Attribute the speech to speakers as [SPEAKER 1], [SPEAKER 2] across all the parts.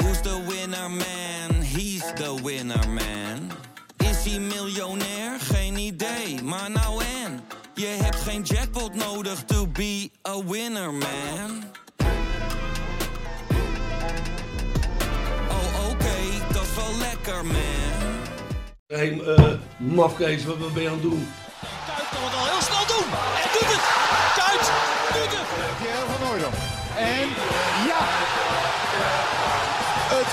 [SPEAKER 1] Who's the winner man? He's the winner man. Is hij miljonair? Geen idee, maar nou en. Je hebt geen jackpot nodig to be a winner man. Oh oké, dat is wel lekker man.
[SPEAKER 2] Hé, eh mafkees, wat, wat ben je aan het doen?
[SPEAKER 3] Kuit kan het al heel snel doen. En doet het. Kuit doet het.
[SPEAKER 4] Pierre van Hooydonk. En ja, het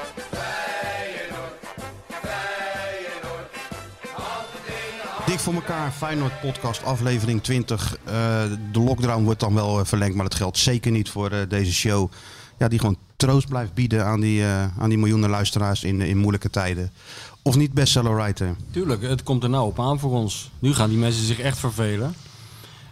[SPEAKER 5] Dik voor elkaar, Feyenoord podcast aflevering 20. Eh, de lockdown wordt dan wel eh, verlengd, maar dat geldt zeker niet voor eh, deze show. Ja, die gewoon troost blijft bieden aan die, eh, aan die miljoenen luisteraars in, in moeilijke tijden. Of niet bestsellerwriter.
[SPEAKER 6] Tuurlijk, het komt er nou op aan voor ons. Nu gaan die mensen zich echt vervelen.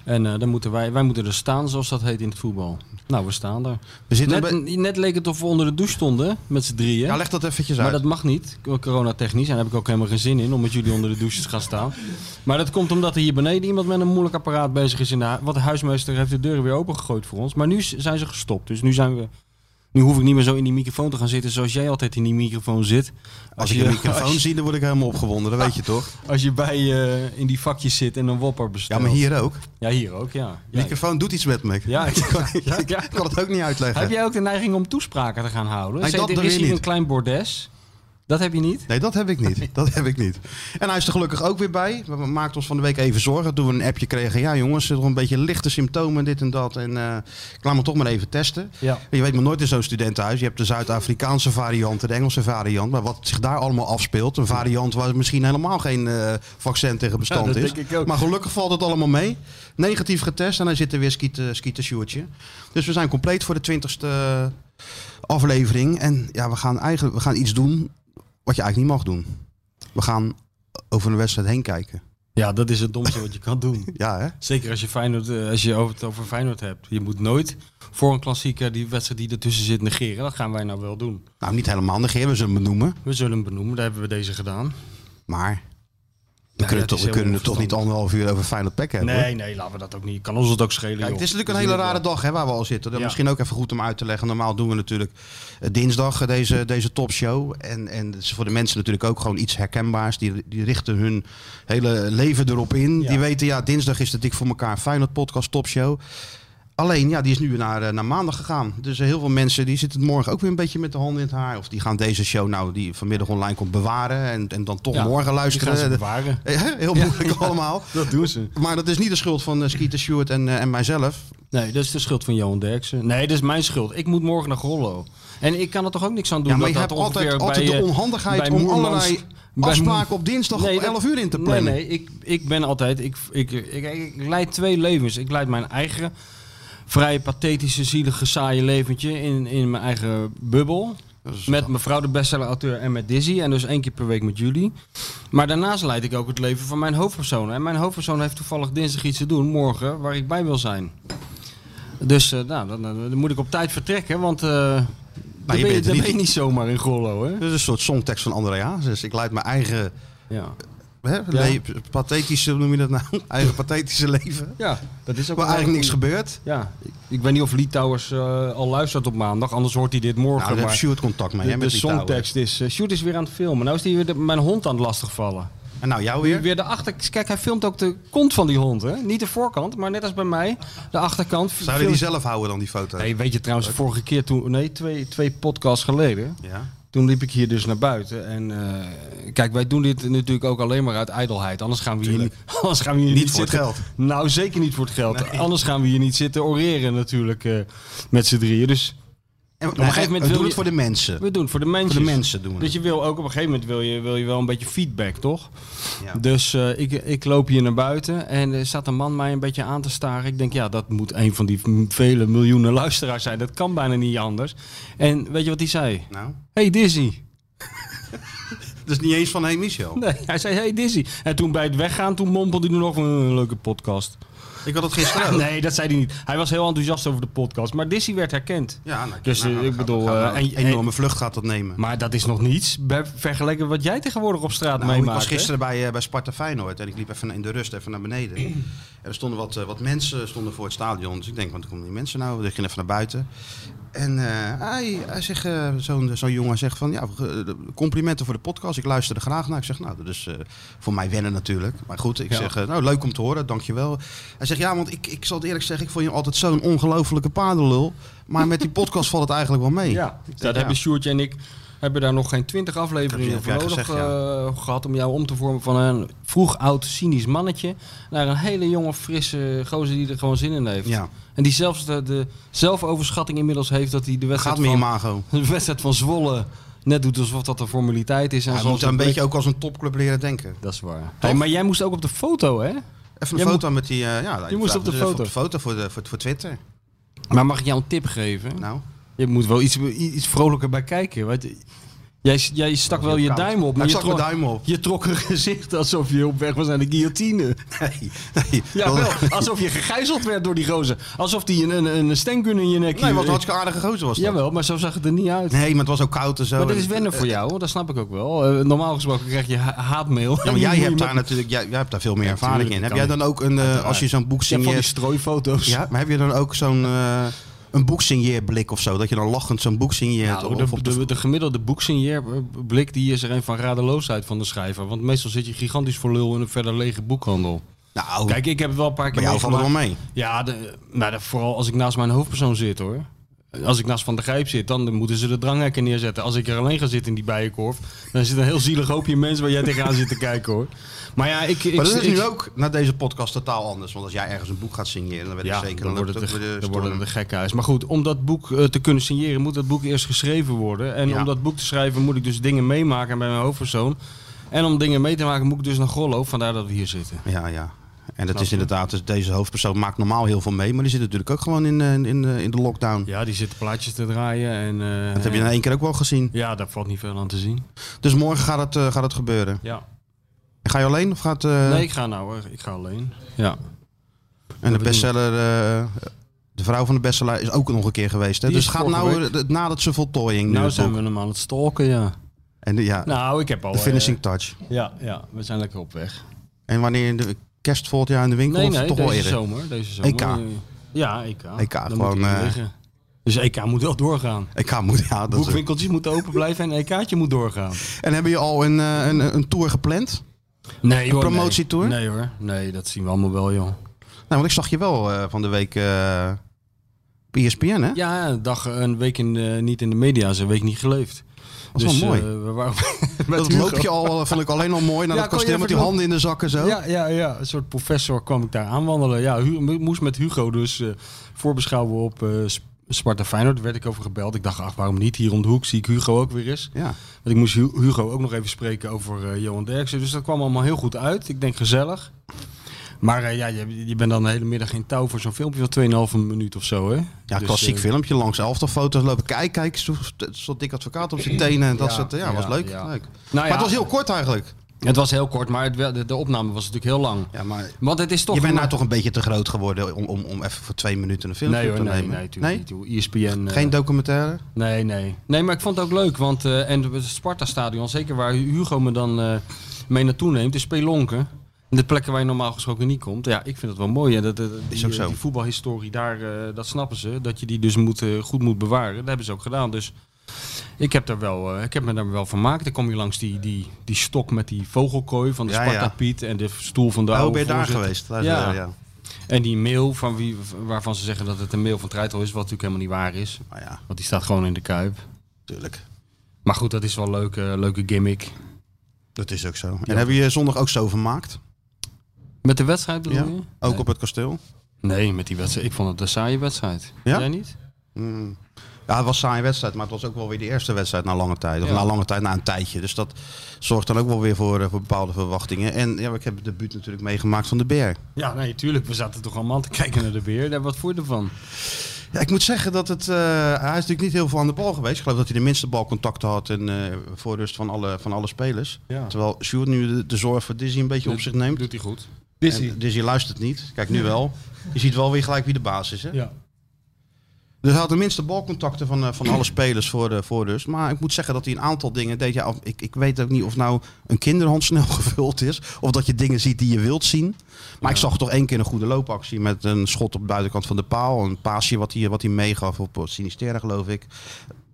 [SPEAKER 6] En eh, dan moeten wij, wij moeten er staan, zoals dat heet in het voetbal. Nou, we staan er.
[SPEAKER 5] We zitten
[SPEAKER 6] Net,
[SPEAKER 5] bij-
[SPEAKER 6] net leek het of we onder de douche stonden, met z'n drieën.
[SPEAKER 5] Ja, leg dat eventjes
[SPEAKER 6] maar
[SPEAKER 5] uit.
[SPEAKER 6] dat mag niet, coronatechnisch. En daar heb ik ook helemaal geen zin in om met jullie onder de douche te gaan staan. Maar dat komt omdat er hier beneden iemand met een moeilijk apparaat bezig is. In de hu- Want de huismeester heeft de deuren weer opengegooid voor ons. Maar nu s- zijn ze gestopt. Dus nu zijn we. Nu hoef ik niet meer zo in die microfoon te gaan zitten zoals jij altijd in die microfoon zit.
[SPEAKER 5] Als ik een
[SPEAKER 6] als
[SPEAKER 5] microfoon
[SPEAKER 6] je-
[SPEAKER 5] zie, dan word ik helemaal opgewonden, dat weet je toch?
[SPEAKER 6] als je bij eh, in die vakjes zit en een wopper
[SPEAKER 5] Ja,
[SPEAKER 6] bestelt.
[SPEAKER 5] maar hier ook.
[SPEAKER 6] Ja, hier ook, ja. Ja,
[SPEAKER 5] Microfoon doet iets met me.
[SPEAKER 6] Ja,
[SPEAKER 5] ik, kan,
[SPEAKER 6] ja,
[SPEAKER 5] ik-
[SPEAKER 6] ja.
[SPEAKER 5] ik kan het ook niet uitleggen.
[SPEAKER 6] Heb jij ook de neiging om toespraken te gaan houden?
[SPEAKER 5] Nee,
[SPEAKER 6] Zeg,
[SPEAKER 5] dat
[SPEAKER 6] er
[SPEAKER 5] doe
[SPEAKER 6] is
[SPEAKER 5] je
[SPEAKER 6] hier
[SPEAKER 5] niet.
[SPEAKER 6] een klein bordes. Dat heb je niet?
[SPEAKER 5] Nee, dat heb ik niet. Dat heb ik niet. En hij is er gelukkig ook weer bij. We maakten ons van de week even zorgen toen we een appje kregen. Ja, jongens, toch een beetje lichte symptomen, dit en dat. En eh, ik laat me toch maar even testen.
[SPEAKER 6] Ja.
[SPEAKER 5] Je weet maar nooit in zo'n studentenhuis. Je hebt de Zuid-Afrikaanse variant, en de Engelse variant. Maar wat zich daar allemaal afspeelt. Een variant waar misschien helemaal geen eh, vaccin tegen bestand
[SPEAKER 6] Ja, dat
[SPEAKER 5] is.
[SPEAKER 6] denk ik ook.
[SPEAKER 5] Maar gelukkig valt het allemaal mee. Negatief getest en hij zit er weer skieten, skieten Sjoerdje. Dus we zijn compleet voor de twintigste eh, aflevering. En ja, we gaan eigenlijk we gaan iets doen wat je eigenlijk niet mag doen. We gaan over een wedstrijd heen kijken.
[SPEAKER 6] Ja, dat is het domste wat je kan doen.
[SPEAKER 5] Ja, hè?
[SPEAKER 6] Zeker als je, Feyenoord, eh, als je over het over Feyenoord hebt. Je moet nooit voor een klassieker die wedstrijd die ertussen zit negeren. Dat gaan wij nou wel doen.
[SPEAKER 5] Nou, niet helemaal negeren, we zullen hem benoemen.
[SPEAKER 6] We zullen hem benoemen, daar hebben we deze gedaan.
[SPEAKER 5] Maar we
[SPEAKER 6] Nee,
[SPEAKER 5] kunnen,
[SPEAKER 6] dat
[SPEAKER 5] toch,
[SPEAKER 6] is
[SPEAKER 5] we
[SPEAKER 6] heel
[SPEAKER 5] kunnen er toch niet
[SPEAKER 6] onverstandig.
[SPEAKER 5] anderhalf uur over Feyenoord Pack hebben. hoor.
[SPEAKER 6] Nee, nee, laten we dat ook niet. Kan ons het ook schelen,
[SPEAKER 5] Kijk,
[SPEAKER 6] joh. eh,
[SPEAKER 5] het is natuurlijk
[SPEAKER 6] We
[SPEAKER 7] dus
[SPEAKER 5] een hele
[SPEAKER 6] zien het
[SPEAKER 5] rare
[SPEAKER 6] wel.
[SPEAKER 5] dag hè, waar we al zitten. Dan
[SPEAKER 6] Ja.
[SPEAKER 5] Misschien ook even goed om uit te leggen. Normaal doen we natuurlijk eh, dinsdag eh, deze, deze topshow. En, en het is voor de mensen natuurlijk ook gewoon iets herkenbaars. Die, die richten hun hele leven erop in.
[SPEAKER 6] Ja.
[SPEAKER 5] Die weten, ja, dinsdag is de Dik voor elkaar Feyenoord podcast topshow. Alleen, ja, die is nu naar, eh, naar maandag gegaan. Dus eh, heel veel mensen die zitten morgen ook weer een beetje met de handen in het haar. Of die gaan deze show, nou, die vanmiddag online komt, bewaren. En, en dan toch
[SPEAKER 6] Ja,
[SPEAKER 5] morgen
[SPEAKER 6] Die gaan ze
[SPEAKER 5] luisteren.
[SPEAKER 6] bewaren.
[SPEAKER 5] Heel moeilijk allemaal.
[SPEAKER 6] Dat doen ze.
[SPEAKER 5] Maar dat is niet de schuld van eh, Skeeter Stewart en, eh, en mijzelf.
[SPEAKER 6] Nee, dat is de schuld van Johan Derksen. Nee, dat is mijn schuld. Ik moet morgen naar Grollo. En ik kan er toch ook niks aan doen.
[SPEAKER 5] Ja, maar je
[SPEAKER 6] dat
[SPEAKER 5] hebt
[SPEAKER 6] dat
[SPEAKER 5] altijd,
[SPEAKER 6] ongeveer
[SPEAKER 5] altijd
[SPEAKER 6] bij,
[SPEAKER 5] de
[SPEAKER 6] eh,
[SPEAKER 5] onhandigheid
[SPEAKER 6] bij
[SPEAKER 5] om
[SPEAKER 6] Moermans-
[SPEAKER 5] allerlei
[SPEAKER 6] bij
[SPEAKER 5] afspraken
[SPEAKER 6] Moer-
[SPEAKER 5] op dinsdag
[SPEAKER 6] Nee,
[SPEAKER 5] om
[SPEAKER 6] dat-
[SPEAKER 5] 11 uur in te plannen.
[SPEAKER 6] Nee, nee ik, ik ben altijd... Ik, ik, ik, ik, ik leid twee levens. Ik leid mijn eigen vrij pathetische, zielige, saaie leventje in, in mijn eigen bubbel. Met mevrouw de bestseller-auteur en met Dizzy. En dus één keer per week met jullie. Maar daarnaast leid ik ook het leven van mijn hoofdpersoon. En mijn hoofdpersoon heeft toevallig dinsdag iets te doen, morgen, waar ik bij wil zijn. Dus eh, nou, dan, dan- dan moet ik op tijd vertrekken, want eh dan, ben
[SPEAKER 5] bent
[SPEAKER 6] je,
[SPEAKER 5] er
[SPEAKER 6] dan
[SPEAKER 5] niet.
[SPEAKER 6] ben je niet zomaar in Gollo, hè?
[SPEAKER 5] Dat is een soort songtekst van André Hazes. Ik leid mijn eigen
[SPEAKER 6] Ja.
[SPEAKER 5] hè, le- pathetische, hoe noem je dat nou? eigen pathetische leven.
[SPEAKER 6] ja, dat is ook
[SPEAKER 5] Waar
[SPEAKER 6] wel
[SPEAKER 5] eigenlijk niks
[SPEAKER 6] een-
[SPEAKER 5] gebeurt. Nou,
[SPEAKER 6] Ja, ik, ik weet niet of Litouwers eh, al luistert op maandag, anders hoort hij dit morgen.
[SPEAKER 5] Nou, daar heb
[SPEAKER 6] maar
[SPEAKER 5] Stuart contact mee. hè,
[SPEAKER 6] de, de
[SPEAKER 5] met die touwen.
[SPEAKER 6] songtekst is... eh Sjoerd is weer aan het filmen. Nou is hij weer de- mijn hond aan het lastigvallen.
[SPEAKER 5] En nou, jou
[SPEAKER 6] Weer,
[SPEAKER 5] weer.
[SPEAKER 6] weer de achter... Kijk, hij filmt ook de kont van die hond, hè? Niet de voorkant, maar net als bij mij, de achterkant.
[SPEAKER 5] Zouden die zelf houden dan, die foto?
[SPEAKER 6] Nee, weet je trouwens, de vorige keer toen... Nee, twee, twee podcasts geleden...
[SPEAKER 5] Ja.
[SPEAKER 6] Toen liep ik hier dus naar buiten. En eh, kijk, wij doen dit natuurlijk ook alleen maar uit ijdelheid. Anders gaan we hier, niet,
[SPEAKER 5] Tuurlijk.
[SPEAKER 6] anders gaan we hier
[SPEAKER 5] Niet
[SPEAKER 6] niet,
[SPEAKER 5] voor het
[SPEAKER 6] zitten.
[SPEAKER 5] geld.
[SPEAKER 6] Nou, zeker niet voor het geld. Anders gaan we hier niet zitten oreren natuurlijk eh, met z'n drieën. Dus
[SPEAKER 5] En,
[SPEAKER 6] gegeven
[SPEAKER 5] nee,
[SPEAKER 6] moment
[SPEAKER 5] we
[SPEAKER 6] wil
[SPEAKER 5] doen
[SPEAKER 6] je-
[SPEAKER 5] het voor de mensen.
[SPEAKER 6] we doen het voor de mensen.
[SPEAKER 5] Voor de mensen doen we
[SPEAKER 6] Dus je wil ook op een gegeven moment wil je, wil je wel een beetje feedback, toch?
[SPEAKER 5] Ja.
[SPEAKER 6] Dus eh, ik, ik loop hier naar buiten en er staat een man mij een beetje aan te staren. Ik denk, ja, dat moet een van die m- vele miljoenen luisteraars zijn. Dat kan bijna niet anders. En weet je wat hij zei?
[SPEAKER 5] Nou,
[SPEAKER 6] Hey Dizzy.
[SPEAKER 5] dus niet eens van hey Michel.
[SPEAKER 6] Nee, hij zei, hey Dizzy. En toen bij het weggaan, toen mompelde hij nog een leuke "Eh, podcast. Ah,
[SPEAKER 5] Ik had het gisteren ook.
[SPEAKER 6] Nee, dat zei hij niet. Hij was heel enthousiast over de podcast. Maar Dizzy werd herkend.
[SPEAKER 5] Ja, nou,
[SPEAKER 6] Dus,
[SPEAKER 5] nou,
[SPEAKER 6] eh,
[SPEAKER 5] nou,
[SPEAKER 6] ik
[SPEAKER 5] gaat-
[SPEAKER 6] bedoel,
[SPEAKER 5] gaat
[SPEAKER 6] eh,
[SPEAKER 5] nou een
[SPEAKER 6] en- en-
[SPEAKER 5] enorme vlucht gaat dat nemen.
[SPEAKER 6] Maar dat is nog niets bij- vergeleken wat jij tegenwoordig op straat
[SPEAKER 5] Nou,
[SPEAKER 6] meemaakt.
[SPEAKER 5] ik was
[SPEAKER 6] hè?
[SPEAKER 5] gisteren bij, eh, bij Sparta Feyenoord en ik liep even in de rust even naar beneden. en er stonden wat, eh, wat mensen stonden voor het stadion. Dus ik denk, want er komen die mensen nou? Ik ging even naar buiten. En eh, hij, hij zegt, eh, zo'n zo'n jongen zegt van, ja, eh, complimenten voor de podcast. Ik luister er graag naar. Ik zeg, nou, dat is eh, voor mij wennen natuurlijk. Maar goed, ik
[SPEAKER 6] Ja.
[SPEAKER 5] zeg, eh, nou, leuk om te horen, dankjewel. Hij zegt, ja, want ik, ik zal het eerlijk zeggen, ik vond je altijd zo'n ongelofelijke paardenlul. Maar met die podcast valt het eigenlijk wel mee.
[SPEAKER 6] Ja,
[SPEAKER 5] Ik denk,
[SPEAKER 6] dat hebben Sjoerdje en ik hebben daar nog geen twintig afleveringen
[SPEAKER 5] Heb je-
[SPEAKER 6] voor
[SPEAKER 5] heb jij
[SPEAKER 6] nodig
[SPEAKER 5] gezegd,
[SPEAKER 6] eh, gehad om jou om te vormen van een vroeg oud cynisch mannetje naar een hele jonge frisse gozer die er gewoon zin in heeft.
[SPEAKER 5] Ja.
[SPEAKER 6] En die zelfs de, de zelfoverschatting inmiddels heeft dat hij de wedstrijd,
[SPEAKER 5] Gaat meer
[SPEAKER 6] van,
[SPEAKER 5] imago.
[SPEAKER 6] de wedstrijd van Zwolle net doet alsof dat een formaliteit is. En
[SPEAKER 5] Hij
[SPEAKER 6] zoals
[SPEAKER 5] moet een
[SPEAKER 6] blik-
[SPEAKER 5] beetje ook als een topclub leren denken.
[SPEAKER 6] Dat is waar. Hey, maar jij moest ook op de foto, hè?
[SPEAKER 5] Even een
[SPEAKER 6] Jij
[SPEAKER 5] foto met die. eh, ja,
[SPEAKER 6] Je moest op de
[SPEAKER 5] even
[SPEAKER 6] foto.
[SPEAKER 5] Op de foto voor, de, voor, voor Twitter.
[SPEAKER 6] Maar mag ik jou een tip geven?
[SPEAKER 5] Nou,
[SPEAKER 6] Je moet wel iets, iets vrolijker bij kijken. Want jij, jij stak wel
[SPEAKER 5] heel
[SPEAKER 6] je
[SPEAKER 5] koud.
[SPEAKER 6] duim op.
[SPEAKER 5] Ja,
[SPEAKER 6] Maar
[SPEAKER 5] ik
[SPEAKER 6] je
[SPEAKER 5] stak mijn
[SPEAKER 6] trok-
[SPEAKER 5] duim op.
[SPEAKER 6] Je trok een gezicht alsof je op weg was naar de guillotine.
[SPEAKER 5] nee. nee.
[SPEAKER 6] Ja,
[SPEAKER 5] Dat-
[SPEAKER 6] wel. Alsof je gegijzeld werd door die gozer. Alsof die een, een, een steengun in je nek
[SPEAKER 5] Nee, het was een hartstikke aardige gozer was dat.
[SPEAKER 6] Jawel, maar zo zag het er niet uit.
[SPEAKER 5] Nee, maar het was ook koud en zo.
[SPEAKER 6] Maar dit
[SPEAKER 5] en-
[SPEAKER 6] is wennen voor jou, dat snap ik ook wel. Eh, normaal gesproken krijg je ha- haatmail.
[SPEAKER 5] Ja, maar jij hebt daar natuurlijk, jij, jij hebt daar veel meer ervaring in.
[SPEAKER 6] tuurlijk,
[SPEAKER 5] Heb
[SPEAKER 6] dat kan
[SPEAKER 5] jij dan ook een, eh, als je zo'n boek
[SPEAKER 6] Je hebt van die
[SPEAKER 5] signeert,
[SPEAKER 6] strooifoto's.
[SPEAKER 5] ja, maar heb je dan ook zo'n eh een boek signeerblik of zo, dat je dan lachend zo'n boek signeert?
[SPEAKER 6] Nou,
[SPEAKER 5] of
[SPEAKER 6] de,
[SPEAKER 5] op de-
[SPEAKER 6] de, de gemiddelde boeksigneerblik die is er een van radeloosheid van de schrijver. Want meestal zit je gigantisch voor lul in een verder lege boekhandel.
[SPEAKER 5] nou,
[SPEAKER 6] Kijk, ik heb het wel een paar keer
[SPEAKER 5] bij jou valt het wel
[SPEAKER 6] meegemaakt.
[SPEAKER 5] mee.
[SPEAKER 6] Ja, de, nou, de- vooral als ik naast mijn hoofdpersoon zit hoor. Als ik naast Van der Grijp zit, dan moeten ze de dranghekken neerzetten. Als ik er alleen ga zitten in die bijenkorf, dan zit een heel zielig hoopje mensen waar jij tegenaan zit te kijken hoor. Maar ja, ik... ik
[SPEAKER 5] Maar dat is
[SPEAKER 6] ik-
[SPEAKER 5] nu ook na deze podcast totaal anders. Want als jij ergens een boek gaat signeren, dan weet ik
[SPEAKER 6] Ja,
[SPEAKER 5] zeker
[SPEAKER 6] dan wordt
[SPEAKER 5] loopt
[SPEAKER 6] Dus het de,
[SPEAKER 5] het weer eh,
[SPEAKER 6] dan
[SPEAKER 5] storm.
[SPEAKER 6] worden het een gekhuis. Maar goed, om dat boek eh, te kunnen signeren, moet dat boek eerst geschreven worden. En
[SPEAKER 5] Ja.
[SPEAKER 6] om dat boek te schrijven, moet ik dus dingen meemaken bij mijn hoofdpersoon. En om dingen mee te maken, moet ik dus naar Gollo. Vandaar dat we hier zitten.
[SPEAKER 5] Ja, ja. En dat
[SPEAKER 6] Snap
[SPEAKER 5] is
[SPEAKER 6] je?
[SPEAKER 5] inderdaad, dus deze hoofdpersoon maakt normaal heel veel mee, maar die zit natuurlijk ook gewoon in, eh, in, eh, in de lockdown.
[SPEAKER 6] Ja, die zitten plaatjes te draaien. En, eh,
[SPEAKER 5] Dat heb je in één keer ook wel gezien.
[SPEAKER 6] Ja, daar valt niet veel aan te zien.
[SPEAKER 5] Dus morgen gaat het, eh, gaat het gebeuren.
[SPEAKER 6] Ja.
[SPEAKER 5] En Ga je alleen of gaat eh,
[SPEAKER 6] Nee, ik ga nou hoor. Ik ga alleen. Ja.
[SPEAKER 5] en de
[SPEAKER 6] doen.
[SPEAKER 5] bestseller, eh, de vrouw van de bestseller is ook nog een keer geweest. Hè?
[SPEAKER 6] Die
[SPEAKER 5] Dus
[SPEAKER 6] is
[SPEAKER 5] het gaat
[SPEAKER 6] vorige
[SPEAKER 5] nou
[SPEAKER 6] week.
[SPEAKER 5] eh, nadat ze voltooiing.
[SPEAKER 6] Nou
[SPEAKER 5] nu
[SPEAKER 6] zijn
[SPEAKER 5] ook.
[SPEAKER 6] we hem aan het stalken, ja.
[SPEAKER 5] En de- ja,
[SPEAKER 6] Nou, ik heb al...
[SPEAKER 5] de finishing
[SPEAKER 6] eh,
[SPEAKER 5] touch.
[SPEAKER 6] ja, ja, we zijn lekker op weg.
[SPEAKER 5] En wanneer in de kerst volgend jaar in de winkel
[SPEAKER 6] Nee,
[SPEAKER 5] of
[SPEAKER 6] nee,
[SPEAKER 5] toch wel
[SPEAKER 6] deze
[SPEAKER 5] eerder?
[SPEAKER 6] zomer. Deze zomer.
[SPEAKER 5] EK.
[SPEAKER 6] Eh, Ja, EK.
[SPEAKER 5] EK,
[SPEAKER 6] Dan
[SPEAKER 5] gewoon,
[SPEAKER 6] moet hij
[SPEAKER 5] eh,
[SPEAKER 6] liggen. Dus EK moet wel doorgaan.
[SPEAKER 5] Ik ga moet ja. Dat is-
[SPEAKER 6] Boekwinkeltjes moeten open blijven en een EK'tje moet doorgaan.
[SPEAKER 5] en hebben je al een, eh, een, een tour gepland?
[SPEAKER 6] Nee
[SPEAKER 5] hoor, nee. promotietour?
[SPEAKER 6] Nee. hoor, nee, dat zien we allemaal wel joh.
[SPEAKER 5] Nou, want ik zag je wel eh, van de week eh E bij ESPN, hè?
[SPEAKER 6] Ja, een dag, een week in de- niet in de media, ze een week niet geleefd.
[SPEAKER 5] Dat is wel mooi.
[SPEAKER 6] eh, we waren met
[SPEAKER 5] Dus, Dat
[SPEAKER 6] Hugo.
[SPEAKER 5] loopje al, eh, vond ik alleen al mooi naar
[SPEAKER 6] Ja,
[SPEAKER 5] dat
[SPEAKER 6] kon je
[SPEAKER 5] kasteel met die
[SPEAKER 6] even
[SPEAKER 5] handen in de zakken zo.
[SPEAKER 6] Ja, ja, ja, een soort professor kwam ik daar aanwandelen. Ja, Hu- mo- moest met Hugo dus eh, voorbeschouwen op eh, Sp- Sparta Feyenoord. Daar werd ik over gebeld. Ik dacht, ach, waarom niet? Hier om de hoek zie ik Hugo ook weer eens.
[SPEAKER 5] Ja.
[SPEAKER 6] Want ik moest Hu- Hugo ook nog even spreken over eh, Johan Derksen. Dus dat kwam allemaal heel goed uit. Ik denk gezellig. Maar eh, ja, je, je bent dan de hele middag in touw voor zo'n filmpje van 2,5 minuut of zo, hè?
[SPEAKER 5] Ja,
[SPEAKER 6] Dus,
[SPEAKER 5] klassiek
[SPEAKER 6] eh,
[SPEAKER 5] filmpje langs elftal foto's lopen. Kijk, kijk, zo- stond dik advocaat op zijn tenen en dat
[SPEAKER 6] Ja,
[SPEAKER 5] soort. Ja, was
[SPEAKER 6] ja,
[SPEAKER 5] leuk.
[SPEAKER 6] ja.
[SPEAKER 5] leuk.
[SPEAKER 6] Nou
[SPEAKER 5] Maar
[SPEAKER 6] ja,
[SPEAKER 5] het was heel kort eigenlijk.
[SPEAKER 6] het was heel kort, maar het, wel- de, de opname was natuurlijk heel lang.
[SPEAKER 5] Ja, maar
[SPEAKER 6] Want het is toch...
[SPEAKER 5] je bent
[SPEAKER 6] een-
[SPEAKER 5] nou toch een beetje te groot geworden om, om, om even voor twee minuten een filmpje
[SPEAKER 6] Nee
[SPEAKER 5] op
[SPEAKER 6] hoor,
[SPEAKER 5] te
[SPEAKER 6] nee,
[SPEAKER 5] nemen.
[SPEAKER 6] nee, tuurlijk niet, joh. ESPN... eh,
[SPEAKER 5] Geen Oh, documentaire?
[SPEAKER 6] Nee, nee. Nee, maar ik vond het ook leuk, want eh, en het Sparta-stadion, zeker waar Hugo me dan eh, mee naartoe neemt, is Spelonken. De plekken waar je normaal gesproken niet komt. Ja, ik vind dat wel mooi. En dat, dat- die,
[SPEAKER 5] Is ook zo.
[SPEAKER 6] die voetbalhistorie daar, eh, dat snappen ze. Dat je die dus moet, eh, goed moet bewaren. Dat hebben ze ook gedaan. Dus ik heb, daar wel, eh, ik heb me daar wel van gemaakt. Dan kom je langs die, die, die stok met die vogelkooi van de
[SPEAKER 5] Ja, ja.
[SPEAKER 6] Sparta-Piet. En de stoel van de
[SPEAKER 5] Oh,
[SPEAKER 6] oude
[SPEAKER 5] ben je daar
[SPEAKER 6] voorzitter.
[SPEAKER 5] geweest? Daar is-
[SPEAKER 6] Ja.
[SPEAKER 5] ja. ja.
[SPEAKER 6] En die mail van wie, waarvan ze zeggen dat het een mail van Treitel is. Wat natuurlijk helemaal niet waar is.
[SPEAKER 5] Nou ja,
[SPEAKER 6] Want die staat gewoon in de kuip.
[SPEAKER 5] tuurlijk.
[SPEAKER 6] Maar goed, dat is wel een leuke, leuke gimmick.
[SPEAKER 5] Dat is ook zo. En hebben je zondag ook zo vermaakt?
[SPEAKER 6] Met de wedstrijd
[SPEAKER 5] Ja.
[SPEAKER 6] bedoel je?
[SPEAKER 5] Ook
[SPEAKER 6] Nee.
[SPEAKER 5] op het kasteel?
[SPEAKER 6] Nee, met die wedstrijd. Ik vond het een saaie wedstrijd.
[SPEAKER 5] Ja?
[SPEAKER 6] Jij niet?
[SPEAKER 5] Mm. Ja, het was een saaie wedstrijd, maar het was ook wel weer de eerste wedstrijd na lange tijd. Of
[SPEAKER 6] Ja.
[SPEAKER 5] na lange tijd, na een tijdje. Dus dat zorgt dan ook wel weer voor, eh, voor bepaalde verwachtingen. En ja, ik heb het debuut natuurlijk meegemaakt van de Beer.
[SPEAKER 6] Ja, nee, tuurlijk. We zaten toch allemaal te kijken naar de beer. Daar wat voor ervan.
[SPEAKER 5] Ja, ik moet zeggen dat het... eh, hij is natuurlijk niet heel veel aan de bal geweest. Ik geloof dat hij de minste balcontacten had en eh voorrust van alle, van alle spelers.
[SPEAKER 6] Ja.
[SPEAKER 5] Terwijl Sjoerd nu de, de zorg voor Dizzy een beetje op zich neemt.
[SPEAKER 6] Doet hij goed.
[SPEAKER 8] Dizzy.
[SPEAKER 5] En, dus je luistert niet. Kijk, nu wel. Je ziet wel weer gelijk wie de baas is. Hè?
[SPEAKER 8] Ja.
[SPEAKER 5] Dus hij had de minste balcontacten van, eh, van alle spelers voor, de voor dus. Maar ik moet zeggen dat hij een aantal dingen deed. Ja, of- ik, ik weet ook niet of nou een kinderhand snel gevuld is. Of dat je dingen ziet die je wilt zien. Maar ik zag toch één keer een goede loopactie met een schot op de buitenkant van de paal. Een paasje wat hij, wat hij meegaf op eh, Sinisterra, geloof ik.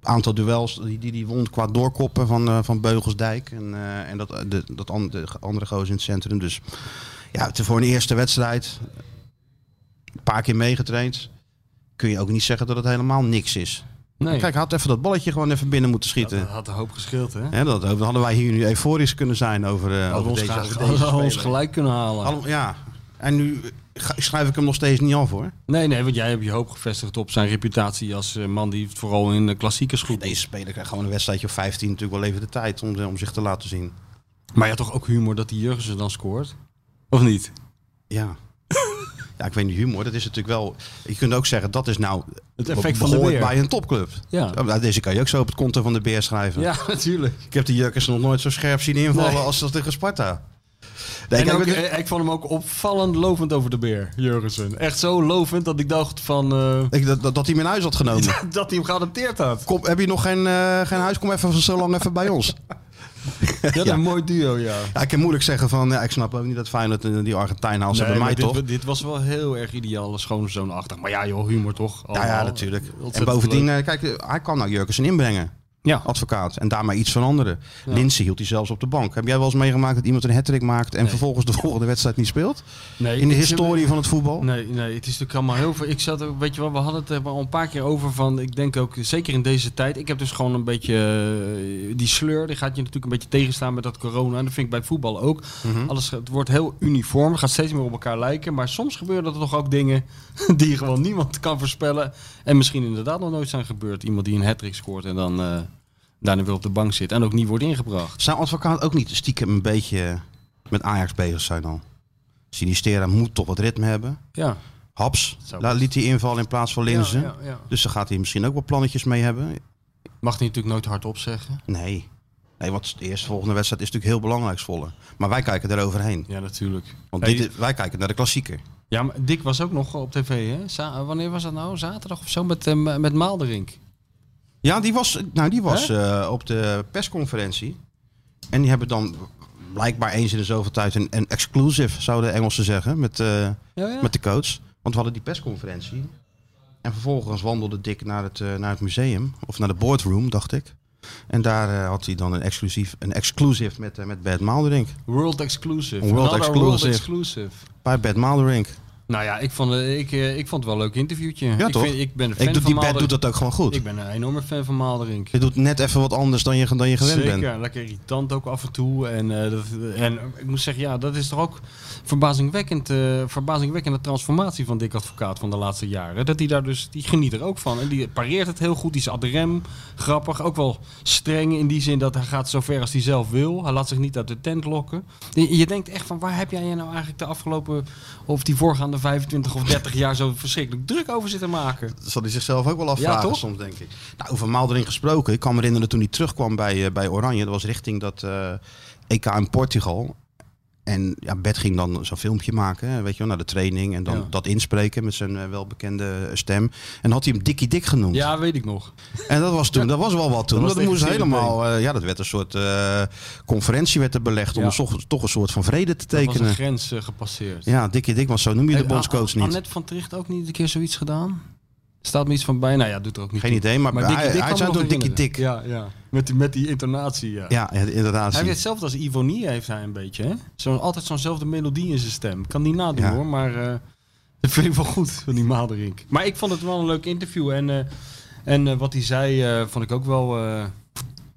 [SPEAKER 5] Aantal duels die die, die won qua doorkoppen van, eh, van Beugelsdijk. En, eh, en dat, eh, de, dat an- de andere gozer in het centrum. Dus ja, het is voor een eerste wedstrijd. Een paar keer meegetraind. Kun je ook niet zeggen dat het helemaal niks is.
[SPEAKER 6] Nee.
[SPEAKER 5] Kijk, hij had even dat balletje gewoon even binnen moeten schieten.
[SPEAKER 6] dat had een hoop geschild, hè?
[SPEAKER 5] Hè, dat, dan hadden wij hier nu euforisch kunnen zijn over, eh,
[SPEAKER 6] Hadden
[SPEAKER 5] over
[SPEAKER 6] we ons,
[SPEAKER 5] deze,
[SPEAKER 6] graag-
[SPEAKER 5] over
[SPEAKER 6] hadden
[SPEAKER 5] deze
[SPEAKER 6] we ons
[SPEAKER 5] speler.
[SPEAKER 6] gelijk kunnen halen.
[SPEAKER 5] Allemaal- ja, en nu eh, ga- schrijf ik hem nog steeds niet af hoor.
[SPEAKER 6] Nee, nee, want jij hebt je hoop gevestigd op zijn reputatie als eh, man die het vooral in de klassiekers goed
[SPEAKER 5] Deze
[SPEAKER 6] is.
[SPEAKER 5] speler krijgt gewoon een wedstrijdje of 15 natuurlijk wel even de tijd om, eh, om zich te laten zien.
[SPEAKER 6] Maar je had toch ook humor dat die Jurgensen dan scoort? Of niet?
[SPEAKER 5] Ja. ja, ik weet niet, humor, dat is natuurlijk wel... Je kunt ook zeggen, dat is nou...
[SPEAKER 6] Het
[SPEAKER 5] be-
[SPEAKER 6] effect van de
[SPEAKER 5] behoort
[SPEAKER 6] beer.
[SPEAKER 5] bij een topclub.
[SPEAKER 6] Ja.
[SPEAKER 5] Nou, Deze kan je ook zo op het konto van de beer schrijven.
[SPEAKER 6] Ja, natuurlijk.
[SPEAKER 5] Ik heb die Jurkens nog nooit zo scherp zien invallen
[SPEAKER 6] Nee.
[SPEAKER 5] als dat tegen Sparta. Nee,
[SPEAKER 6] En
[SPEAKER 5] kijk,
[SPEAKER 6] ook,
[SPEAKER 5] het-
[SPEAKER 6] eh, ik vond hem ook opvallend lovend over de beer, Jurgensen. Echt zo lovend dat ik dacht van... eh,
[SPEAKER 5] ik- dat, dat, dat hij mijn huis had genomen.
[SPEAKER 6] dat hij hem geadopteerd had.
[SPEAKER 5] Kom, heb je nog geen, eh, geen huis? Kom even zo lang even bij ons.
[SPEAKER 6] Dat
[SPEAKER 5] Ja.
[SPEAKER 6] een mooi duo, ja.
[SPEAKER 5] Ja, ik kan moeilijk zeggen van, ja, ik snap ook niet dat Feyenoord en die Argentijn haalt ze
[SPEAKER 6] Nee,
[SPEAKER 5] bij mij
[SPEAKER 6] maar dit,
[SPEAKER 5] toch?
[SPEAKER 6] Dit was wel heel erg ideaal, schoonzoonachtig. Maar ja, joh, humor toch?
[SPEAKER 5] Ja, ja,
[SPEAKER 6] Allemaal.
[SPEAKER 5] natuurlijk.
[SPEAKER 6] Ontzettend
[SPEAKER 5] En bovendien,
[SPEAKER 6] leuk.
[SPEAKER 5] eh, kijk, eh, hij kan nou Jurkensen inbrengen,
[SPEAKER 6] Ja.
[SPEAKER 5] advocaat, en daarmee iets veranderen.
[SPEAKER 6] Ja.
[SPEAKER 5] Linsen hield hij zelfs op de bank. Heb jij wel eens meegemaakt dat iemand een hattrick maakt en vervolgens de volgende wedstrijd niet speelt?
[SPEAKER 6] Nee,
[SPEAKER 5] In de
[SPEAKER 6] ik-
[SPEAKER 5] historie van het voetbal?
[SPEAKER 6] Nee, nee, het is natuurlijk allemaal heel veel. Ik zat ook, weet je wel, we hadden het er al een paar keer over van. Ik denk ook, zeker in deze tijd. Ik heb dus gewoon een beetje eh, die sleur. Die gaat je natuurlijk een beetje tegenstaan met dat corona. En dat vind ik bij voetbal ook. Alles, het wordt heel uniform. Gaat steeds meer op elkaar lijken. Maar soms gebeuren er toch ook dingen die gewoon niemand kan voorspellen. En misschien inderdaad nog nooit zijn gebeurd. Iemand die een hat-trick scoort en dan eh, daarna weer op de bank zit. En ook niet wordt ingebracht.
[SPEAKER 5] Zou advocaat ook niet stiekem een beetje met Ajax bezig zijn dan? Sinistera moet toch wat ritme hebben.
[SPEAKER 6] Ja.
[SPEAKER 5] Haps
[SPEAKER 6] Zou
[SPEAKER 5] daar
[SPEAKER 6] best.
[SPEAKER 5] liet hij invallen in plaats van Linzen.
[SPEAKER 6] Ja, ja, ja.
[SPEAKER 5] Dus daar gaat hij misschien ook wel plannetjes mee hebben.
[SPEAKER 6] Mag die natuurlijk nooit hardop zeggen.
[SPEAKER 5] Nee. Nee, want de eerste volgende wedstrijd is natuurlijk heel belangrijk voor Zwolle. Maar wij kijken eroverheen.
[SPEAKER 6] Ja, natuurlijk.
[SPEAKER 5] Want
[SPEAKER 6] Hey,
[SPEAKER 5] dit is- wij kijken naar de klassieker.
[SPEAKER 6] Ja, maar Dick was ook nog op tv, hè? Za- wanneer was dat nou? Zaterdag of zo met, eh, m- met Maalderink.
[SPEAKER 5] Ja, die was, nou, die was eh, op de persconferentie. En die hebben dan blijkbaar eens in de zoveel tijd een, een exclusive, zouden de Engelsen zeggen, met, eh,
[SPEAKER 6] Ja, ja.
[SPEAKER 5] met de coach. Want we hadden die persconferentie. En vervolgens wandelde Dick naar het, eh, naar het museum, of naar de boardroom, dacht ik. En daar eh, had hij dan een exclusief, een exclusive met, eh, met Bert Maalderink.
[SPEAKER 6] World Exclusive.
[SPEAKER 5] Een world
[SPEAKER 6] Another
[SPEAKER 5] exclusive.
[SPEAKER 6] exclusive.
[SPEAKER 5] Bij Bert Maalderink.
[SPEAKER 6] Nou ja, ik vond, eh, ik, eh, ik vond het wel een leuk interviewtje.
[SPEAKER 5] Ja,
[SPEAKER 6] ik
[SPEAKER 5] toch?
[SPEAKER 6] Vind, ik ben een fan
[SPEAKER 5] Ik doe,
[SPEAKER 6] van
[SPEAKER 5] die Bert doet
[SPEAKER 6] Maalderink.
[SPEAKER 5] dat ook gewoon goed.
[SPEAKER 6] Ik ben een enorme fan van Maalderink.
[SPEAKER 5] Je doet net even wat anders dan je, dan je gewend
[SPEAKER 6] Zeker,
[SPEAKER 5] bent.
[SPEAKER 6] lekker irritant ook af en toe. En, eh, dat, en ik moet zeggen, ja, dat is toch ook verbazingwekkend, eh, verbazingwekkende transformatie van Dick Advocaat van de laatste jaren. Dat hij daar dus, die geniet er ook van. En die pareert het heel goed, die is ad rem, grappig, ook wel streng in die zin dat hij gaat zo ver als hij zelf wil. Hij laat zich niet uit de tent lokken. Je, je denkt echt van, waar heb jij je nou eigenlijk de afgelopen, of die voorgaande 25 of 30 jaar zo verschrikkelijk druk over zitten maken?
[SPEAKER 5] Dat zal hij zichzelf ook wel afvragen
[SPEAKER 6] Ja, toch?
[SPEAKER 5] soms, denk ik. Nou, over Maalderink gesproken. Ik kan me herinneren toen hij terugkwam bij, eh, bij Oranje. Dat was richting dat eh, EK in Portugal. En ja, Bert ging dan zo'n filmpje maken, hè, weet je wel, naar de training. En dan
[SPEAKER 6] Ja.
[SPEAKER 5] dat inspreken met zijn eh, welbekende stem. En had hij hem Dikkie Dik genoemd.
[SPEAKER 6] Ja, weet ik nog.
[SPEAKER 5] En dat was toen, dat was wel wat toen.
[SPEAKER 6] Dat was
[SPEAKER 5] Dat,
[SPEAKER 6] tegen
[SPEAKER 5] moest
[SPEAKER 6] Sierra
[SPEAKER 5] helemaal, eh, ja, dat werd een soort eh, conferentie werd er belegd
[SPEAKER 6] Ja.
[SPEAKER 5] om toch, toch een soort van vrede te
[SPEAKER 6] Er was een
[SPEAKER 5] tekenen.
[SPEAKER 6] grens eh, gepasseerd.
[SPEAKER 5] Ja, Dikkie Dik, want zo noem je de
[SPEAKER 6] Heeft
[SPEAKER 5] bondscoach
[SPEAKER 6] An-
[SPEAKER 5] niet.
[SPEAKER 6] Annette van Tricht ook niet een keer zoiets gedaan? Staat me iets van bij? Nou ja, doet er ook niet
[SPEAKER 5] Geen
[SPEAKER 6] toe.
[SPEAKER 5] idee, maar
[SPEAKER 6] Dikkie
[SPEAKER 5] hij-
[SPEAKER 6] Dik
[SPEAKER 5] hij
[SPEAKER 6] kan
[SPEAKER 5] zei
[SPEAKER 6] me nog
[SPEAKER 5] toch Dikkie
[SPEAKER 6] herinneren. Ja, ja. Met, die, met die intonatie, ja.
[SPEAKER 5] Ja, inderdaad.
[SPEAKER 6] Hij heeft hetzelfde als Ivonie heeft hij een beetje, hè? Zo, altijd zo'nzelfde melodie in zijn stem. Kan niet nadoen,
[SPEAKER 5] Ja.
[SPEAKER 6] hoor, maar eh, dat vind ik wel goed van die Maderink. Maar ik vond het wel een leuk interview en, eh, en eh, wat hij zei eh, vond ik ook wel... eh,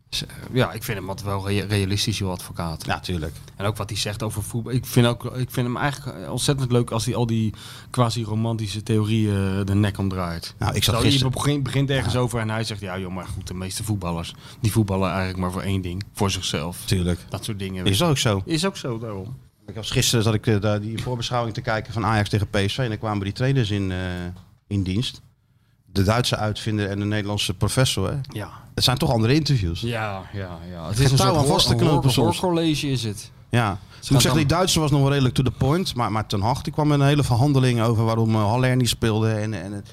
[SPEAKER 6] z- ja, ik vind hem altijd wel rea- realistisch, joh, advocaat.
[SPEAKER 5] Ja, tuurlijk.
[SPEAKER 6] En ook wat hij zegt over voetbal. Ik vind, ook, ik vind hem eigenlijk ontzettend leuk als hij al die quasi-romantische theorieën eh, de nek omdraait.
[SPEAKER 5] Nou, ik zat
[SPEAKER 6] Zo,
[SPEAKER 5] gisteren-
[SPEAKER 6] Je begint, begint ergens over en hij zegt, ja joh, maar goed, de meeste voetballers, die voetballen eigenlijk maar voor één ding. Voor zichzelf.
[SPEAKER 5] Tuurlijk.
[SPEAKER 6] Dat soort dingen.
[SPEAKER 5] Is dat ook zo?
[SPEAKER 6] Is ook zo, daarom.
[SPEAKER 5] Ik was gisteren zat ik eh, daar die voorbeschouwing te kijken van Ajax tegen PSV en dan kwamen die trainers in, eh, in dienst. De Duitse uitvinder en de Nederlandse professor. Hè?
[SPEAKER 6] Ja.
[SPEAKER 5] Het zijn toch andere interviews.
[SPEAKER 6] Ja, ja, ja. Het
[SPEAKER 5] touw aan
[SPEAKER 6] hoor-
[SPEAKER 5] vast te knopen
[SPEAKER 6] hoor-
[SPEAKER 5] soms.
[SPEAKER 6] hoorcollege is het.
[SPEAKER 5] Ja. Ik
[SPEAKER 6] gaat
[SPEAKER 5] moet zeggen, die Duitser was nog wel redelijk to the point. Maar, maar Ten Hag die kwam met een hele verhandeling over waarom eh, Haller niet speelde. En, en, het-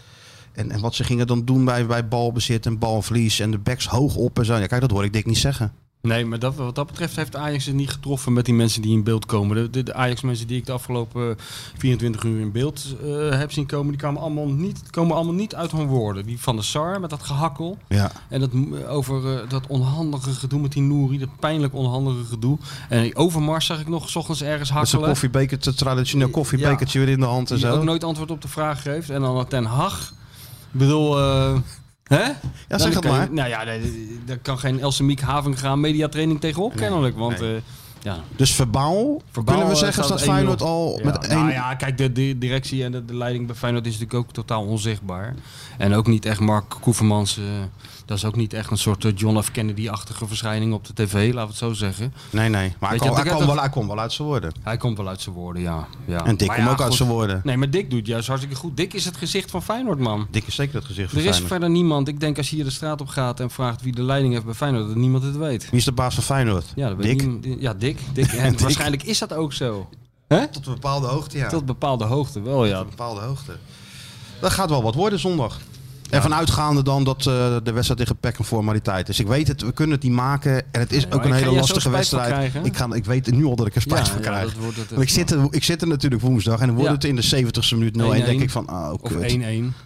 [SPEAKER 5] en, en wat ze gingen dan doen bij, bij balbezit en balverlies. En de backs hoog op en zo. Ja, kijk, dat hoor ik dik niet zeggen.
[SPEAKER 6] Nee, maar dat, wat dat betreft heeft Ajax het niet getroffen met die mensen die in beeld komen. De, de, de Ajax-mensen die ik de afgelopen 24 uur in beeld eh, heb zien komen, die kwamen allemaal, niet, komen allemaal niet uit hun woorden. Die van de Sar met dat gehakkel
[SPEAKER 5] Ja.
[SPEAKER 6] en dat, m- over eh, dat onhandige gedoe met die Nouri, dat pijnlijk onhandige gedoe. En die Overmars zag ik nog 's ochtends ergens
[SPEAKER 5] Met zijn
[SPEAKER 6] hakkelen.
[SPEAKER 5] koffiebeker, het traditioneel koffiebekertje weer in de hand en
[SPEAKER 6] die ook
[SPEAKER 5] zo.
[SPEAKER 6] nooit antwoord op de vraag geeft. En dan Ten Hag. Ik bedoel, eh, hè? Dan
[SPEAKER 5] zeg het
[SPEAKER 6] kan je-
[SPEAKER 5] maar.
[SPEAKER 6] nou ja, nee, daar kan geen Elsemiek Havenga mediatraining tegenop kennelijk. Want
[SPEAKER 5] nee.
[SPEAKER 6] eh, ja,
[SPEAKER 5] Dus verbaal, kunnen we
[SPEAKER 6] eh,
[SPEAKER 5] zeggen
[SPEAKER 6] staat
[SPEAKER 5] dat
[SPEAKER 6] het 1-0.
[SPEAKER 5] Feyenoord al met
[SPEAKER 6] ja,
[SPEAKER 5] één...
[SPEAKER 6] Nou ja, kijk, de, de directie en de, de leiding bij Feyenoord is natuurlijk ook totaal onzichtbaar. En ook niet echt Mark Koevermans. eh, dat is ook niet echt een soort eh, John F. Kennedy-achtige verschijning op de tv, laten we het zo zeggen.
[SPEAKER 5] Nee, nee. Maar hij
[SPEAKER 6] Weet
[SPEAKER 5] kwam
[SPEAKER 6] je,
[SPEAKER 5] hij
[SPEAKER 6] dat-
[SPEAKER 5] kwam wel, hij kwam wel uit zijn woorden.
[SPEAKER 6] Hij komt wel uit zijn woorden, ja. ja.
[SPEAKER 5] En Dick
[SPEAKER 6] Maar
[SPEAKER 5] kwam
[SPEAKER 6] ja,
[SPEAKER 5] ook uit
[SPEAKER 6] goed.
[SPEAKER 5] zijn woorden.
[SPEAKER 6] Nee, maar Dick doet juist hartstikke goed. Dick is het gezicht van Feyenoord, man.
[SPEAKER 5] Dick is zeker het gezicht van
[SPEAKER 6] Er is
[SPEAKER 5] Feyenoord.
[SPEAKER 6] verder niemand. Ik denk als je hier de straat op gaat en vraagt wie de leiding heeft bij Feyenoord, dat niemand het weet.
[SPEAKER 5] Wie is de baas van Feyenoord?
[SPEAKER 6] Ja, dat weet
[SPEAKER 5] Dick?
[SPEAKER 6] niemand. Ja, Dick. Dick. En
[SPEAKER 5] Dick.
[SPEAKER 6] waarschijnlijk is dat ook zo. Hè?
[SPEAKER 5] Tot een bepaalde hoogte, ja.
[SPEAKER 6] Tot bepaalde hoogte wel, ja.
[SPEAKER 5] Een bepaalde hoogte. Dat gaat wel wat worden zondag. En vanuitgaande dan dat eh, de wedstrijd tegen Peck een formaliteit is. Ik weet het, we kunnen het niet maken. En het is
[SPEAKER 6] maar
[SPEAKER 5] ook een
[SPEAKER 6] ik ga
[SPEAKER 5] hele
[SPEAKER 6] jij zo
[SPEAKER 5] lastige
[SPEAKER 6] spijt van
[SPEAKER 5] wedstrijd.
[SPEAKER 6] krijgen.
[SPEAKER 5] Ik, ga, ik weet nu al dat ik er spijt
[SPEAKER 6] Ja,
[SPEAKER 5] van
[SPEAKER 6] ja,
[SPEAKER 5] krijg.
[SPEAKER 6] dat wordt het
[SPEAKER 5] Want ik,
[SPEAKER 6] echt,
[SPEAKER 5] zit er, ik zit er natuurlijk woensdag en dan wordt
[SPEAKER 6] Ja.
[SPEAKER 5] het in de 70ste minuut 0-1. denk
[SPEAKER 6] 1-1.
[SPEAKER 5] ik van, ah, oh,
[SPEAKER 6] Of
[SPEAKER 5] kut.
[SPEAKER 6] 1-1.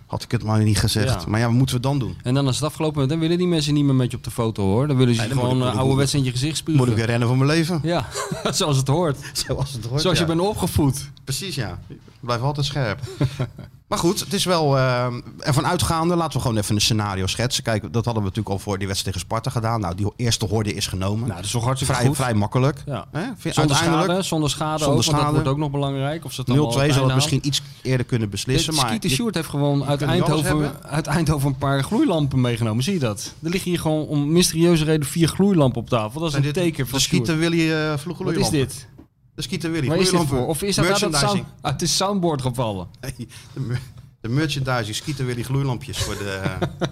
[SPEAKER 5] Had ik het maar niet gezegd.
[SPEAKER 6] Ja.
[SPEAKER 5] Maar ja, wat moeten we dan doen?
[SPEAKER 6] En dan als het afgelopen is, dan willen die mensen niet meer met je op de foto hoor. Dan willen ze
[SPEAKER 5] Nee,
[SPEAKER 6] je
[SPEAKER 5] dan moet
[SPEAKER 6] gewoon
[SPEAKER 5] ik-
[SPEAKER 6] eh,
[SPEAKER 5] moet ik-
[SPEAKER 6] ouderwets in je gezicht spugen.
[SPEAKER 5] Moet ik weer rennen voor mijn leven?
[SPEAKER 6] Ja, zoals het hoort.
[SPEAKER 5] Zoals het hoort,
[SPEAKER 6] Zoals
[SPEAKER 5] ja.
[SPEAKER 6] je bent opgevoed.
[SPEAKER 5] Precies, ja. Blijf altijd scherp. maar goed, het is wel... eh ervan uitgaande, laten we gewoon even een scenario schetsen. Kijk, dat hadden we natuurlijk al voor die wedstrijd tegen Sparta gedaan. Nou, die eerste horde is genomen.
[SPEAKER 6] Nou, dat is toch hartstikke
[SPEAKER 5] vrij,
[SPEAKER 6] goed.
[SPEAKER 5] vrij makkelijk.
[SPEAKER 6] Ja.
[SPEAKER 5] Hè? Vind je
[SPEAKER 6] Zonder
[SPEAKER 5] uiteindelijk
[SPEAKER 6] schade, zonder schade
[SPEAKER 5] Zonder
[SPEAKER 6] ook, want
[SPEAKER 5] schade.
[SPEAKER 6] dat wordt ook nog belangrijk. Of ze het
[SPEAKER 5] 0-2
[SPEAKER 6] allemaal op het
[SPEAKER 5] zou
[SPEAKER 6] einde
[SPEAKER 5] dat
[SPEAKER 6] houden.
[SPEAKER 5] misschien iets eerder kunnen beslissen.
[SPEAKER 6] Dit
[SPEAKER 5] Maar
[SPEAKER 6] Skeeter
[SPEAKER 5] je-
[SPEAKER 6] Sjoerd heeft gewoon uit
[SPEAKER 5] kan niet alles
[SPEAKER 6] Eindhoven,
[SPEAKER 5] hebben.
[SPEAKER 6] uit Eindhoven een paar gloeilampen meegenomen. Zie je dat? Er liggen hier gewoon om mysterieuze reden vier gloeilampen op tafel. Dat is
[SPEAKER 5] zijn
[SPEAKER 6] een
[SPEAKER 5] dit
[SPEAKER 6] teken
[SPEAKER 5] de
[SPEAKER 6] van
[SPEAKER 5] Skeeter
[SPEAKER 6] Sjoerd.
[SPEAKER 5] Willy eh vloeg
[SPEAKER 6] Wat is dit?
[SPEAKER 5] De Skeeter Willy
[SPEAKER 6] Waar is dit
[SPEAKER 5] gloeilampen.
[SPEAKER 6] voor? Of is dat uit, dat sound,
[SPEAKER 5] Merchandising.
[SPEAKER 6] uit de soundboard gevallen?
[SPEAKER 5] Nee, de, mer- de merchandising Skeeter Willy gloeilampjes voor de, eh,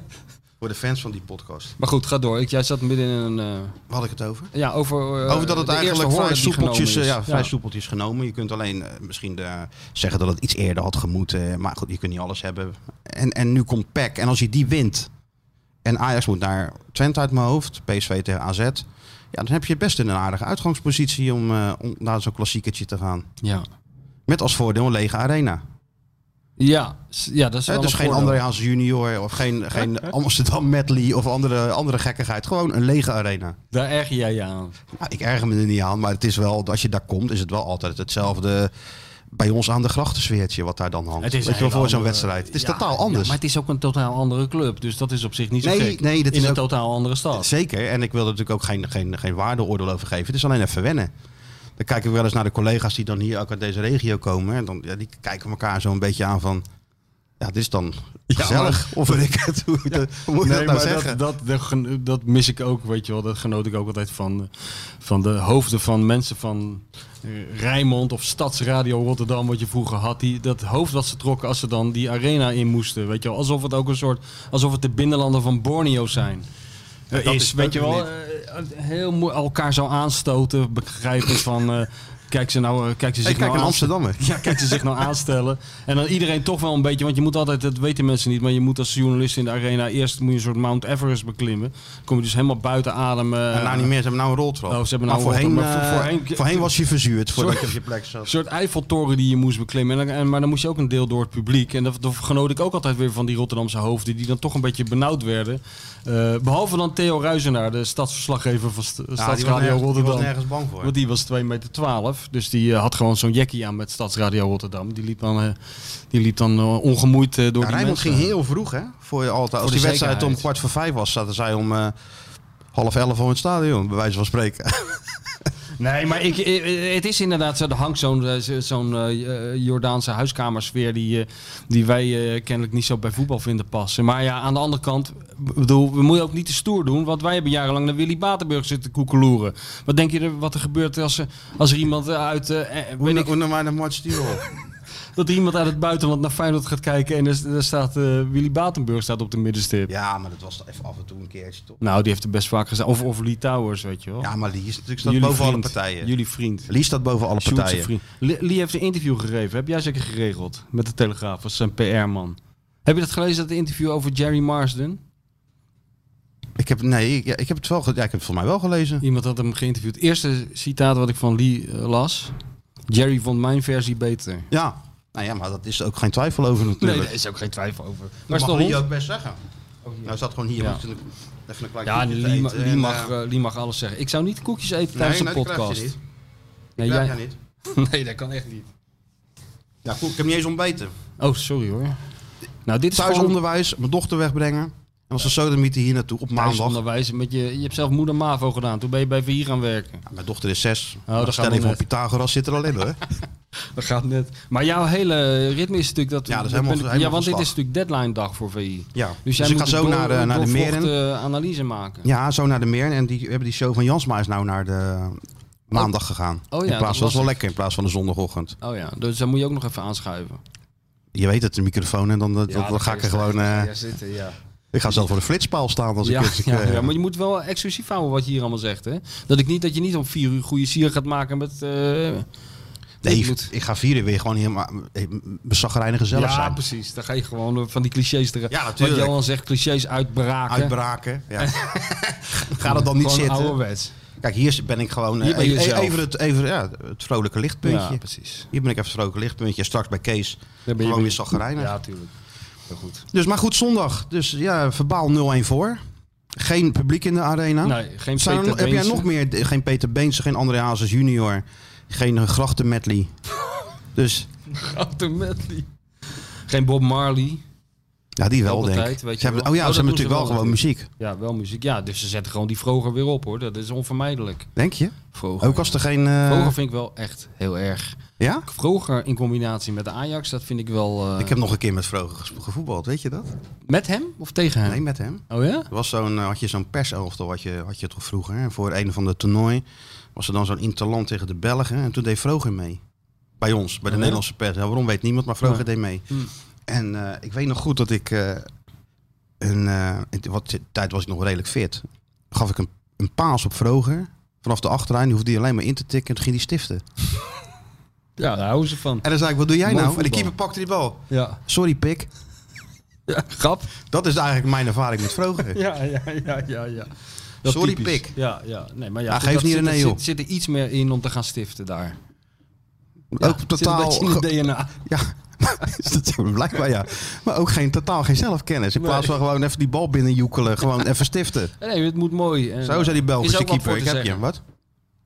[SPEAKER 5] voor de fans van die podcast.
[SPEAKER 6] Maar goed, ga door. Ik, jij zat midden in een... eh,
[SPEAKER 5] Waar had ik het over?
[SPEAKER 6] Ja, over, eh,
[SPEAKER 5] Over dat het
[SPEAKER 6] de eerste
[SPEAKER 5] eigenlijk vrij
[SPEAKER 6] hoorde die
[SPEAKER 5] soepeltjes, eh,
[SPEAKER 6] genomen is.
[SPEAKER 5] ja, vrij soepeltjes genomen. Je kunt alleen eh, misschien eh, zeggen dat het iets eerder had gemoeten. eh, Maar goed, je kunt niet alles hebben. En, en nu komt PEC. En als je die wint. En Ajax moet naar Twente uit mijn hoofd. PSV tegen AZ. Ja, dan heb je best in een aardige uitgangspositie om, eh, om naar zo'n klassiekertje te gaan.
[SPEAKER 6] Ja.
[SPEAKER 5] Met als voordeel een lege arena.
[SPEAKER 6] Ja, s- ja, dat is
[SPEAKER 5] Het
[SPEAKER 6] wel
[SPEAKER 5] dus
[SPEAKER 6] een
[SPEAKER 5] geen
[SPEAKER 6] voordeel.
[SPEAKER 5] André Haas junior of geen, geen Amsterdam medley of andere, andere gekkigheid. Gewoon een lege arena.
[SPEAKER 6] Daar erger jij je aan.
[SPEAKER 5] Nou, ik erger me er niet aan, maar het is wel, als je daar komt, is het wel altijd hetzelfde bij ons aan de grachtensfeertje wat daar dan hangt.
[SPEAKER 6] Het
[SPEAKER 5] Weet
[SPEAKER 6] is
[SPEAKER 5] je
[SPEAKER 6] een
[SPEAKER 5] wel,
[SPEAKER 6] hele
[SPEAKER 5] voor zo'n
[SPEAKER 6] andere-
[SPEAKER 5] wedstrijd. Het is
[SPEAKER 6] Ja,
[SPEAKER 5] totaal
[SPEAKER 6] ja,
[SPEAKER 5] anders.
[SPEAKER 6] maar het is ook een totaal andere club. Dus dat is op zich niet zo
[SPEAKER 5] Nee,
[SPEAKER 6] gek.
[SPEAKER 5] nee, dat
[SPEAKER 6] in
[SPEAKER 5] is
[SPEAKER 6] een
[SPEAKER 5] ook-
[SPEAKER 6] totaal andere stad.
[SPEAKER 5] Zeker, en ik wil er natuurlijk ook geen, geen, geen waardeoordeel over geven. Het is alleen even wennen. Dan kijk ik wel eens naar de collega's die dan hier ook uit deze regio komen. En dan, ja, die kijken elkaar zo een beetje aan van... Ja, dit is dan gezellig. Of weet ik het, hoe, dat- hoe moet je dat nou zeggen?
[SPEAKER 6] dat, dat, gen- dat mis ik ook, weet je wel. Dat genoot ik ook altijd van, eh, van de hoofden van mensen van eh, Rijnmond of Stadsradio Rotterdam, wat je vroeger had. Die, dat hoofd wat ze trokken als ze dan die arena in moesten, weet je wel. Alsof het ook een soort, alsof het de binnenlanden van Borneo zijn. Eh,
[SPEAKER 5] dat
[SPEAKER 6] is,
[SPEAKER 5] is het
[SPEAKER 6] weet
[SPEAKER 5] ook
[SPEAKER 6] je
[SPEAKER 5] weer
[SPEAKER 6] wel, eh, heel moe- elkaar zo aanstoten, begrijpen van... eh, Kijk ze nou, eh, kijk ze
[SPEAKER 5] Hey,
[SPEAKER 6] zich
[SPEAKER 5] kijk,
[SPEAKER 6] nou
[SPEAKER 5] een
[SPEAKER 6] aan-
[SPEAKER 5] Amsterdammer.
[SPEAKER 6] ja, kijk ze zich nou aanstellen. En dan iedereen toch wel een beetje, want je moet altijd, dat weten mensen niet, maar je moet als journalist in de arena eerst moet je een soort Mount Everest beklimmen. Dan kom je dus helemaal buiten adem. eh,
[SPEAKER 5] En nou niet meer, ze hebben nou een roltrap.
[SPEAKER 6] Oh, ze hebben nou
[SPEAKER 5] maar
[SPEAKER 6] een
[SPEAKER 5] voorheen,
[SPEAKER 6] roltrap, maar
[SPEAKER 5] eh,
[SPEAKER 6] voor-
[SPEAKER 5] voorheen,
[SPEAKER 6] voorheen-
[SPEAKER 5] was je verzuurd voordat
[SPEAKER 6] Sorry.
[SPEAKER 5] je op je plek zat.
[SPEAKER 6] Een soort Eiffeltoren die je moest beklimmen. En, dan- en- maar dan moest je ook een deel door het publiek. En dat, dat genoot ik ook altijd weer van die Rotterdamse hoofden. Die dan toch een beetje benauwd werden. Eh, behalve dan Theo Ruizenaar, de stadsverslaggever van St-
[SPEAKER 5] Ja, die was
[SPEAKER 6] Stadsradio
[SPEAKER 5] nergens- die
[SPEAKER 6] Rotterdam.
[SPEAKER 5] was nergens bang voor.
[SPEAKER 6] Want die was 2 meter 12. Dus die eh, had gewoon zo'n jackie aan met Stadsradio Rotterdam. Die liep dan, eh, die liep dan eh, ongemoeid eh, door
[SPEAKER 5] Ja,
[SPEAKER 6] die
[SPEAKER 5] Rijnmond
[SPEAKER 6] mensen.
[SPEAKER 5] ging heel vroeg, hè? Voor je altijd. Als
[SPEAKER 6] de
[SPEAKER 5] die wedstrijd om
[SPEAKER 6] zekerheid.
[SPEAKER 5] kwart voor vijf was, zaten zij om eh, half elf al het stadion, bij wijze van spreken.
[SPEAKER 6] Nee, maar ik, eh, eh, het is inderdaad zo. Er hangt zo'n eh, zo- zo'n eh, eh, Jordaanse huiskamersfeer die, eh, die wij eh, kennelijk niet zo bij voetbal vinden passen. Maar ja, aan de andere kant, ik bedoel, we moeten ook niet te stoer doen. Want wij hebben jarenlang naar Willy Batenburg zitten koekeloeren. Wat denk je er, wat er gebeurt als, er- als er iemand uit... eh, eh, weet ik,
[SPEAKER 5] Hoe naar de match die op.
[SPEAKER 6] dat er iemand uit het buitenland naar Feyenoord gaat kijken en er, er staat eh, Willy Batenburg staat op de middenstip.
[SPEAKER 5] Ja, maar dat was even af en toe een keertje toch.
[SPEAKER 6] Nou, die heeft er best vaak gezegd. Of, of Lee Towers, weet je wel. Dus
[SPEAKER 5] Ja, maar Lee is natuurlijk staat
[SPEAKER 6] Jullie
[SPEAKER 5] boven alle
[SPEAKER 6] vriend.
[SPEAKER 5] partijen.
[SPEAKER 6] Jullie vriend.
[SPEAKER 5] Lee staat boven alle
[SPEAKER 6] Sjoerd zijn
[SPEAKER 5] partijen.
[SPEAKER 6] vriend. Lee, Lee heeft een interview gegeven. Heb jij zeker geregeld met de Telegraaf als zijn PR-man? Heb je dat gelezen, dat interview over Jerry Marsden?
[SPEAKER 5] Ik heb, nee, ik, ja, ik heb het wel ge- ja, ik heb het voor mij wel gelezen.
[SPEAKER 6] Iemand had hem geïnterviewd. Het eerste citaat wat ik van Lee eh, las. Jerry vond mijn versie beter.
[SPEAKER 5] Ja. Nou ja, maar dat is ook geen twijfel over natuurlijk.
[SPEAKER 6] Nee, daar is ook geen twijfel over.
[SPEAKER 5] dat
[SPEAKER 6] Maar
[SPEAKER 5] mag
[SPEAKER 6] is
[SPEAKER 5] Lee
[SPEAKER 6] toch
[SPEAKER 5] ook best zeggen. Hij zat gewoon hier.
[SPEAKER 6] Ja.
[SPEAKER 5] met zijn- Even een klein
[SPEAKER 6] Ja,
[SPEAKER 5] koekje
[SPEAKER 6] Lee,
[SPEAKER 5] te
[SPEAKER 6] ma-
[SPEAKER 5] eten
[SPEAKER 6] Lee
[SPEAKER 5] en,
[SPEAKER 6] mag,
[SPEAKER 5] eh,
[SPEAKER 6] eh, Lee mag alles zeggen. Ik zou niet koekjes eten
[SPEAKER 5] nee,
[SPEAKER 6] tijdens
[SPEAKER 5] nee,
[SPEAKER 6] de
[SPEAKER 5] dat krijg je
[SPEAKER 6] podcast.
[SPEAKER 5] niet.
[SPEAKER 6] Nee,
[SPEAKER 5] Krijg
[SPEAKER 6] jij-
[SPEAKER 5] jij niet.
[SPEAKER 6] nee, dat kan echt niet.
[SPEAKER 5] Ja, goed, ik heb niet eens ontbeten.
[SPEAKER 6] Oh, sorry hoor. Nou, dit is gewoon
[SPEAKER 5] Thuisonderwijs, mijn dochter wegbrengen. En als ze sodemieten hier naartoe op maandag.
[SPEAKER 6] thuisonderwijs. Met je, je hebt zelf moeder MAVO gedaan. Toen ben je bij VI gaan werken.
[SPEAKER 5] Ja, mijn dochter is zes.
[SPEAKER 6] dat
[SPEAKER 5] Oh,
[SPEAKER 6] gaat
[SPEAKER 5] Stel
[SPEAKER 6] nog
[SPEAKER 5] even op
[SPEAKER 6] net.
[SPEAKER 5] Pythagoras zit er al in hoor.
[SPEAKER 6] Dat gaat net. Maar jouw hele ritme is natuurlijk dat.
[SPEAKER 5] Ja, dat is
[SPEAKER 6] ben
[SPEAKER 5] helemaal-
[SPEAKER 6] ik-
[SPEAKER 5] helemaal
[SPEAKER 6] ja want
[SPEAKER 5] van
[SPEAKER 6] dit is
[SPEAKER 5] slag.
[SPEAKER 6] natuurlijk deadline dag voor VI.
[SPEAKER 5] Ja.
[SPEAKER 6] Dus
[SPEAKER 5] Dus,
[SPEAKER 6] jij
[SPEAKER 5] ik
[SPEAKER 6] moet
[SPEAKER 5] ga zo
[SPEAKER 6] een
[SPEAKER 5] naar de,
[SPEAKER 6] door-
[SPEAKER 5] naar de
[SPEAKER 6] doorvrochte,
[SPEAKER 5] meren.
[SPEAKER 6] eh, analyse maken.
[SPEAKER 5] Ja, zo naar de meren. En die we hebben die show van Jansma is nou naar de maandag gegaan.
[SPEAKER 6] Oh, ja,
[SPEAKER 5] in
[SPEAKER 6] dat
[SPEAKER 5] plaats, dat was
[SPEAKER 6] was
[SPEAKER 5] wel
[SPEAKER 6] het.
[SPEAKER 5] lekker in plaats van de zondagochtend.
[SPEAKER 6] Oh ja, dus daar moet je ook nog even aanschuiven.
[SPEAKER 5] Je weet het, de microfoon. En dan, dat- dat- dan ga ik er gewoon... eh,
[SPEAKER 6] zitten, ja.
[SPEAKER 5] ik ga zelf voor de flitspaal staan als
[SPEAKER 6] Ja,
[SPEAKER 5] ik... als ik,
[SPEAKER 6] ja,
[SPEAKER 5] eh,
[SPEAKER 6] ja, maar je moet wel exclusief houden wat je hier allemaal zegt. Hè? Dat, ik niet, dat je niet om vier uur goede sier gaat maken met... eh
[SPEAKER 5] nee,
[SPEAKER 6] goed.
[SPEAKER 5] ik ga vieren weer gewoon helemaal... eh, Bezagrijnigen zelf
[SPEAKER 6] ja,
[SPEAKER 5] zijn.
[SPEAKER 6] precies. Dan ga je gewoon eh, van die clichés eruit.
[SPEAKER 5] Ja, natuurlijk.
[SPEAKER 6] Wat Johan zegt, clichés uitbraken.
[SPEAKER 5] Uitbraken. Ja. ga dat dan niet
[SPEAKER 6] Gewoon
[SPEAKER 5] zitten.
[SPEAKER 6] ouderwets.
[SPEAKER 5] Kijk, hier ben ik gewoon eh,
[SPEAKER 6] Hier ben je
[SPEAKER 5] e- e-
[SPEAKER 6] zelf.
[SPEAKER 5] even, het, even ja, het vrolijke lichtpuntje.
[SPEAKER 6] Ja, precies.
[SPEAKER 5] Hier ben ik even het vrolijke lichtpuntje. En Straks bij Kees
[SPEAKER 6] je
[SPEAKER 5] gewoon
[SPEAKER 6] weer-
[SPEAKER 5] weer zagrijnig.
[SPEAKER 6] Ja, tuurlijk. Heel goed.
[SPEAKER 5] Dus, maar goed, zondag. Dus ja, verbaal 0-1 voor. Geen publiek in de arena.
[SPEAKER 6] Nee, geen
[SPEAKER 5] Zijn er-
[SPEAKER 6] Peter
[SPEAKER 5] heb jij
[SPEAKER 6] Beense.
[SPEAKER 5] nog meer? Geen Peter Beense, geen André Hazes junior. Geen eh, grachten medley. dus
[SPEAKER 6] Grote medley. Geen Bob Marley.
[SPEAKER 5] ja, die wel,
[SPEAKER 6] Ook
[SPEAKER 5] denk ik.
[SPEAKER 6] altijd,
[SPEAKER 5] Ze
[SPEAKER 6] weet je
[SPEAKER 5] hebben-
[SPEAKER 6] wel.
[SPEAKER 5] Oh ja,
[SPEAKER 6] Oh,
[SPEAKER 5] ze
[SPEAKER 6] dat
[SPEAKER 5] hebben
[SPEAKER 6] doen ze
[SPEAKER 5] natuurlijk
[SPEAKER 6] wel
[SPEAKER 5] wel gewoon muziek.
[SPEAKER 6] Ja, wel muziek. Ja, dus ze zetten gewoon die Vroger weer op hoor. Dat is onvermijdelijk.
[SPEAKER 5] Denk je?
[SPEAKER 6] Vroger.
[SPEAKER 5] Ook als er geen... eh,
[SPEAKER 6] Vroger vind ik wel echt heel erg.
[SPEAKER 5] ja?
[SPEAKER 6] Vroger in combinatie met de Ajax, dat vind ik wel... eh,
[SPEAKER 5] Ik heb nog een keer met Vroger ges- gevoetbald, weet je dat?
[SPEAKER 6] Met hem of tegen hem?
[SPEAKER 5] Nee, met hem.
[SPEAKER 6] Oh ja?
[SPEAKER 5] Er was zo'n, eh, had je zo'n perselftal, had je, had je toch vroeger. hè? Voor een van de toernooi was er dan zo'n interland tegen de Belgen. En toen deed Vroger mee. Bij ons, bij de
[SPEAKER 6] ja?
[SPEAKER 5] Nederlandse pers. Oh, Ja, waarom weet niemand, maar Vroger
[SPEAKER 6] Ja.
[SPEAKER 5] deed mee. En eh, ik weet nog goed dat ik... eh, een, eh, in t- wat t- tijd was ik nog redelijk fit. Gaf ik een, een paas op Vroger. Vanaf de achterlijn, die hoefde hij alleen maar in te tikken. En toen ging hij stiften.
[SPEAKER 6] Ja, daar houden ze van.
[SPEAKER 5] En dan zei ik, wat doe jij
[SPEAKER 6] Mooi
[SPEAKER 5] nou? En de
[SPEAKER 6] voetbal.
[SPEAKER 5] keeper pakte die bal.
[SPEAKER 6] Ja.
[SPEAKER 5] Sorry, pik.
[SPEAKER 6] ja. Grap.
[SPEAKER 5] Dat is eigenlijk mijn ervaring met Vroger.
[SPEAKER 6] Ja, ja, ja, ja, ja.
[SPEAKER 5] Sorry,
[SPEAKER 6] typisch.
[SPEAKER 5] pik.
[SPEAKER 6] Ja, ja. Nee, maar ja.
[SPEAKER 5] Ja,
[SPEAKER 6] goed,
[SPEAKER 5] geef
[SPEAKER 6] dat
[SPEAKER 5] niet
[SPEAKER 6] zit,
[SPEAKER 5] René,
[SPEAKER 6] zit-
[SPEAKER 5] joh.
[SPEAKER 6] zit er iets meer in om te gaan stiften daar.
[SPEAKER 5] Ook
[SPEAKER 6] Zit
[SPEAKER 5] totaal...
[SPEAKER 6] een beetje
[SPEAKER 5] ge-
[SPEAKER 6] in het DNA.
[SPEAKER 5] Ja, is dat zo? blijkbaar ja. Maar ook geen, totaal geen zelfkennis. In plaats van gewoon even die bal binnenjoekelen. Gewoon even stiften.
[SPEAKER 6] Nee, het moet mooi. En, eh,
[SPEAKER 5] Zo zei die Belgische
[SPEAKER 6] Is ook wat
[SPEAKER 5] keeper.
[SPEAKER 6] voor
[SPEAKER 5] Ik
[SPEAKER 6] te
[SPEAKER 5] heb je.
[SPEAKER 6] zeggen.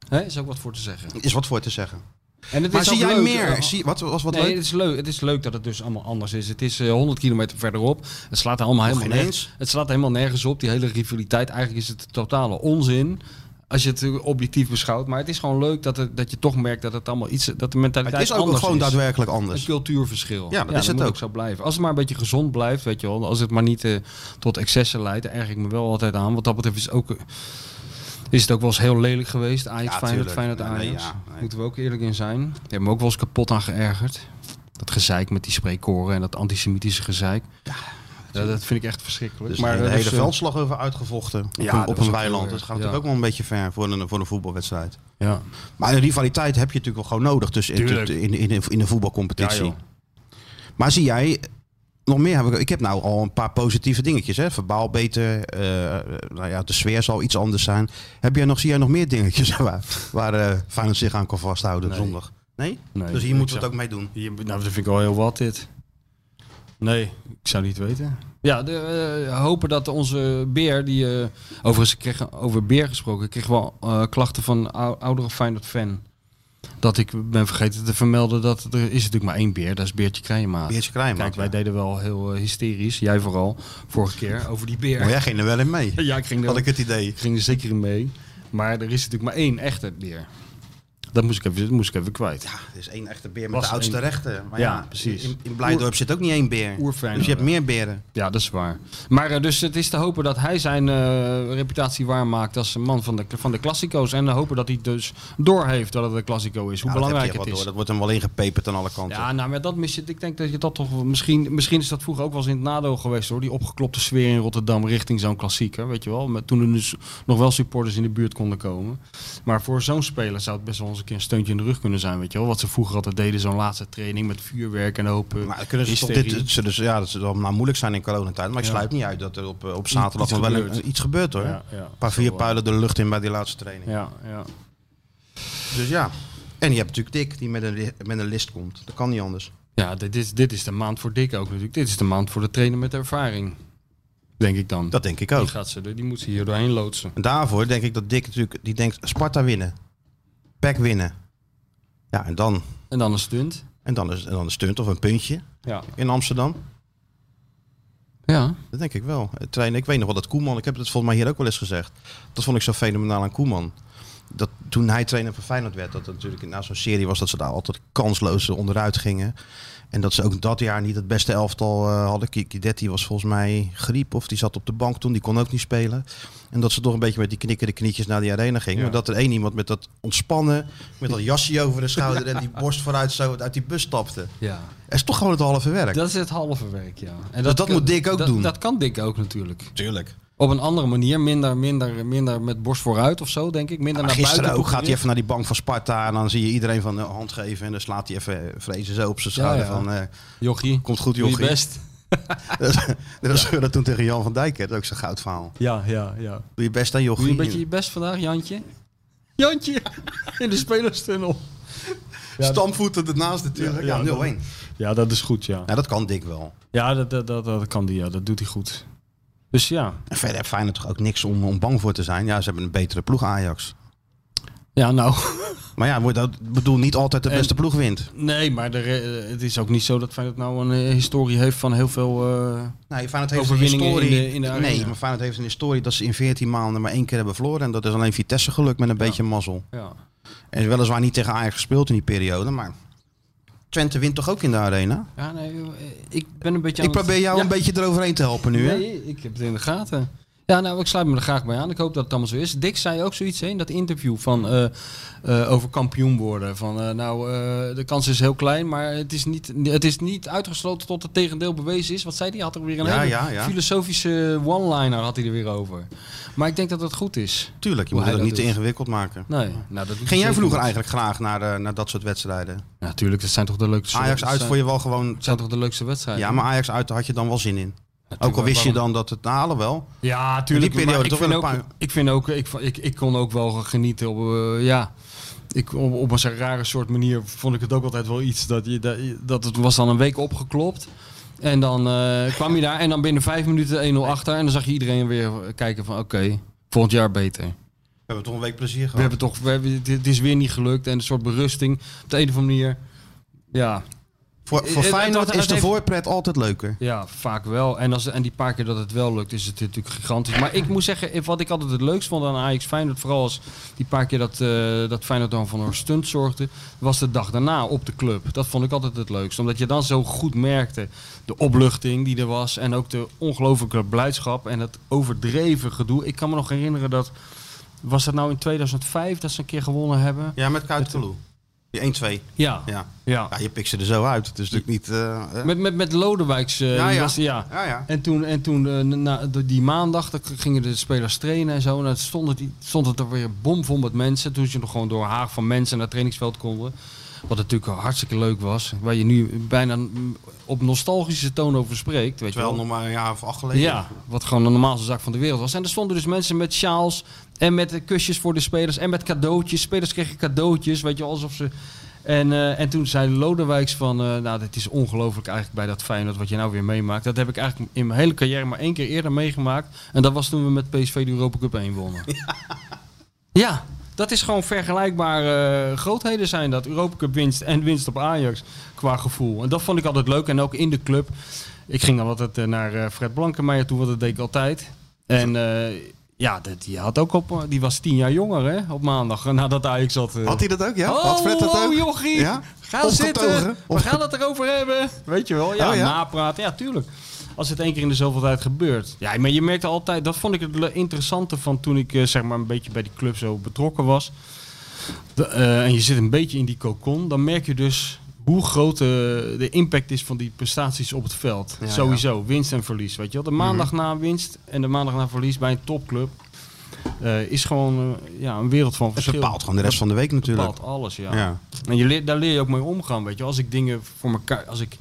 [SPEAKER 5] Wat?
[SPEAKER 6] Hè, is ook wat voor te zeggen.
[SPEAKER 5] Is wat voor te zeggen.
[SPEAKER 6] En het
[SPEAKER 5] Maar
[SPEAKER 6] is
[SPEAKER 5] zie
[SPEAKER 6] ook
[SPEAKER 5] jij
[SPEAKER 6] leuk,
[SPEAKER 5] meer?
[SPEAKER 6] eh,
[SPEAKER 5] Zie, wat was wat
[SPEAKER 6] nee,
[SPEAKER 5] leuk?
[SPEAKER 6] Het, is leuk, het is leuk dat het dus allemaal anders is. Het is eh, 100 kilometer verderop. Het slaat allemaal helemaal
[SPEAKER 5] geen eens.
[SPEAKER 6] nergens. Het slaat helemaal nergens op. Die hele rivaliteit. Eigenlijk is het totale onzin. Als je het eh, objectief beschouwt. Maar het is gewoon leuk dat, het, dat je toch merkt dat het allemaal iets. Dat de mentaliteit
[SPEAKER 5] Het is ook
[SPEAKER 6] anders
[SPEAKER 5] gewoon
[SPEAKER 6] is.
[SPEAKER 5] daadwerkelijk
[SPEAKER 6] Een
[SPEAKER 5] anders.
[SPEAKER 6] cultuurverschil.
[SPEAKER 5] Ja, dat is het
[SPEAKER 6] moet
[SPEAKER 5] ook.
[SPEAKER 6] zo blijven. Als het maar een beetje gezond blijft, weet je wel. Als het maar niet eh, tot excessen leidt, dan erg ik me wel altijd aan. Wat dat betreft is, ook, eh, is het ook wel eens heel lelijk geweest. Ajax,
[SPEAKER 5] Ja,
[SPEAKER 6] Feyenoord,
[SPEAKER 5] tuurlijk.
[SPEAKER 6] Feyenoord,
[SPEAKER 5] Nee,
[SPEAKER 6] Ajax.
[SPEAKER 5] nee, ja, nee.
[SPEAKER 6] Moeten we ook eerlijk in zijn. Ik heb me ook wel eens kapot aan geërgerd. Dat gezeik met die spreekkoren en dat antisemitische gezeik. Ja, dat, vind ik echt verschrikkelijk.
[SPEAKER 5] Dus maar de
[SPEAKER 6] dat
[SPEAKER 5] hele
[SPEAKER 6] is, eh,
[SPEAKER 5] veldslag over uitgevochten. Op
[SPEAKER 6] Ja,
[SPEAKER 5] een,
[SPEAKER 6] dat
[SPEAKER 5] op
[SPEAKER 6] was
[SPEAKER 5] een
[SPEAKER 6] ook
[SPEAKER 5] weiland.
[SPEAKER 6] heel
[SPEAKER 5] Dat
[SPEAKER 6] erg,
[SPEAKER 5] gaat
[SPEAKER 6] ja.
[SPEAKER 5] natuurlijk ook wel een beetje ver voor een, voor een voetbalwedstrijd.
[SPEAKER 6] Ja.
[SPEAKER 5] Maar een rivaliteit heb je natuurlijk wel gewoon nodig. Dus in,
[SPEAKER 6] Tuurlijk.
[SPEAKER 5] in, in, in een voetbalcompetitie.
[SPEAKER 6] Ja, joh.
[SPEAKER 5] maar zie jij, nog meer heb ik. Ik heb nou al een paar positieve dingetjes. Hè? Verbaal beter. eh, eh, nou ja, de sfeer zal iets anders zijn. Heb jij nog, zie jij nog meer dingetjes waar, waar eh, Feyenoord zich aan kan vasthouden
[SPEAKER 6] Nee.
[SPEAKER 5] zondag? Nee?
[SPEAKER 6] Nee,
[SPEAKER 5] Dus hier
[SPEAKER 6] ik
[SPEAKER 5] moeten we het
[SPEAKER 6] zou-
[SPEAKER 5] ook mee doen.
[SPEAKER 6] Hier, nou, dat vind ik al heel wat dit. Nee, ik zou niet weten. Ja, de, eh, hopen dat onze Beer, die eh, overigens ik kreeg over Beer gesproken, ik kreeg wel eh, klachten van ou- oudere Feyenoord fan. Dat ik ben vergeten te vermelden dat er is natuurlijk maar één Beer, dat is Beertje Krijnmaat.
[SPEAKER 5] Beertje Krijnmaat,
[SPEAKER 6] Kijk, wij
[SPEAKER 5] ja.
[SPEAKER 6] deden wel heel eh, hysterisch, jij vooral, vorige keer over die Beer.
[SPEAKER 5] Maar jij ging er wel in mee.
[SPEAKER 6] Ja, ik ging er,
[SPEAKER 5] Had ik het idee.
[SPEAKER 6] ik ging er zeker in mee. Maar er is natuurlijk maar één echte Beer. Dat moest ik even, dat moest ik even kwijt.
[SPEAKER 5] Ja, er is één echte beer met
[SPEAKER 6] Was
[SPEAKER 5] de oudste
[SPEAKER 6] één.
[SPEAKER 5] rechten. Maar ja,
[SPEAKER 6] Ja, precies.
[SPEAKER 5] In, in Blijdorp zit ook niet één beer.
[SPEAKER 6] Oerfijn.
[SPEAKER 5] Dus je hebt meer beren.
[SPEAKER 6] Ja, dat is waar. Maar eh, dus het is te hopen dat hij zijn eh, reputatie waarmaakt als een man van de, van de klassico's. En te hopen dat hij dus doorheeft dat het een klassico is. Hoe
[SPEAKER 5] Ja, dat heb je
[SPEAKER 6] belangrijk
[SPEAKER 5] wel
[SPEAKER 6] het is.
[SPEAKER 5] door. Dat wordt hem wel ingepeperd aan alle kanten.
[SPEAKER 6] Ja, nou, maar dat mis je. Ik denk dat je dat toch wel- misschien, misschien is dat vroeger ook wel eens in het nadeel geweest hoor. Die opgeklopte sfeer in Rotterdam richting zo'n klassieker, weet je wel. Met, toen er dus nog wel supporters in de buurt konden komen. Maar voor zo'n speler zou het best wel eens een keer een steuntje in de rug kunnen zijn, weet je wel. Wat ze vroeger altijd deden, zo'n laatste training met vuurwerk en eh, open.
[SPEAKER 5] Maar kunnen ze toch dit, het zullen ze- ja, dat zal nou moeilijk zijn in coronatijd. Maar ik
[SPEAKER 6] Ja.
[SPEAKER 5] sluit niet uit dat er op, eh, op zaterdag
[SPEAKER 6] Iets
[SPEAKER 5] nog wel
[SPEAKER 6] gebeurt.
[SPEAKER 5] een- iets gebeurt hoor.
[SPEAKER 6] Ja, eh. ja.
[SPEAKER 5] Een paar vier puilen de lucht in bij die laatste training.
[SPEAKER 6] Ja, ja.
[SPEAKER 5] Dus ja. En je hebt natuurlijk Dick die met een, li- met een list komt. Dat kan niet anders.
[SPEAKER 6] Ja, dit is, dit is de maand voor Dick ook natuurlijk. Dit is de maand voor de trainer met ervaring. Denk ik dan.
[SPEAKER 5] Dat denk ik
[SPEAKER 6] die,
[SPEAKER 5] ook.
[SPEAKER 6] gaat ze, er- die moet ze hier doorheen loodsen.
[SPEAKER 5] En daarvoor denk ik dat Dick natuurlijk, die denkt Sparta winnen. PEC winnen. Ja, en dan,
[SPEAKER 6] En dan een stunt.
[SPEAKER 5] en dan, is, en dan een stunt of een puntje
[SPEAKER 6] Ja.
[SPEAKER 5] in Amsterdam.
[SPEAKER 6] Ja.
[SPEAKER 5] Dat denk ik wel. Het Trainen, ik weet nog wel dat Koeman, ik heb het volgens mij hier ook wel eens gezegd. Dat vond ik zo fenomenaal aan Koeman. Dat toen hij trainer van Feyenoord werd, dat het natuurlijk na zo'n serie was dat ze daar altijd kansloos onderuit gingen. En dat ze ook dat jaar niet het beste elftal eh, hadden. Kikidetti was volgens mij griep of die zat op de bank toen, die kon ook niet spelen. En dat ze toch een beetje met die knikkende knietjes naar die arena gingen.
[SPEAKER 6] Ja.
[SPEAKER 5] Maar dat er één iemand met dat ontspannen, met dat jasje over de schouder en die borst vooruit zo uit die bus stapte.
[SPEAKER 6] Ja.
[SPEAKER 5] Dat is toch gewoon het halve werk.
[SPEAKER 6] Dat is het halve werk, ja. En
[SPEAKER 5] dat moet Dick ook
[SPEAKER 6] Dus dat-
[SPEAKER 5] doen.
[SPEAKER 6] Dat kan Dick ook natuurlijk.
[SPEAKER 5] Tuurlijk.
[SPEAKER 6] Op een andere manier, minder, minder, minder met borst vooruit of zo, denk ik. Minder
[SPEAKER 5] Maar
[SPEAKER 6] naar
[SPEAKER 5] gisteren
[SPEAKER 6] buiten.
[SPEAKER 5] ook gaat hij
[SPEAKER 6] proberen.
[SPEAKER 5] even naar die bank van Sparta en dan zie je iedereen van de hand geven en dan slaat hij even eh, vrezen zo op zijn schouder
[SPEAKER 6] Ja, ja.
[SPEAKER 5] van eh,
[SPEAKER 6] Jochie,
[SPEAKER 5] komt goed
[SPEAKER 6] doe je
[SPEAKER 5] jochie.
[SPEAKER 6] best.
[SPEAKER 5] dat was dat toen tegen Jan van Dijk, hè. dat is ook zo'n goud verhaal.
[SPEAKER 6] Ja, ja, ja.
[SPEAKER 5] Doe je best aan jochie.
[SPEAKER 6] Doe je een beetje je best vandaag, Jantje? Jantje! In de spelerstunnel.
[SPEAKER 5] Stamvoeten ernaast natuurlijk. Ja,
[SPEAKER 6] Ja,
[SPEAKER 5] 0-1. Nou,
[SPEAKER 6] Ja, dat is goed, ja.
[SPEAKER 5] dat kan Dick wel.
[SPEAKER 6] Ja, dat, dat, dat, dat kan die, ja. Dat doet hij goed. Dus ja.
[SPEAKER 5] En verder heeft Feyenoord toch ook niks om, om bang voor te zijn. Ja, ze hebben een betere ploeg Ajax.
[SPEAKER 6] Ja, nou.
[SPEAKER 5] Maar ja, wordt dat bedoel niet altijd de
[SPEAKER 6] En-
[SPEAKER 5] beste ploeg wint.
[SPEAKER 6] Nee, maar de re- eh, het is ook niet zo dat Feyenoord nou een eh, historie heeft van heel veel... eh,
[SPEAKER 5] Nee, Feyenoord heeft een
[SPEAKER 6] Overwinningen in
[SPEAKER 5] historie.
[SPEAKER 6] de- in de arena.
[SPEAKER 5] nee, maar Feyenoord heeft een historie dat ze in 14 maanden maar één keer hebben verloren. En dat is alleen Vitesse gelukt met een beetje mazzel.
[SPEAKER 6] ja.
[SPEAKER 5] En weliswaar niet tegen Ajax gespeeld in die periode, maar Twente wint toch ook in de arena?
[SPEAKER 6] ja, nee, eh, ik ben een beetje...
[SPEAKER 5] Ik
[SPEAKER 6] aan het-
[SPEAKER 5] probeer jou
[SPEAKER 6] Ja.
[SPEAKER 5] een beetje eroverheen te helpen nu, hè?
[SPEAKER 6] Nee, ik heb het in de gaten. Ja, nou, ik sluit me er graag bij aan. Ik hoop dat het allemaal zo is. Dick zei ook zoiets hè, in dat interview van, eh, eh, over kampioen worden. Van, eh, nou, eh, de kans is heel klein, maar het is, niet, het is niet uitgesloten tot het tegendeel bewezen is. Wat zei hij? Had er weer een
[SPEAKER 5] Ja,
[SPEAKER 6] hele
[SPEAKER 5] ja, ja.
[SPEAKER 6] filosofische one-liner had hij er weer over. Maar ik denk dat dat goed is.
[SPEAKER 5] Tuurlijk, je
[SPEAKER 6] Hoe
[SPEAKER 5] moet het
[SPEAKER 6] hij
[SPEAKER 5] ook
[SPEAKER 6] dat
[SPEAKER 5] niet te
[SPEAKER 6] doet.
[SPEAKER 5] ingewikkeld maken.
[SPEAKER 6] Nee, nou, dat
[SPEAKER 5] Ging jij vroeger eigenlijk graag naar, eh, naar dat soort wedstrijden?
[SPEAKER 6] Natuurlijk, dat zijn toch de leukste
[SPEAKER 5] Ajax
[SPEAKER 6] dat eh,
[SPEAKER 5] uit
[SPEAKER 6] zijn-
[SPEAKER 5] voor je wel gewoon...
[SPEAKER 6] dat zijn toch de leukste wedstrijden?
[SPEAKER 5] Ja, maar Ajax uit daar had je dan wel zin in. Ook al
[SPEAKER 6] tuurlijk,
[SPEAKER 5] wist je
[SPEAKER 6] waarom-
[SPEAKER 5] dan dat het halen wel.
[SPEAKER 6] Ja, tuurlijk.
[SPEAKER 5] periode
[SPEAKER 6] maar ik,
[SPEAKER 5] toch
[SPEAKER 6] vind
[SPEAKER 5] wel
[SPEAKER 6] ook,
[SPEAKER 5] een paar-
[SPEAKER 6] ik vind ook, ik, ik, ik kon ook wel genieten op, eh, ja. Ik, op, op een zo'n rare soort manier vond ik het ook altijd wel iets. Dat, je, dat, je- dat het was dan een week opgeklopt. En dan eh, kwam je daar en dan binnen vijf minuten 1-0 achter. En dan zag je iedereen weer kijken van oké, volgend jaar beter.
[SPEAKER 5] We hebben toch een week plezier
[SPEAKER 6] We
[SPEAKER 5] gehad.
[SPEAKER 6] hebben toch, we hebben, het- het is weer niet gelukt. En een soort berusting op de een of andere manier. Ja,
[SPEAKER 5] Voor,
[SPEAKER 6] Eh,
[SPEAKER 5] voor
[SPEAKER 6] eh, dat-
[SPEAKER 5] Feyenoord
[SPEAKER 6] dat
[SPEAKER 5] is de
[SPEAKER 6] heeft-
[SPEAKER 5] voorpret altijd leuker.
[SPEAKER 6] Ja, vaak wel. En, als, en die paar keer dat het wel lukt, is het natuurlijk gigantisch. Maar ik moet zeggen, eh, wat ik altijd het leukst vond aan Ajax Feyenoord, vooral als die paar keer dat, eh dat Feyenoord dan voor een stunt zorgde, was de dag daarna op de club. Dat vond ik altijd het leukst. Omdat je dan zo goed merkte de opluchting die er was en ook de ongelooflijke blijdschap en het overdreven gedoe. Ik kan me nog herinneren dat, was dat nou in 2005 dat ze een keer gewonnen hebben?
[SPEAKER 5] Ja, met Kuiteloe. Die 1-2.
[SPEAKER 6] Ja.
[SPEAKER 5] Ja.
[SPEAKER 6] Ja.
[SPEAKER 5] ja, je pikt ze er zo uit. Het is natuurlijk niet... eh, eh.
[SPEAKER 6] Met, met, met Lodewijks. eh,
[SPEAKER 5] ja,
[SPEAKER 6] die
[SPEAKER 5] ja.
[SPEAKER 6] was- ja.
[SPEAKER 5] ja, ja.
[SPEAKER 6] En toen, en toen eh, na, de- die maandag, dan k- gingen de spelers trainen en zo. En dan stond het, stond het er weer bomvol met mensen. Toen ze nog gewoon door een haag van mensen naar het trainingsveld konden. Wat natuurlijk hartstikke leuk was. Waar je nu bijna mm, op nostalgische toon over spreekt. Weet
[SPEAKER 5] Terwijl
[SPEAKER 6] je wel.
[SPEAKER 5] nog maar een jaar of acht geleden.
[SPEAKER 6] Ja, wat gewoon de normaalste zaak van de wereld was. En er stonden dus mensen met sjaals en met eh, kusjes voor de spelers en met cadeautjes. Spelers kregen cadeautjes, weet je, wel, alsof ze... En, eh, en toen zei Lodewijks van, eh, nou, dit is ongelooflijk eigenlijk bij dat Feyenoord wat je nou weer meemaakt. Dat heb ik eigenlijk in mijn hele carrière maar één keer eerder meegemaakt. En dat was toen we met PSV de Europa Cup 1 wonnen. Ja, dat is gewoon vergelijkbare eh, grootheden zijn dat. Europa Cup winst en winst op Ajax qua gevoel. En dat vond ik altijd leuk. En ook in de club ik ging dan altijd eh, naar eh, Fred Blankenmeijer toe, want dat deed ik altijd. En eh, Ja, dat- die, had ook op, eh, die was tien jaar jonger hè, op maandag eh, nadat Ajax had... eh,
[SPEAKER 5] Had hij dat ook? Ja?
[SPEAKER 6] Oh,
[SPEAKER 5] Had Fred dat
[SPEAKER 6] oh,
[SPEAKER 5] ook?
[SPEAKER 6] jochie.
[SPEAKER 5] Ja?
[SPEAKER 6] Ga zitten.
[SPEAKER 5] Opgetogen.
[SPEAKER 6] We gaan het erover hebben. Weet je wel. Ja,
[SPEAKER 5] Oh, ja?
[SPEAKER 6] napraten. Ja, tuurlijk. Als het één keer in de zoveel tijd gebeurt. Ja, maar je merkte altijd... Dat vond ik het le- interessante van toen ik eh, zeg maar een beetje bij die club zo betrokken was. De- eh, en je zit een beetje in die cocon. Dan merk je dus hoe groot eh, de impact is van die prestaties op het veld.
[SPEAKER 5] Ja, Mhm.
[SPEAKER 6] Sowieso. Winst en verlies. Weet je wel. De maandag na winst en de maandag na verlies bij een topclub... eh, is gewoon eh, ja, een wereld van
[SPEAKER 5] Dus Het
[SPEAKER 6] verschil.
[SPEAKER 5] bepaalt gewoon de rest van de week natuurlijk.
[SPEAKER 6] Bepaalt alles, ja.
[SPEAKER 5] Ja.
[SPEAKER 6] En je leert, daar leer je ook mee omgaan, weet je. Als ik dingen voor elkaar, als ik,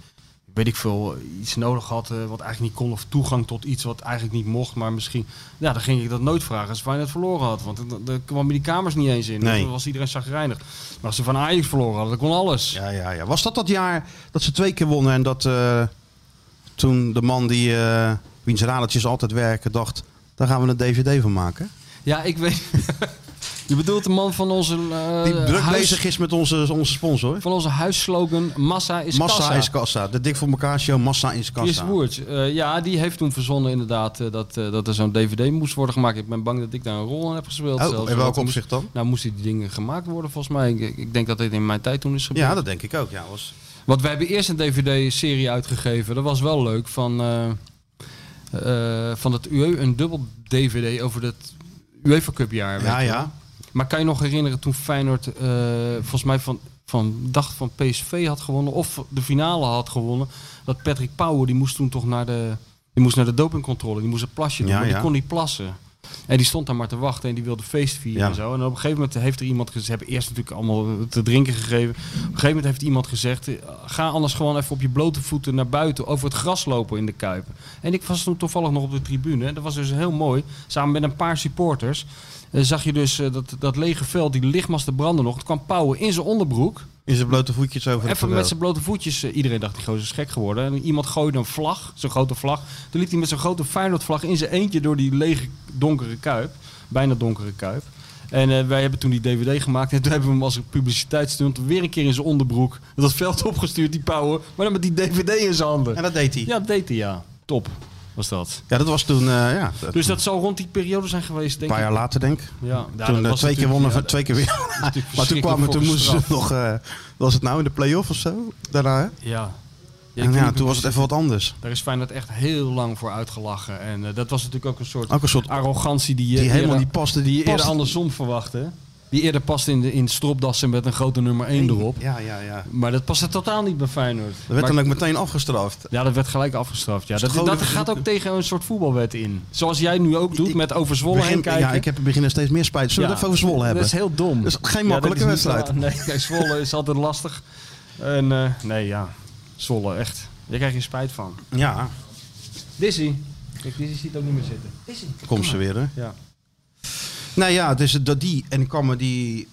[SPEAKER 6] weet ik veel, iets nodig had eh, wat eigenlijk niet kon of toegang tot iets wat eigenlijk niet mocht, maar misschien, ja, dan ging ik dat nooit vragen als Feyenoord verloren had, want dan- dan kwam je die kamers niet eens in.
[SPEAKER 5] Nee.
[SPEAKER 6] Dan was iedereen chagrijnig. Maar als ze van Ajax verloren hadden, dan kon alles.
[SPEAKER 5] Ja, ja, ja. Was dat dat jaar dat ze twee keer wonnen en dat eh, toen de man die eh wiens radertjes altijd werken dacht, daar gaan we een DVD van maken.
[SPEAKER 6] Ja, ik weet. je bedoelt de man van onze eh,
[SPEAKER 5] Die druk
[SPEAKER 6] huis-
[SPEAKER 5] bezig is met onze, onze sponsor.
[SPEAKER 6] van onze huisslogan massa is
[SPEAKER 5] Massa
[SPEAKER 6] kassa.
[SPEAKER 5] is kassa. De Dik voor elkaar show, massa is kassa.
[SPEAKER 6] Chris Woerts, eh, ja, die heeft toen verzonnen inderdaad eh, dat, eh, dat er zo'n DVD moest worden gemaakt. Ik ben bang dat ik daar een rol in heb gespeeld.
[SPEAKER 5] Oh,
[SPEAKER 6] zelfs.
[SPEAKER 5] in welk
[SPEAKER 6] Want-
[SPEAKER 5] opzicht dan?
[SPEAKER 6] Nou, moesten die dingen gemaakt worden volgens mij. Ik, ik denk dat dit in mijn tijd toen is gebeurd.
[SPEAKER 5] Ja, dat denk ik ook. Ja, was...
[SPEAKER 6] Want wij hebben eerst een DVD-serie uitgegeven. Dat was wel leuk. Van, eh, eh, van het UE, een dubbel DVD over dat UEFA Cup jaar. weet
[SPEAKER 5] ja,
[SPEAKER 6] je
[SPEAKER 5] ja.
[SPEAKER 6] maar kan je nog herinneren toen Feyenoord eh, volgens mij van, van dacht van PSV had gewonnen of de finale had gewonnen. Dat Patrick Power die moest toen toch naar de, die moest naar de dopingcontrole. Die moest een plasje doen,
[SPEAKER 5] Ja,
[SPEAKER 6] maar die
[SPEAKER 5] ja.
[SPEAKER 6] kon niet plassen. En die stond daar maar te wachten en die wilde feest vieren
[SPEAKER 5] Ja.
[SPEAKER 6] en zo. En op een gegeven moment heeft er iemand gezegd, ze hebben eerst natuurlijk allemaal te drinken gegeven. Op een gegeven moment heeft iemand gezegd, eh, ga anders gewoon even op je blote voeten naar buiten over het gras lopen in de Kuip. En ik was toen toevallig nog op de tribune. En dat was dus heel mooi. Samen met een paar supporters eh, zag je dus eh, dat, dat lege veld, die lichtmasten branden nog. Het kwam Pauwen in zijn onderbroek.
[SPEAKER 5] In zijn blote voetjes over het
[SPEAKER 6] Even
[SPEAKER 5] geweld.
[SPEAKER 6] met zijn blote voetjes. eh, iedereen dacht die gozer is gek geworden. En iemand gooide een vlag, zo'n grote vlag. Toen liep hij met zo'n grote Feyenoordvlag in zijn eentje door die lege donkere kuip. Bijna donkere kuip. En eh, wij hebben toen die DVD gemaakt. En toen hebben we hem als een publiciteitsstunt weer een keer in zijn onderbroek. Dat veld opgestuurd, die Pauwen. Maar dan met die DVD in zijn handen.
[SPEAKER 5] En dat deed hij. Ja,
[SPEAKER 6] Ja, dat deed hij, ja. Top was dat.
[SPEAKER 5] dat was toen, eh, ja,
[SPEAKER 6] Dus dat zou rond die periode zijn geweest,
[SPEAKER 5] een
[SPEAKER 6] denk
[SPEAKER 5] paar
[SPEAKER 6] ik.
[SPEAKER 5] jaar later denk ik.
[SPEAKER 6] Ja, Ja,
[SPEAKER 5] toen
[SPEAKER 6] dat
[SPEAKER 5] eh,
[SPEAKER 6] was
[SPEAKER 5] twee keer
[SPEAKER 6] natuurlijk-
[SPEAKER 5] wonnen,
[SPEAKER 6] ja,
[SPEAKER 5] van- twee keer weer.
[SPEAKER 6] dat is natuurlijk
[SPEAKER 5] maar toen kwamen,
[SPEAKER 6] verschrikkelijk
[SPEAKER 5] toen
[SPEAKER 6] voor
[SPEAKER 5] moesten ze
[SPEAKER 6] gestraft.
[SPEAKER 5] nog, eh, was het nou in de play-off of zo? Daarna, hè?
[SPEAKER 6] Ja. Ja,
[SPEAKER 5] En
[SPEAKER 6] ik
[SPEAKER 5] ja,
[SPEAKER 6] vind-
[SPEAKER 5] toen was het even wat anders.
[SPEAKER 6] Daar is Feyenoord echt heel lang voor uitgelachen. En eh, dat was natuurlijk ook een soort
[SPEAKER 5] Ook een soort
[SPEAKER 6] arrogantie die je
[SPEAKER 5] die helemaal
[SPEAKER 6] eerder,
[SPEAKER 5] niet paste.
[SPEAKER 6] die je eerder
[SPEAKER 5] paste-
[SPEAKER 6] andersom verwachtte. Die eerder past in, de, in stropdassen met een grote nummer 1 erop.
[SPEAKER 5] Ja, ja, ja.
[SPEAKER 6] Maar dat paste totaal niet bij Feyenoord.
[SPEAKER 5] Dat werd
[SPEAKER 6] Maar-
[SPEAKER 5] dan ook meteen afgestraft.
[SPEAKER 6] ja, dat werd gelijk afgestraft. Ja,
[SPEAKER 5] Dus de
[SPEAKER 6] dat dat
[SPEAKER 5] goden-
[SPEAKER 6] gaat ook tegen een soort voetbalwet in. Zoals jij nu ook doet,
[SPEAKER 5] Ik-
[SPEAKER 6] met over Zwolle
[SPEAKER 5] Begin-
[SPEAKER 6] heen kijken.
[SPEAKER 5] ja, ik heb er beginnen steeds meer spijt. Zullen we
[SPEAKER 6] Ja.
[SPEAKER 5] het even over Zwolle hebben?
[SPEAKER 6] Dat is heel dom.
[SPEAKER 5] Dat is geen
[SPEAKER 6] Ja,
[SPEAKER 5] makkelijke
[SPEAKER 6] dat is niet
[SPEAKER 5] wedstrijd.
[SPEAKER 6] waar. Nee, kijk, Zwolle is altijd lastig. En, eh, nee, ja. Zwolle, echt. Daar krijg je spijt van.
[SPEAKER 5] Ja,
[SPEAKER 6] Dizzy. Kijk, Dizzy ziet ook niet meer zitten. Dizzy.
[SPEAKER 5] komt ze weer, hè?
[SPEAKER 6] Ja.
[SPEAKER 5] Nou ja, dus dat die. En ik kan me die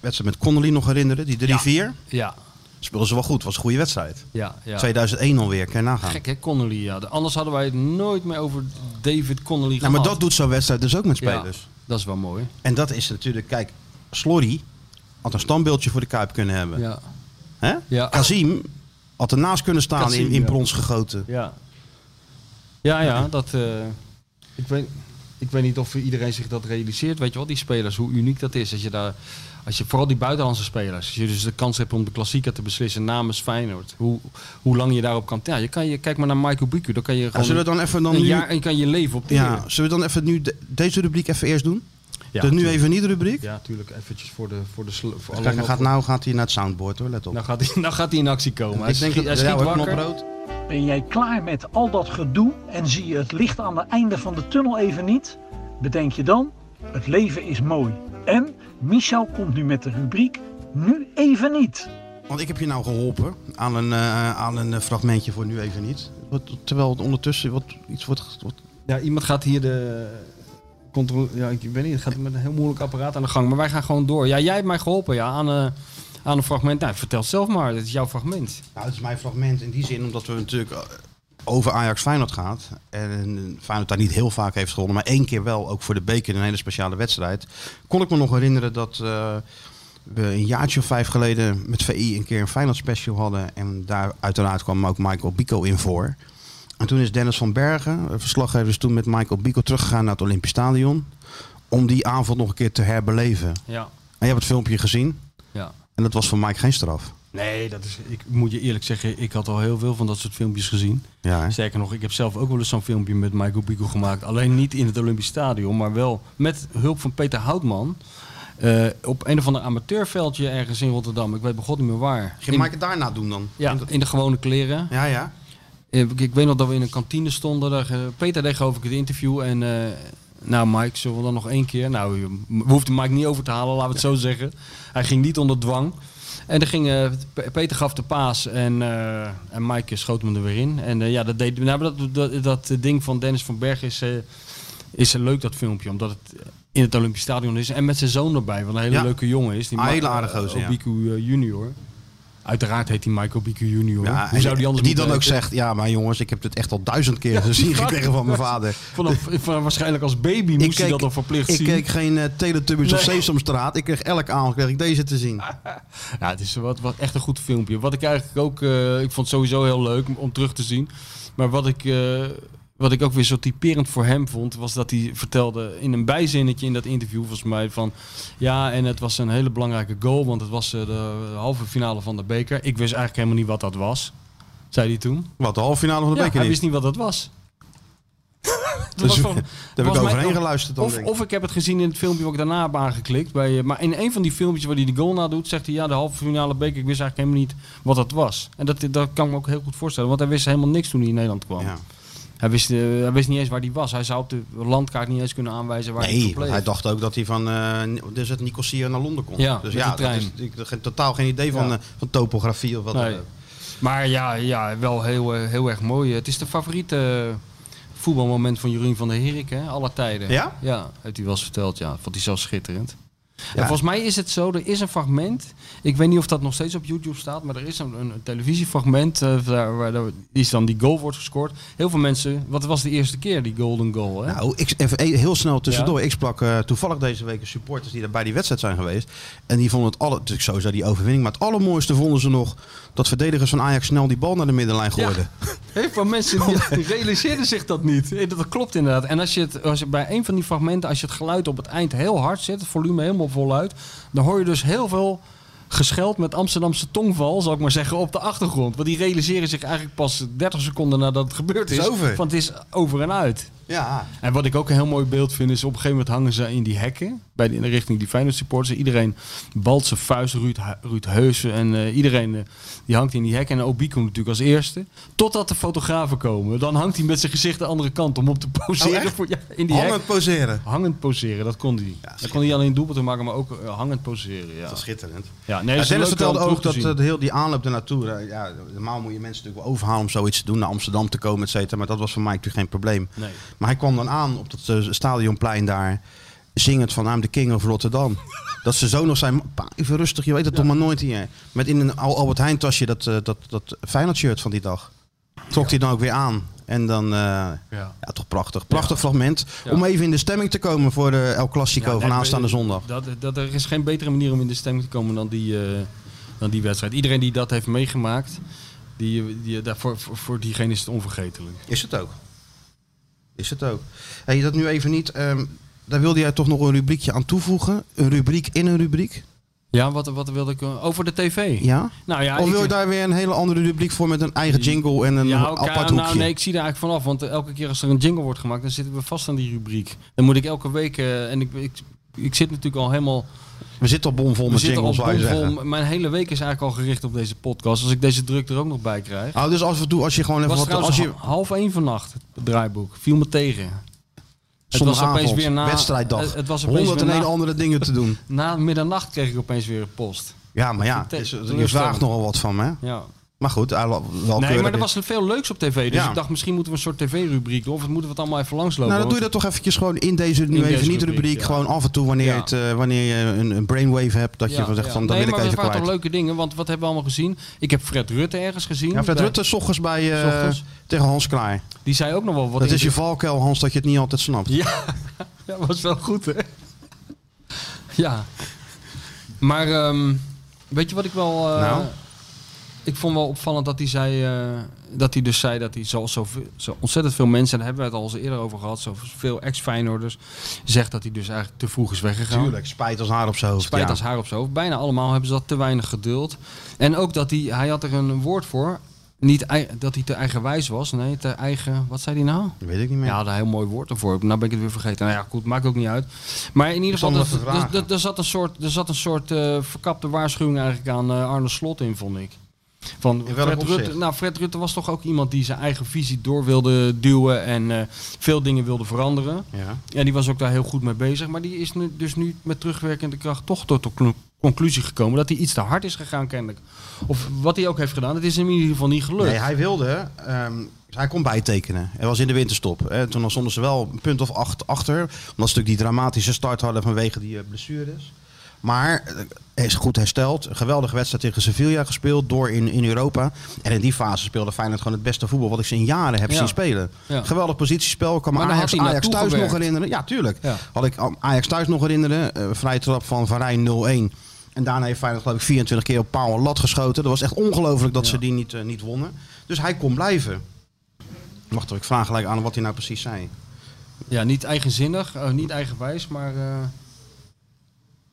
[SPEAKER 5] wedstrijd met Connolly nog herinneren. Die 3-4.
[SPEAKER 6] Ja,
[SPEAKER 5] Speelden ze wel goed. Was een goede wedstrijd.
[SPEAKER 6] ja, ja.
[SPEAKER 5] 2001 alweer. Kan je nagaan.
[SPEAKER 6] Gek hè, Connolly. Ja. De- Anders hadden wij het nooit meer over David Connolly
[SPEAKER 5] nou,
[SPEAKER 6] gehad.
[SPEAKER 5] maar dat doet zo'n wedstrijd dus ook met
[SPEAKER 6] Ja,
[SPEAKER 5] spelers.
[SPEAKER 6] dat is wel mooi.
[SPEAKER 5] En dat is natuurlijk... Kijk, Slorry had een standbeeldje voor de Kuip kunnen hebben.
[SPEAKER 6] Ja.
[SPEAKER 5] Hè?
[SPEAKER 6] Ja.
[SPEAKER 5] Kazim had ernaast kunnen staan
[SPEAKER 6] Kazim,
[SPEAKER 5] in, in
[SPEAKER 6] ja.
[SPEAKER 5] brons gegoten.
[SPEAKER 6] Ja, ja, ja dat... eh, ik, weet, ik weet niet of iedereen zich dat realiseert. Weet je wel, die spelers, hoe uniek dat is. Als je daar, als je, vooral die buitenlandse spelers. Als je dus de kans hebt om de klassieker te beslissen namens Feyenoord. Hoe, hoe lang je daarop kan... Ja, je kan je, kijk maar naar Michael Buku. Dan kan je
[SPEAKER 5] Ja,
[SPEAKER 6] gewoon
[SPEAKER 5] zullen we dan even dan
[SPEAKER 6] een
[SPEAKER 5] nu-
[SPEAKER 6] jaar en je kan je leven op
[SPEAKER 5] Ja, zullen we dan even nu de- deze rubriek even eerst doen?
[SPEAKER 6] Ja,
[SPEAKER 5] dus nu
[SPEAKER 6] tuurlijk.
[SPEAKER 5] even niet de rubriek.
[SPEAKER 6] Ja, tuurlijk. Eventjes voor de... Voor de sl- voor alleen
[SPEAKER 5] Kijk, hij
[SPEAKER 6] al
[SPEAKER 5] gaat,
[SPEAKER 6] voor-
[SPEAKER 5] nou gaat hij naar het soundboard hoor, let op.
[SPEAKER 6] Nou gaat hij, nou gaat hij in actie komen. Hij schiet, hij
[SPEAKER 5] ja,
[SPEAKER 6] schiet
[SPEAKER 5] hoor,
[SPEAKER 6] wakker.
[SPEAKER 5] knoprood.
[SPEAKER 8] Ben jij klaar met al dat gedoe en zie je het licht aan het einde van de tunnel even niet? Bedenk je dan, het leven is mooi. En Michel komt nu met de rubriek Nu even niet.
[SPEAKER 5] Want ik heb je nou geholpen aan een, eh, aan een eh, fragmentje voor nu even niet. Wat- Terwijl het ondertussen wat, iets wordt... ge- wat-
[SPEAKER 6] Ja, iemand gaat hier de controle. Ja, ik weet niet. Het gaat met een heel moeilijk apparaat aan de gang. Maar wij gaan gewoon door. Ja, jij hebt mij geholpen ja, aan, eh, aan een fragment. Nou, vertel het zelf maar. Dit is jouw fragment.
[SPEAKER 5] Nou, het is mijn fragment in die zin omdat we natuurlijk eh, over Ajax Feyenoord gaat. En eh, Feyenoord daar niet heel vaak heeft gewonnen, maar één keer wel, ook voor de beker, een hele speciale wedstrijd. Kon ik me nog herinneren dat eh, we een jaartje of vijf geleden met VI een keer een Feyenoord special hadden. En daar uiteraard kwam ook Michael Bico in voor. En toen is Dennis van Bergen, eh, verslaggever, is toen met Michael Biekel teruggegaan naar het Olympisch Stadion. Om die avond nog een keer te herbeleven. En
[SPEAKER 6] Ja.
[SPEAKER 5] je hebt het filmpje gezien.
[SPEAKER 6] ja.
[SPEAKER 5] En dat was voor Mike geen straf.
[SPEAKER 6] Nee, dat is, ik moet je eerlijk zeggen, ik had al heel veel van dat soort filmpjes gezien.
[SPEAKER 5] Ja, hè?
[SPEAKER 6] Sterker nog, ik heb zelf ook wel eens zo'n filmpje met Michael Bico gemaakt. Alleen niet in het Olympisch Stadion, maar wel met hulp van Peter Houtman. eh, op een of ander amateurveldje ergens in Rotterdam. Ik weet begot niet meer waar.
[SPEAKER 5] Ging
[SPEAKER 6] In-
[SPEAKER 5] Mike het daarna doen dan?
[SPEAKER 6] ja, in de gewone kleren.
[SPEAKER 5] Ja, ja.
[SPEAKER 6] Eh, Ik, ik weet nog dat we in een kantine stonden. Daar, eh, Peter deed geloof ik het interview. En eh, nou Mike, zullen we dan nog één keer? Nou, je- we hoefden Mike niet over te halen, laten we het zo zeggen. Hij ging niet onder dwang. En dan ging, eh, P- Peter gaf de paas en, eh, en Mike schoot hem er weer in. En eh, ja, dat, deed, nou, maar dat, dat, dat ding van Dennis van Berg is, eh, is een leuk dat filmpje. Omdat het in het Olympisch Stadion is. En met zijn zoon erbij, wat een hele
[SPEAKER 5] Ja.
[SPEAKER 6] leuke jongen is. Die
[SPEAKER 5] Ah,
[SPEAKER 6] Ma-
[SPEAKER 5] hele aardige gozer, ja.
[SPEAKER 6] Obiku eh, junior. Uiteraard heet hij Michael Obiku junior.
[SPEAKER 5] Ja,
[SPEAKER 6] Hoe zou die anders moeten
[SPEAKER 5] die dan ook
[SPEAKER 6] heten?
[SPEAKER 5] zegt, ja, maar jongens, ik heb dit echt al duizend keer gezien
[SPEAKER 6] Ja,
[SPEAKER 5] gekregen van mijn vader.
[SPEAKER 6] Vanaf, eh, van, waarschijnlijk als baby moest hij dat al verplicht
[SPEAKER 5] ik
[SPEAKER 6] zien.
[SPEAKER 5] keek geen eh, Teletubbies of
[SPEAKER 6] Nee.
[SPEAKER 5] Sesamstraat. Ik kreeg elk avond kreeg ik deze te zien.
[SPEAKER 6] Ja, het is wat, wat echt een goed filmpje. Wat ik eigenlijk ook... eh, ik vond het sowieso heel leuk om terug te zien. Maar wat ik, eh, wat ik ook weer zo typerend voor hem vond... was dat hij vertelde in een bijzinnetje in dat interview volgens mij... van ja, en het was een hele belangrijke goal... want het was eh, de halve finale van de beker. Ik wist eigenlijk helemaal niet wat dat was, zei hij toen.
[SPEAKER 5] Wat, de halve finale van de
[SPEAKER 6] Ja,
[SPEAKER 5] beker
[SPEAKER 6] hij
[SPEAKER 5] niet?
[SPEAKER 6] wist niet wat dat was. Dat
[SPEAKER 5] Dus,
[SPEAKER 6] was gewoon-
[SPEAKER 5] daar heb
[SPEAKER 6] was
[SPEAKER 5] ik
[SPEAKER 6] mij-
[SPEAKER 5] overheen geluisterd dan,
[SPEAKER 6] Of,
[SPEAKER 5] denk ik.
[SPEAKER 6] of ik heb het gezien in het filmpje wat ik daarna heb aangeklikt. Bij, eh, maar in een van die filmpjes waar hij de goal na doet, zegt hij ja, de halve finale beker, ik wist eigenlijk helemaal niet wat dat was. En dat, dat kan ik me ook heel goed voorstellen, want hij wist helemaal niks toen hij in Nederland kwam.
[SPEAKER 5] Ja.
[SPEAKER 6] Hij, wist, eh, hij wist niet eens waar hij was. Hij zou op de landkaart niet eens kunnen aanwijzen waar hij
[SPEAKER 5] Nee, want
[SPEAKER 6] gebleven
[SPEAKER 5] hij dacht ook dat hij van eh, dus het Nicosia naar Londen kon.
[SPEAKER 6] Ja,
[SPEAKER 5] dus
[SPEAKER 6] met
[SPEAKER 5] ja,
[SPEAKER 6] de trein.
[SPEAKER 5] dat is- ik heb geen- totaal geen idee van,
[SPEAKER 6] Ja.
[SPEAKER 5] eh, van topografie of wat
[SPEAKER 6] Nee.
[SPEAKER 5] dan ook.
[SPEAKER 6] Maar ja, ja wel heel, eh, heel erg mooi. Het is de favoriete eh, voetbalmoment van Jeroen van der Herik, hè? Alle tijden.
[SPEAKER 5] Ja?
[SPEAKER 6] Ja, heeft hij wel eens verteld. Ja, vond hij zelf schitterend. En
[SPEAKER 5] Ja.
[SPEAKER 6] volgens mij is het zo, er is een fragment. Ik weet niet of dat nog steeds op YouTube staat, maar er is een, een televisiefragment eh, daar, waar daar is dan die goal wordt gescoord. Heel veel mensen, wat was de eerste keer die golden goal? Hè?
[SPEAKER 5] Nou, ik, even e- heel snel tussendoor. Ik sprak eh, toevallig deze week supporters die er bij die wedstrijd zijn geweest. En die vonden het alle, natuurlijk sowieso die overwinning. Maar het allermooiste vonden ze nog dat verdedigers van Ajax snel die bal naar de middenlijn
[SPEAKER 6] Ja.
[SPEAKER 5] gooiden.
[SPEAKER 6] Heel veel mensen die realiseerden zich dat niet. Eh, Dat dat klopt inderdaad. En als je, het, als je bij een van die fragmenten, als je het geluid op het eind heel hard zet, het volume helemaal voluit, dan hoor je dus heel veel gescheld met Amsterdamse tongval, zal ik maar zeggen, op de achtergrond. Want die realiseren zich eigenlijk pas 30 seconden nadat het gebeurd is.
[SPEAKER 5] Het is over.
[SPEAKER 6] Want het is over en uit.
[SPEAKER 5] Ja,
[SPEAKER 6] En wat ik ook een heel mooi beeld vind, is op een gegeven moment hangen ze in die hekken. Bij de, in de richting die Feyenoord supporters. Iedereen balt zijn vuist, Ruud, Hu- Ruud Heusen. En eh, iedereen eh, die hangt in die hekken. En Obi komt natuurlijk als eerste. Totdat de fotografen komen. Dan hangt hij met zijn gezicht de andere kant om op te poseren.
[SPEAKER 5] Oh, echt?
[SPEAKER 6] voor, ja, in die hek.
[SPEAKER 5] hangend poseren.
[SPEAKER 6] Hangend poseren, dat kon hij. dat kon hij alleen doelpunten maken, maar ook eh, hangend poseren. Ja,
[SPEAKER 5] Dat is schitterend.
[SPEAKER 6] ja nee,
[SPEAKER 5] Ja,
[SPEAKER 6] is
[SPEAKER 5] Dennis
[SPEAKER 6] leuk om
[SPEAKER 5] vertelde
[SPEAKER 6] terug
[SPEAKER 5] ook
[SPEAKER 6] te
[SPEAKER 5] dat
[SPEAKER 6] zien.
[SPEAKER 5] eh, heel die aanloop ernaartoe. eh, Ja, normaal moet je mensen natuurlijk wel overhalen om zoiets te doen, naar Amsterdam te komen, et cetera. Maar dat was voor Mike natuurlijk geen probleem.
[SPEAKER 6] Nee.
[SPEAKER 5] Maar hij kwam dan aan op dat eh, stadionplein daar, zingend van I'm the King of Rotterdam. dat ze zo nog zijn, pa, even rustig, je weet het toch maar nooit hier. Met in een Al- Albert Heijn tasje dat, eh, dat, dat Feyenoord shirt van die dag. Trok hij dan ook weer aan. En dan, eh, ja. toch prachtig. Prachtig fragment.
[SPEAKER 6] Ja.
[SPEAKER 5] Om even in de stemming te komen voor de El Clasico
[SPEAKER 6] Ja,
[SPEAKER 5] van
[SPEAKER 6] nee,
[SPEAKER 5] aanstaande
[SPEAKER 6] maar,
[SPEAKER 5] zondag.
[SPEAKER 6] Dat, dat, er is geen betere manier om in de stemming te komen dan die, eh, dan die wedstrijd. Iedereen die dat heeft meegemaakt, die, die, daarvoor, voor, voor diegene is het onvergetelijk.
[SPEAKER 5] Is het ook. Is het ook. Hey, dat nu even niet. ehm, daar wilde jij toch nog een rubriekje aan toevoegen? Een rubriek in een rubriek?
[SPEAKER 6] Ja, wat, wat wilde ik... eh, Over de tv?
[SPEAKER 5] Ja?
[SPEAKER 6] Nou ja,
[SPEAKER 5] of
[SPEAKER 6] ik-
[SPEAKER 5] wil je daar weer een hele andere rubriek voor met een eigen jingle en een
[SPEAKER 6] ja, oké,
[SPEAKER 5] apart
[SPEAKER 6] nou,
[SPEAKER 5] hoekje?
[SPEAKER 6] nee, ik zie daar eigenlijk vanaf. Want eh, elke keer als er een jingle wordt gemaakt, dan zitten we vast aan die rubriek. Dan moet ik elke week... eh, en ik, ik, ik zit natuurlijk al helemaal...
[SPEAKER 5] We zitten al bomvol met
[SPEAKER 6] zitten al
[SPEAKER 5] jingles, zou je
[SPEAKER 6] bomvol.
[SPEAKER 5] zeggen.
[SPEAKER 6] Mijn hele week is eigenlijk al gericht op deze podcast. Als ik deze druk er ook nog bij krijg...
[SPEAKER 5] Oh, dus als, we doen, als je gewoon even
[SPEAKER 6] was
[SPEAKER 5] wat... Als
[SPEAKER 6] trouwens
[SPEAKER 5] je
[SPEAKER 6] ha- half één vannacht, het draaiboek. Viel me tegen. Het was opeens
[SPEAKER 5] zondagavond,
[SPEAKER 6] weer na...
[SPEAKER 5] wedstrijddag,
[SPEAKER 6] Het, het was opeens
[SPEAKER 5] 101
[SPEAKER 6] weer na,
[SPEAKER 5] andere dingen te doen.
[SPEAKER 6] na middernacht kreeg ik opeens weer een post.
[SPEAKER 5] Ja, maar ja,
[SPEAKER 6] te-
[SPEAKER 5] dus je
[SPEAKER 6] teleurstellend.
[SPEAKER 5] vraagt nogal wat van me. hè?
[SPEAKER 6] Ja.
[SPEAKER 5] Maar goed, hij wel
[SPEAKER 6] Nee,
[SPEAKER 5] keurig
[SPEAKER 6] maar er
[SPEAKER 5] is.
[SPEAKER 6] was veel leuks op tv. Dus
[SPEAKER 5] Ja.
[SPEAKER 6] ik dacht, misschien moeten we een soort tv-rubriek doen. Of moeten we het allemaal even langslopen.
[SPEAKER 5] Nou, dan doe je
[SPEAKER 6] want-
[SPEAKER 5] dat toch eventjes gewoon in deze nu
[SPEAKER 6] In
[SPEAKER 5] even
[SPEAKER 6] deze
[SPEAKER 5] niet rubriek.
[SPEAKER 6] rubriek, ja.
[SPEAKER 5] Gewoon af en toe wanneer,
[SPEAKER 6] Ja.
[SPEAKER 5] het, eh, wanneer je een, een brainwave hebt. Dat je
[SPEAKER 6] Ja,
[SPEAKER 5] van zegt
[SPEAKER 6] ja.
[SPEAKER 5] van, dat
[SPEAKER 6] nee,
[SPEAKER 5] wil ik
[SPEAKER 6] maar
[SPEAKER 5] even
[SPEAKER 6] we waren
[SPEAKER 5] kwijt.
[SPEAKER 6] toch leuke dingen. Want wat hebben we allemaal gezien? Ik heb Fred Rutte ergens gezien.
[SPEAKER 5] Ja, Fred
[SPEAKER 6] Bij-
[SPEAKER 5] Rutte, s ochtends bij, eh,
[SPEAKER 6] S ochtends.
[SPEAKER 5] tegen Hans Klaar.
[SPEAKER 6] Die zei ook nog wel wat.
[SPEAKER 5] Dat is
[SPEAKER 6] indruk-
[SPEAKER 5] je valkuil, Hans, dat je het niet altijd snapt.
[SPEAKER 6] Ja, dat was wel goed, hè? Ja. Maar ehm, weet je wat ik wel... eh,
[SPEAKER 5] Nou?
[SPEAKER 6] ik vond wel opvallend dat hij zei eh, dat hij dus zei dat hij zoals zo, zo ontzettend veel mensen, en daar hebben we het al eens eerder over gehad, zoveel ex-Feyenoorders, zegt dat hij dus eigenlijk te vroeg is weggegaan.
[SPEAKER 5] Tuurlijk, spijt als haar op zijn hoofd.
[SPEAKER 6] Spijt
[SPEAKER 5] ja.
[SPEAKER 6] als haar op zijn hoofd. Bijna allemaal hebben ze dat te weinig geduld. En ook dat hij, hij had er een woord voor. Niet ei- dat hij te eigenwijs was. Nee, te eigen. Wat zei hij nou?
[SPEAKER 5] Dat weet ik niet meer.
[SPEAKER 6] Ja, daar een heel mooi woord ervoor. Nou ben ik het weer vergeten. Nou ja, goed, maakt ook niet uit. Maar in ieder geval,
[SPEAKER 5] Zonder
[SPEAKER 6] dat-
[SPEAKER 5] te vragen.
[SPEAKER 6] dat- dat- er zat een soort, er zat een soort eh, verkapte waarschuwing eigenlijk aan eh, Arne Slot in, vond ik. Van
[SPEAKER 5] In welk
[SPEAKER 6] Fred
[SPEAKER 5] opzicht?
[SPEAKER 6] Rutte, nou, Fred Rutte was toch ook iemand die zijn eigen visie door wilde duwen en eh, veel dingen wilde veranderen.
[SPEAKER 5] Ja.
[SPEAKER 6] Ja, die was ook daar heel goed mee bezig. Maar die is nu, dus nu met terugwerkende kracht toch tot de clu- conclusie gekomen dat hij iets te hard is gegaan, kennelijk. Of wat hij ook heeft gedaan, het is hem in ieder geval niet gelukt.
[SPEAKER 5] Nee, hij wilde. ehm, hij kon bijtekenen. Hij was in de winterstop. Hè. Toen stonden ze wel een punt of acht achter. Omdat ze natuurlijk die dramatische start hadden vanwege die eh, blessures. Maar eh, hij is goed hersteld. Een geweldige wedstrijd tegen Sevilla gespeeld. Door in, in Europa. En in die fase speelde Feyenoord gewoon het beste voetbal. Wat ik ze in jaren heb
[SPEAKER 6] Ja.
[SPEAKER 5] zien spelen.
[SPEAKER 6] Ja.
[SPEAKER 5] Geweldig positiespel. Ik kan me
[SPEAKER 6] Maar daar
[SPEAKER 5] Ajax,
[SPEAKER 6] had hij
[SPEAKER 5] Ajax
[SPEAKER 6] naartoe
[SPEAKER 5] thuis nog
[SPEAKER 6] gewerkt.
[SPEAKER 5] herinneren. Ja, tuurlijk.
[SPEAKER 6] Ja.
[SPEAKER 5] Had ik um, Ajax thuis nog herinneren. eh vrije trap van Van Rijn 0-1. En daarna heeft Feyenoord geloof ik 24 keer op paal en lat geschoten. Dat was echt ongelooflijk dat ze die niet, eh, niet wonnen. Dus hij kon blijven. Wacht, ik vraag gelijk aan wat hij nou precies zei.
[SPEAKER 6] Ja, niet eigenzinnig, eh, niet eigenwijs, maar. eh,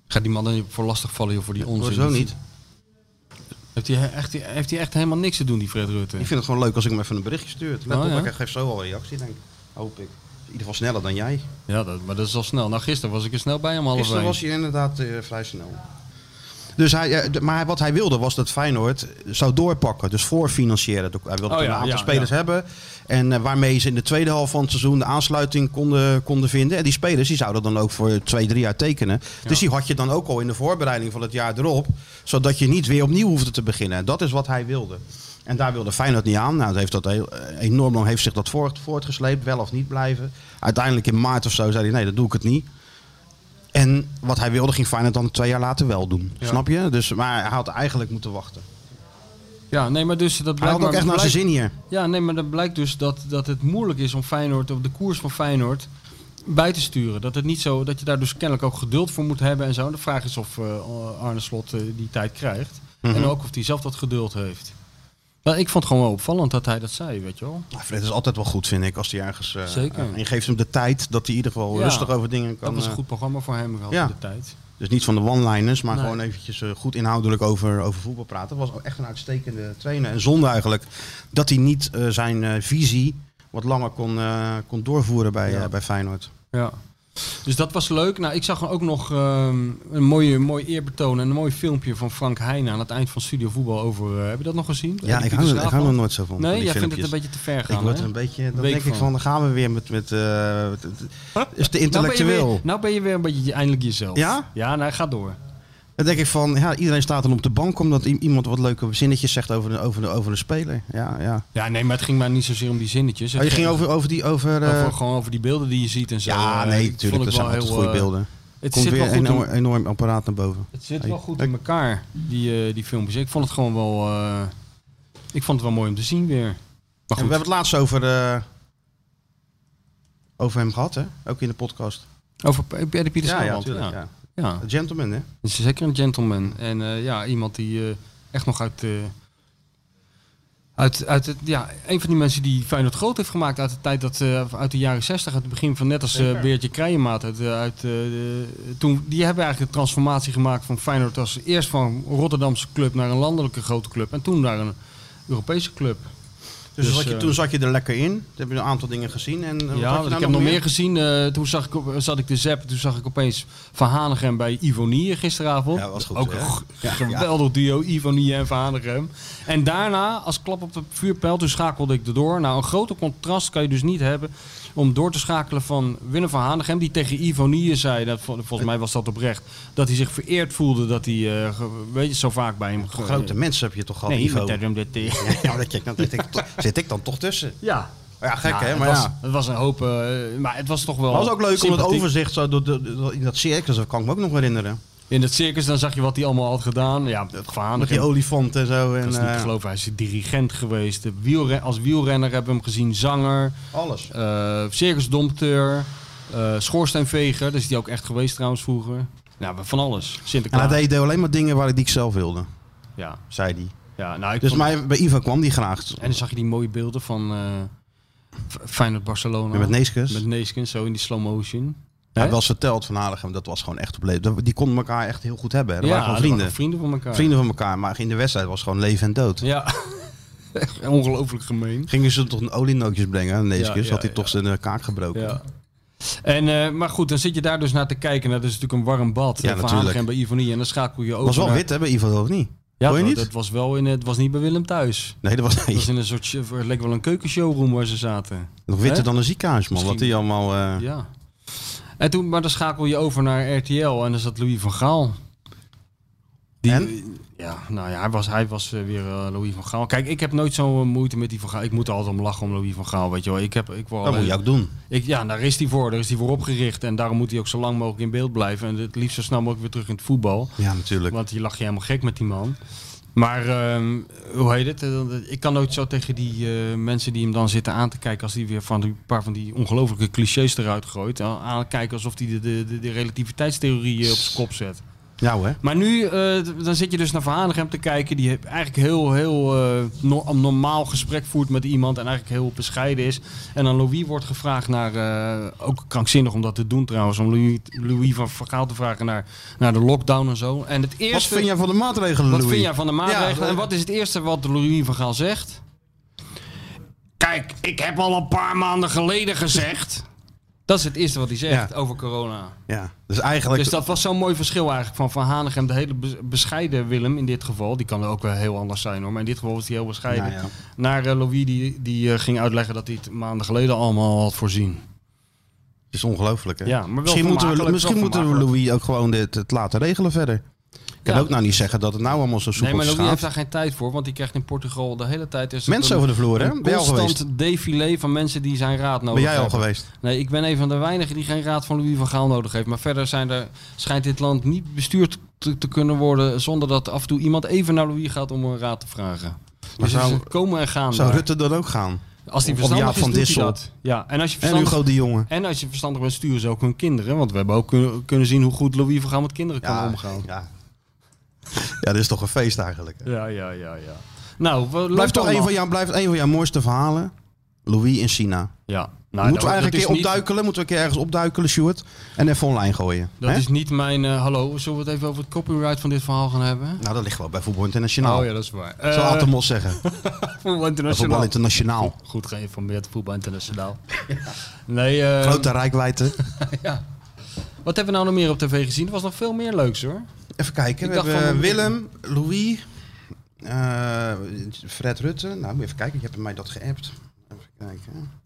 [SPEAKER 6] Gaat die man dan niet voor lastig vallen joh, voor die onzin?
[SPEAKER 5] Hoezo niet?
[SPEAKER 6] Heeft hij, he- echt, heeft hij echt helemaal niks te doen, die Fred Rutte?
[SPEAKER 5] Ik vind het gewoon leuk als ik hem even een berichtje stuur. Let
[SPEAKER 6] Oh,
[SPEAKER 5] op,
[SPEAKER 6] ja.
[SPEAKER 5] ik geef zo al een reactie, denk ik. Hoop ik. In ieder geval sneller dan jij.
[SPEAKER 6] Ja, dat, maar dat is al snel. Nou, gisteren was ik er snel bij om half
[SPEAKER 5] Gisteren
[SPEAKER 6] één.
[SPEAKER 5] was hij inderdaad eh, vrij snel. Dus hij, eh, d- maar hij- wat hij wilde was dat Feyenoord zou doorpakken. Dus voorfinancieren. Hij wilde
[SPEAKER 6] Oh ja,
[SPEAKER 5] een aantal
[SPEAKER 6] ja,
[SPEAKER 5] spelers
[SPEAKER 6] ja.
[SPEAKER 5] hebben. En eh, waarmee ze in de tweede helft van het seizoen de aansluiting konden, konden vinden. En die spelers die zouden dan ook voor twee, drie jaar tekenen. Dus die had je dan ook al in de voorbereiding van het jaar erop. Zodat je niet weer opnieuw hoefde te beginnen. En Dat is wat hij wilde. En daar wilde Feyenoord niet aan. Nou, dat heeft dat heel, eh, enorm lang heeft zich dat voort, voortgesleept. Wel of niet blijven. Uiteindelijk in maart of zo zei hij nee, dat doe ik het niet. En wat hij wilde ging Feyenoord dan twee jaar later wel doen. Snap je? Dus, maar hij had eigenlijk moeten wachten.
[SPEAKER 6] Ja, nee, maar dus dat
[SPEAKER 5] Hij
[SPEAKER 6] blijkt.
[SPEAKER 5] had ook echt naar zijn
[SPEAKER 6] blijkt-
[SPEAKER 5] zin hier.
[SPEAKER 6] Ja, nee, maar dat blijkt dus dat, dat het moeilijk is om Feyenoord, op de koers van Feyenoord, bij te sturen. Dat het niet zo, dat je daar dus kennelijk ook geduld voor moet hebben en zo. De vraag is of eh, Arne Slot eh, die tijd krijgt.
[SPEAKER 5] Mhm.
[SPEAKER 6] En ook of hij zelf dat geduld heeft. Maar ik vond het gewoon wel opvallend dat hij dat zei, weet je wel.
[SPEAKER 5] Maar Nou, Fred is altijd wel goed, vind ik, als hij ergens... eh,
[SPEAKER 6] Zeker.
[SPEAKER 5] eh, en je geeft hem de tijd dat hij in ieder geval
[SPEAKER 6] Ja.
[SPEAKER 5] rustig over dingen kan...
[SPEAKER 6] Dat was een
[SPEAKER 5] eh,
[SPEAKER 6] goed programma voor hem, had
[SPEAKER 5] Ja.
[SPEAKER 6] in de tijd.
[SPEAKER 5] Dus niet van de one-liners, maar
[SPEAKER 6] Nee.
[SPEAKER 5] gewoon eventjes eh, goed inhoudelijk over, over voetbal praten. Dat was echt een uitstekende trainer. En zonde eigenlijk dat hij niet eh, zijn eh, visie wat langer kon, eh, kon doorvoeren bij,
[SPEAKER 6] Ja.
[SPEAKER 5] eh, bij Feyenoord.
[SPEAKER 6] Ja. Dus dat was leuk. Nou, ik zag ook nog ehm, een mooie, mooi eerbetoon en een mooi filmpje van Frank Heijnen aan het eind van Studio Voetbal over... eh, heb je dat nog gezien?
[SPEAKER 5] Ja,
[SPEAKER 6] Die
[SPEAKER 5] ik
[SPEAKER 6] Pieter
[SPEAKER 5] hou, er- ik
[SPEAKER 6] Slaap
[SPEAKER 5] hou er
[SPEAKER 6] van?
[SPEAKER 5] nooit zo van. van
[SPEAKER 6] Nee,
[SPEAKER 5] die
[SPEAKER 6] jij vindt het
[SPEAKER 5] filmpjes.
[SPEAKER 6] een beetje te ver gaan,
[SPEAKER 5] Ik word
[SPEAKER 6] hè?
[SPEAKER 5] er een beetje, dan
[SPEAKER 6] Week
[SPEAKER 5] denk ik
[SPEAKER 6] van.
[SPEAKER 5] van, dan gaan we weer met, met eh, het- het- het is te intellectueel.
[SPEAKER 6] Nou ben, je weer, nou ben je weer een beetje je- eindelijk jezelf.
[SPEAKER 5] Ja?
[SPEAKER 6] Ja, nou ga door.
[SPEAKER 5] Dan denk ik van, ja, iedereen staat dan op de bank omdat i- iemand wat leuke zinnetjes zegt over de, over de, over de speler. Ja, ja.
[SPEAKER 6] Ja, nee, maar het ging mij niet zozeer om die zinnetjes. Het
[SPEAKER 5] Oh, je ging over, over die, over... eh,
[SPEAKER 6] over- gewoon over die beelden die je ziet en zo.
[SPEAKER 5] ja,
[SPEAKER 6] Eh,
[SPEAKER 5] nee,
[SPEAKER 6] die vond
[SPEAKER 5] natuurlijk,
[SPEAKER 6] ik
[SPEAKER 5] dat zijn
[SPEAKER 6] wel
[SPEAKER 5] altijd
[SPEAKER 6] heel,
[SPEAKER 5] goede
[SPEAKER 6] eh,
[SPEAKER 5] beelden.
[SPEAKER 6] Het
[SPEAKER 5] Komt
[SPEAKER 6] zit
[SPEAKER 5] weer
[SPEAKER 6] wel
[SPEAKER 5] een
[SPEAKER 6] goed
[SPEAKER 5] enorm,
[SPEAKER 6] in,
[SPEAKER 5] enorm apparaat naar boven.
[SPEAKER 6] het zit wel goed in elkaar, die, eh, die filmpjes. Ik vond het gewoon wel... eh, ik vond het wel mooi om te zien weer.
[SPEAKER 5] En
[SPEAKER 6] Maar
[SPEAKER 5] we hebben
[SPEAKER 6] goed,
[SPEAKER 5] het laatst over, eh, over hem gehad, hè? Ook in de podcast.
[SPEAKER 6] over P- Pieter Pieter ja, ja.
[SPEAKER 5] tuurlijk, ja.
[SPEAKER 6] ja.
[SPEAKER 5] Een Gentleman, hè?
[SPEAKER 6] Het is zeker een gentleman. En eh, ja, iemand die eh, echt nog uit, eh, uit, uit het, ja, een van die mensen die Feyenoord groot heeft gemaakt uit de tijd dat, eh, uit de jaren 60, uit het begin van net als eh Beertje Krijemaat. Uit, eh, uit, eh, de- toen, die hebben eigenlijk de transformatie gemaakt van Feyenoord als eerst van Rotterdamse club naar een landelijke grote club en toen naar een Europese club.
[SPEAKER 5] Dus,
[SPEAKER 6] Dus,
[SPEAKER 5] zat je,
[SPEAKER 6] eh,
[SPEAKER 5] toen zat je er lekker in. Toen heb je een aantal dingen gezien. En, eh, wat had
[SPEAKER 6] Ja,
[SPEAKER 5] je nou
[SPEAKER 6] ik heb nog meer gezien. eh, toen zag ik, op- zat ik de zap, toen zag ik opeens Van Hanegem bij Ivonier gisteravond.
[SPEAKER 5] Ja, dat was goed,
[SPEAKER 6] Ook
[SPEAKER 5] hè?
[SPEAKER 6] een g- geweldig duo, Ivonier en Van Hanegem. En daarna, als klap op de vuurpijl, toen schakelde ik erdoor. Nou, een grote contrast kan je dus niet hebben om door te schakelen van Willem van Hanegem, die tegen Ivonier zei, dat, vol- volgens mij was dat oprecht, dat hij zich vereerd voelde dat hij, eh, ge- weet je, zo vaak bij hem... ge-
[SPEAKER 5] Grote mensen heb je toch gehad,
[SPEAKER 6] Nee,
[SPEAKER 5] Ivo?
[SPEAKER 6] met hem dat hij-
[SPEAKER 5] Ja, maar dat denk ik, dat denk ik, toch- zit ik dan toch tussen. Oh
[SPEAKER 6] Ja.
[SPEAKER 5] Ja, gek hè,
[SPEAKER 6] Nou, het
[SPEAKER 5] maar
[SPEAKER 6] was,
[SPEAKER 5] ja.
[SPEAKER 6] Het was een hoop... eh, maar het was toch wel...
[SPEAKER 5] Het was ook leuk om
[SPEAKER 6] sympathiek.
[SPEAKER 5] het overzicht zo door, door- door- in dat circus, dat kan ik me ook nog herinneren.
[SPEAKER 6] In het circus, dan zag je wat hij allemaal had gedaan. Ja, het verhaal.
[SPEAKER 5] Met die
[SPEAKER 6] Dat
[SPEAKER 5] olifant en zo. En,
[SPEAKER 6] is niet te
[SPEAKER 5] eh,
[SPEAKER 6] geloven. Hij is dirigent geweest. De wielren- als wielrenner hebben we hem gezien. Zanger,
[SPEAKER 5] alles.
[SPEAKER 6] eh circusdompteur, eh schoorsteenveger. Dat is die ook echt geweest trouwens vroeger. Nou, van alles.
[SPEAKER 5] En
[SPEAKER 6] Sinterklaas.
[SPEAKER 5] hij deed alleen maar dingen waar ik die ik zelf wilde,
[SPEAKER 6] Ja.
[SPEAKER 5] zei hij.
[SPEAKER 6] Ja, nou, ik
[SPEAKER 5] Dus
[SPEAKER 6] vond-
[SPEAKER 5] maar bij Ivan kwam die graag.
[SPEAKER 6] En dan zag je die mooie beelden van eh, F- Feyenoord-Barcelona.
[SPEAKER 5] Met Neeskens.
[SPEAKER 6] Met Neeskens, zo in die slow motion.
[SPEAKER 5] Hij
[SPEAKER 6] Hè?
[SPEAKER 5] had wel eens verteld van Halegem, dat was gewoon echt op leven. Dat- Die konden elkaar echt heel goed hebben. hè. Dat
[SPEAKER 6] Ja,
[SPEAKER 5] waren gewoon
[SPEAKER 6] die
[SPEAKER 5] vrienden.
[SPEAKER 6] waren vrienden van elkaar.
[SPEAKER 5] Vrienden van elkaar, maar in de wedstrijd was gewoon leven en dood.
[SPEAKER 6] Ja. Echt Ongelooflijk gemeen.
[SPEAKER 5] Gingen ze toch een olienootjes brengen aan deze
[SPEAKER 6] Ja,
[SPEAKER 5] keer?
[SPEAKER 6] ja,
[SPEAKER 5] had hij toch
[SPEAKER 6] ja.
[SPEAKER 5] zijn eh, kaak gebroken.
[SPEAKER 6] Ja. En, eh, maar goed, dan zit je daar dus naar te kijken. Dat is natuurlijk een warm bad.
[SPEAKER 5] Ja,
[SPEAKER 6] eh, van
[SPEAKER 5] natuurlijk.
[SPEAKER 6] Hanegem bij Ivonie. En dan schakel je over.
[SPEAKER 5] was wel
[SPEAKER 6] naar-
[SPEAKER 5] wit hè, bij Ivo of niet?
[SPEAKER 6] Ja,
[SPEAKER 5] Vond je
[SPEAKER 6] dat,
[SPEAKER 5] niet?
[SPEAKER 6] dat was wel in, het was niet bij Willem thuis.
[SPEAKER 5] Nee, dat was
[SPEAKER 6] Het, was
[SPEAKER 5] niet.
[SPEAKER 6] in een soort, het leek wel een keukenshowroom waar ze zaten.
[SPEAKER 5] Nog witter
[SPEAKER 6] Hè?
[SPEAKER 5] dan een ziekenhuis, man. Wat
[SPEAKER 6] Misschien-
[SPEAKER 5] die allemaal... eh,
[SPEAKER 6] Ja. En toen, maar dan schakel je over naar RTL en dan zat Louis van Gaal. Die,
[SPEAKER 5] En?
[SPEAKER 6] Ja, nou ja, hij was, hij was eh, weer eh, Louis van Gaal. Kijk, ik heb nooit zo'n eh, moeite met die van Gaal. Ik moet er altijd om lachen om Louis van Gaal, weet je wel. Ik heb, ik word
[SPEAKER 5] Dat moet je ook doen.
[SPEAKER 6] ik, ja, daar is hij voor. Daar is hij voor opgericht. En daarom moet hij ook zo lang mogelijk in beeld blijven. En het liefst zo snel mogelijk weer terug in het voetbal.
[SPEAKER 5] Ja, natuurlijk.
[SPEAKER 6] Want hier lag je helemaal gek met die man. Maar ehm, hoe heet het? Eh, Ik kan nooit zo tegen die eh, mensen die hem dan zitten aan te kijken. als die weer van die- een paar van die ongelofelijke clichés eruit gooit. Aan- Aankijken alsof hij de, de, de, de relativiteitstheorie eh, op zijn kop zet.
[SPEAKER 5] Ja hoor.
[SPEAKER 6] Maar nu, eh, d- dan zit je dus naar Van Hanegem te kijken. Die eigenlijk heel, heel eh, no- een normaal gesprek voert met iemand. En eigenlijk heel bescheiden is. En dan Louis wordt gevraagd naar, eh, ook krankzinnig om dat te doen trouwens. Om Louis, Louis van Gaal te vragen naar, naar de lockdown en zo. En het eerste,
[SPEAKER 5] Wat vind jij van de maatregelen,
[SPEAKER 6] wat
[SPEAKER 5] Louis?
[SPEAKER 6] vind jij van de maatregelen?
[SPEAKER 5] Ja,
[SPEAKER 6] en wat is het eerste wat Louis van Gaal zegt? Kijk, ik heb al een paar maanden geleden gezegd. Dat is het eerste wat hij zegt
[SPEAKER 5] Ja.
[SPEAKER 6] over corona.
[SPEAKER 5] Ja, dus eigenlijk...
[SPEAKER 6] Dus dat was zo'n mooi verschil eigenlijk van Van Hanegem, de hele bes- bescheiden Willem in dit geval. Die kan er ook wel heel anders zijn hoor, maar in dit geval was hij heel bescheiden.
[SPEAKER 5] Nou ja.
[SPEAKER 6] Naar eh, Louis die, die eh, ging uitleggen dat hij het maanden geleden allemaal had voorzien.
[SPEAKER 5] Het is ongelooflijk, hè?
[SPEAKER 6] Ja, maar wel
[SPEAKER 5] misschien moeten we,
[SPEAKER 6] vermakelijk,
[SPEAKER 5] misschien
[SPEAKER 6] wel
[SPEAKER 5] moeten we
[SPEAKER 6] vermakelijk.
[SPEAKER 5] Louis ook gewoon dit, het laten regelen verder. Ik kan
[SPEAKER 6] Ja.
[SPEAKER 5] ook nou niet zeggen dat het nou allemaal zo
[SPEAKER 6] Nee,
[SPEAKER 5] soepel
[SPEAKER 6] maar
[SPEAKER 5] nee,
[SPEAKER 6] Louis
[SPEAKER 5] gaat.
[SPEAKER 6] heeft daar geen tijd voor, want die krijgt in Portugal de hele tijd... Is het
[SPEAKER 5] Mensen
[SPEAKER 6] een-
[SPEAKER 5] over de vloer, hè?
[SPEAKER 6] Een
[SPEAKER 5] Ben je al
[SPEAKER 6] constant défilé van mensen die zijn raad nodig
[SPEAKER 5] Ben jij al
[SPEAKER 6] hebben.
[SPEAKER 5] geweest?
[SPEAKER 6] Nee, ik ben een van de weinigen die geen raad van Louis van Gaal nodig heeft. Maar verder zijn er, schijnt dit land niet bestuurd te, te kunnen worden... zonder dat af en toe iemand even naar Louis gaat om een raad te vragen. Dus
[SPEAKER 5] zou-
[SPEAKER 6] het is een komen en gaan
[SPEAKER 5] Zou
[SPEAKER 6] daar.
[SPEAKER 5] Rutte dan ook gaan?
[SPEAKER 6] Als hij
[SPEAKER 5] Of
[SPEAKER 6] verstandig
[SPEAKER 5] Jaap
[SPEAKER 6] is,
[SPEAKER 5] van
[SPEAKER 6] doet
[SPEAKER 5] Dissel.
[SPEAKER 6] hij dat. Ja, en als je
[SPEAKER 5] En
[SPEAKER 6] verstandig,
[SPEAKER 5] Hugo de Jonge?
[SPEAKER 6] en als je verstandig bent, sturen ze ook hun kinderen. Want we hebben ook kunnen, kunnen zien hoe goed Louis van Gaal met kinderen kan omgaan.
[SPEAKER 5] Ja. ja, dit is toch een feest eigenlijk. hè?
[SPEAKER 6] Ja, ja, ja, ja. Nou, we-
[SPEAKER 5] Blijft
[SPEAKER 6] loopt
[SPEAKER 5] toch een
[SPEAKER 6] allemaal.
[SPEAKER 5] van, jouw, blijft een van jouw mooiste verhalen? Louis in China.
[SPEAKER 6] Ja. Nou, dat-
[SPEAKER 5] moeten we
[SPEAKER 6] dat
[SPEAKER 5] eigenlijk
[SPEAKER 6] is
[SPEAKER 5] een keer
[SPEAKER 6] niet-
[SPEAKER 5] opduikelen? Moeten we een keer ergens opduikelen, Stuart? En even online gooien.
[SPEAKER 6] Dat
[SPEAKER 5] hè?
[SPEAKER 6] is niet mijn... eh, hallo, zullen we het even over het copyright van dit verhaal gaan hebben?
[SPEAKER 5] Nou, dat ligt wel bij Voetbal Internationaal.
[SPEAKER 6] Oh ja, dat is waar.
[SPEAKER 5] Zou
[SPEAKER 6] Eh,
[SPEAKER 5] Atemos zeggen. Bij
[SPEAKER 6] Voetbal
[SPEAKER 5] Voetbal
[SPEAKER 6] Internationaal.
[SPEAKER 5] Internationaal.
[SPEAKER 6] Goed geïnformeerd, Voetbal Internationaal. Nee, eh,
[SPEAKER 5] Grote rijkwijde.
[SPEAKER 6] wat hebben we nou nog meer op tv gezien? Er was nog veel meer leuks hoor.
[SPEAKER 5] Even kijken.
[SPEAKER 6] Ik
[SPEAKER 5] We
[SPEAKER 6] dacht
[SPEAKER 5] hebben eh,
[SPEAKER 6] van-
[SPEAKER 5] Willem, Louis, eh, Fred Rutte. Nou, moet je even kijken. Je hebt mij dat geappt. Even kijken.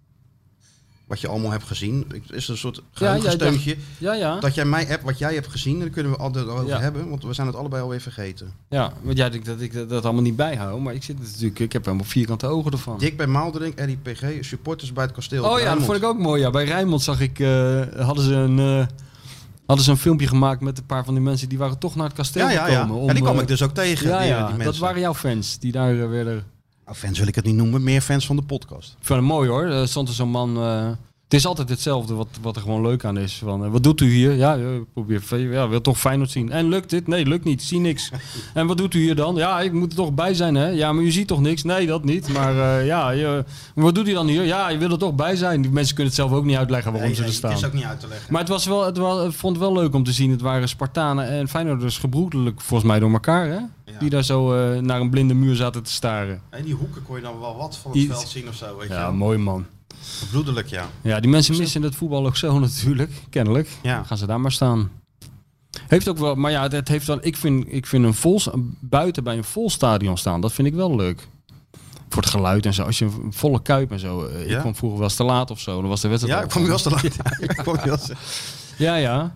[SPEAKER 5] Wat je allemaal hebt gezien. Ik- Is er een soort geheugensteuntje.
[SPEAKER 6] Ja, ja.
[SPEAKER 5] Dat jij mij appt wat jij hebt gezien. Daar kunnen we altijd over
[SPEAKER 6] Ja.
[SPEAKER 5] hebben. Want we zijn het allebei alweer vergeten.
[SPEAKER 6] ja want jij denkt dat ik dat, dat allemaal niet bijhoud. Maar ik zit natuurlijk, ik heb helemaal vierkante ogen ervan.
[SPEAKER 5] Dick bij Maaldering, RIPG, supporters bij het kasteel.
[SPEAKER 6] Oh ja, dat vond ik ook mooi. Ja. Bij Rijnmond zag ik, eh, hadden, ze een, eh, hadden ze een filmpje gemaakt met een paar van die mensen. Die waren toch naar het kasteel
[SPEAKER 5] Ja, ja, ja.
[SPEAKER 6] gekomen. om,
[SPEAKER 5] en die kwam
[SPEAKER 6] eh,
[SPEAKER 5] ik dus ook tegen.
[SPEAKER 6] ja,
[SPEAKER 5] die,
[SPEAKER 6] ja,
[SPEAKER 5] die mensen.
[SPEAKER 6] dat waren jouw fans die daar eh, werden
[SPEAKER 5] Nou, fans wil ik het niet noemen. Meer fans van de podcast.
[SPEAKER 6] Ik vind het mooi hoor. Er stond er zo'n man. eh, het is altijd hetzelfde wat, wat er gewoon leuk aan is. Van, eh, wat doet u hier? Ja, eh, ik probeer, ja, wil toch Feyenoord zien. En lukt dit? Nee, lukt niet. Zie niks. En wat doet u hier dan? Ja, ik moet er toch bij zijn hè? Ja, maar u ziet toch niks? Nee, dat niet. Maar eh, ja, je- wat doet u dan hier? Ja, je wil er toch bij zijn. Die mensen kunnen het zelf ook niet uitleggen waarom
[SPEAKER 5] Nee,
[SPEAKER 6] ze er
[SPEAKER 5] nee,
[SPEAKER 6] staan.
[SPEAKER 5] Het is ook niet uit te leggen.
[SPEAKER 6] Maar het was wel, het was, ik vond het wel leuk om te zien. Het waren Spartanen en Feyenoorders gebroedelijk volgens mij door elkaar hè? Die daar zo eh, naar een blinde muur zaten te staren.
[SPEAKER 5] En die hoeken kon je dan wel wat van
[SPEAKER 6] Iets-
[SPEAKER 5] zien of zo. Weet
[SPEAKER 6] Ja, mooi man.
[SPEAKER 5] wel. Bloedelijk, ja.
[SPEAKER 6] Ja, die mensen missen het voetbal ook zo natuurlijk, kennelijk.
[SPEAKER 5] Ja.
[SPEAKER 6] Dan gaan ze daar maar staan. Heeft ook wel, maar ja, het- het heeft wel, ik, vind, ik vind een vol, buiten bij een vol stadion staan, dat vind ik wel leuk. Voor het geluid en zo, als je een volle kuip en zo. eh, Ik
[SPEAKER 5] Ja.
[SPEAKER 6] kwam vroeger wel eens te laat of zo, dan was de wedstrijd
[SPEAKER 5] Ja,
[SPEAKER 6] al
[SPEAKER 5] ik kwam je wel
[SPEAKER 6] begonnen.
[SPEAKER 5] te laat. Ik kwam je wel te-
[SPEAKER 6] Ja, ja.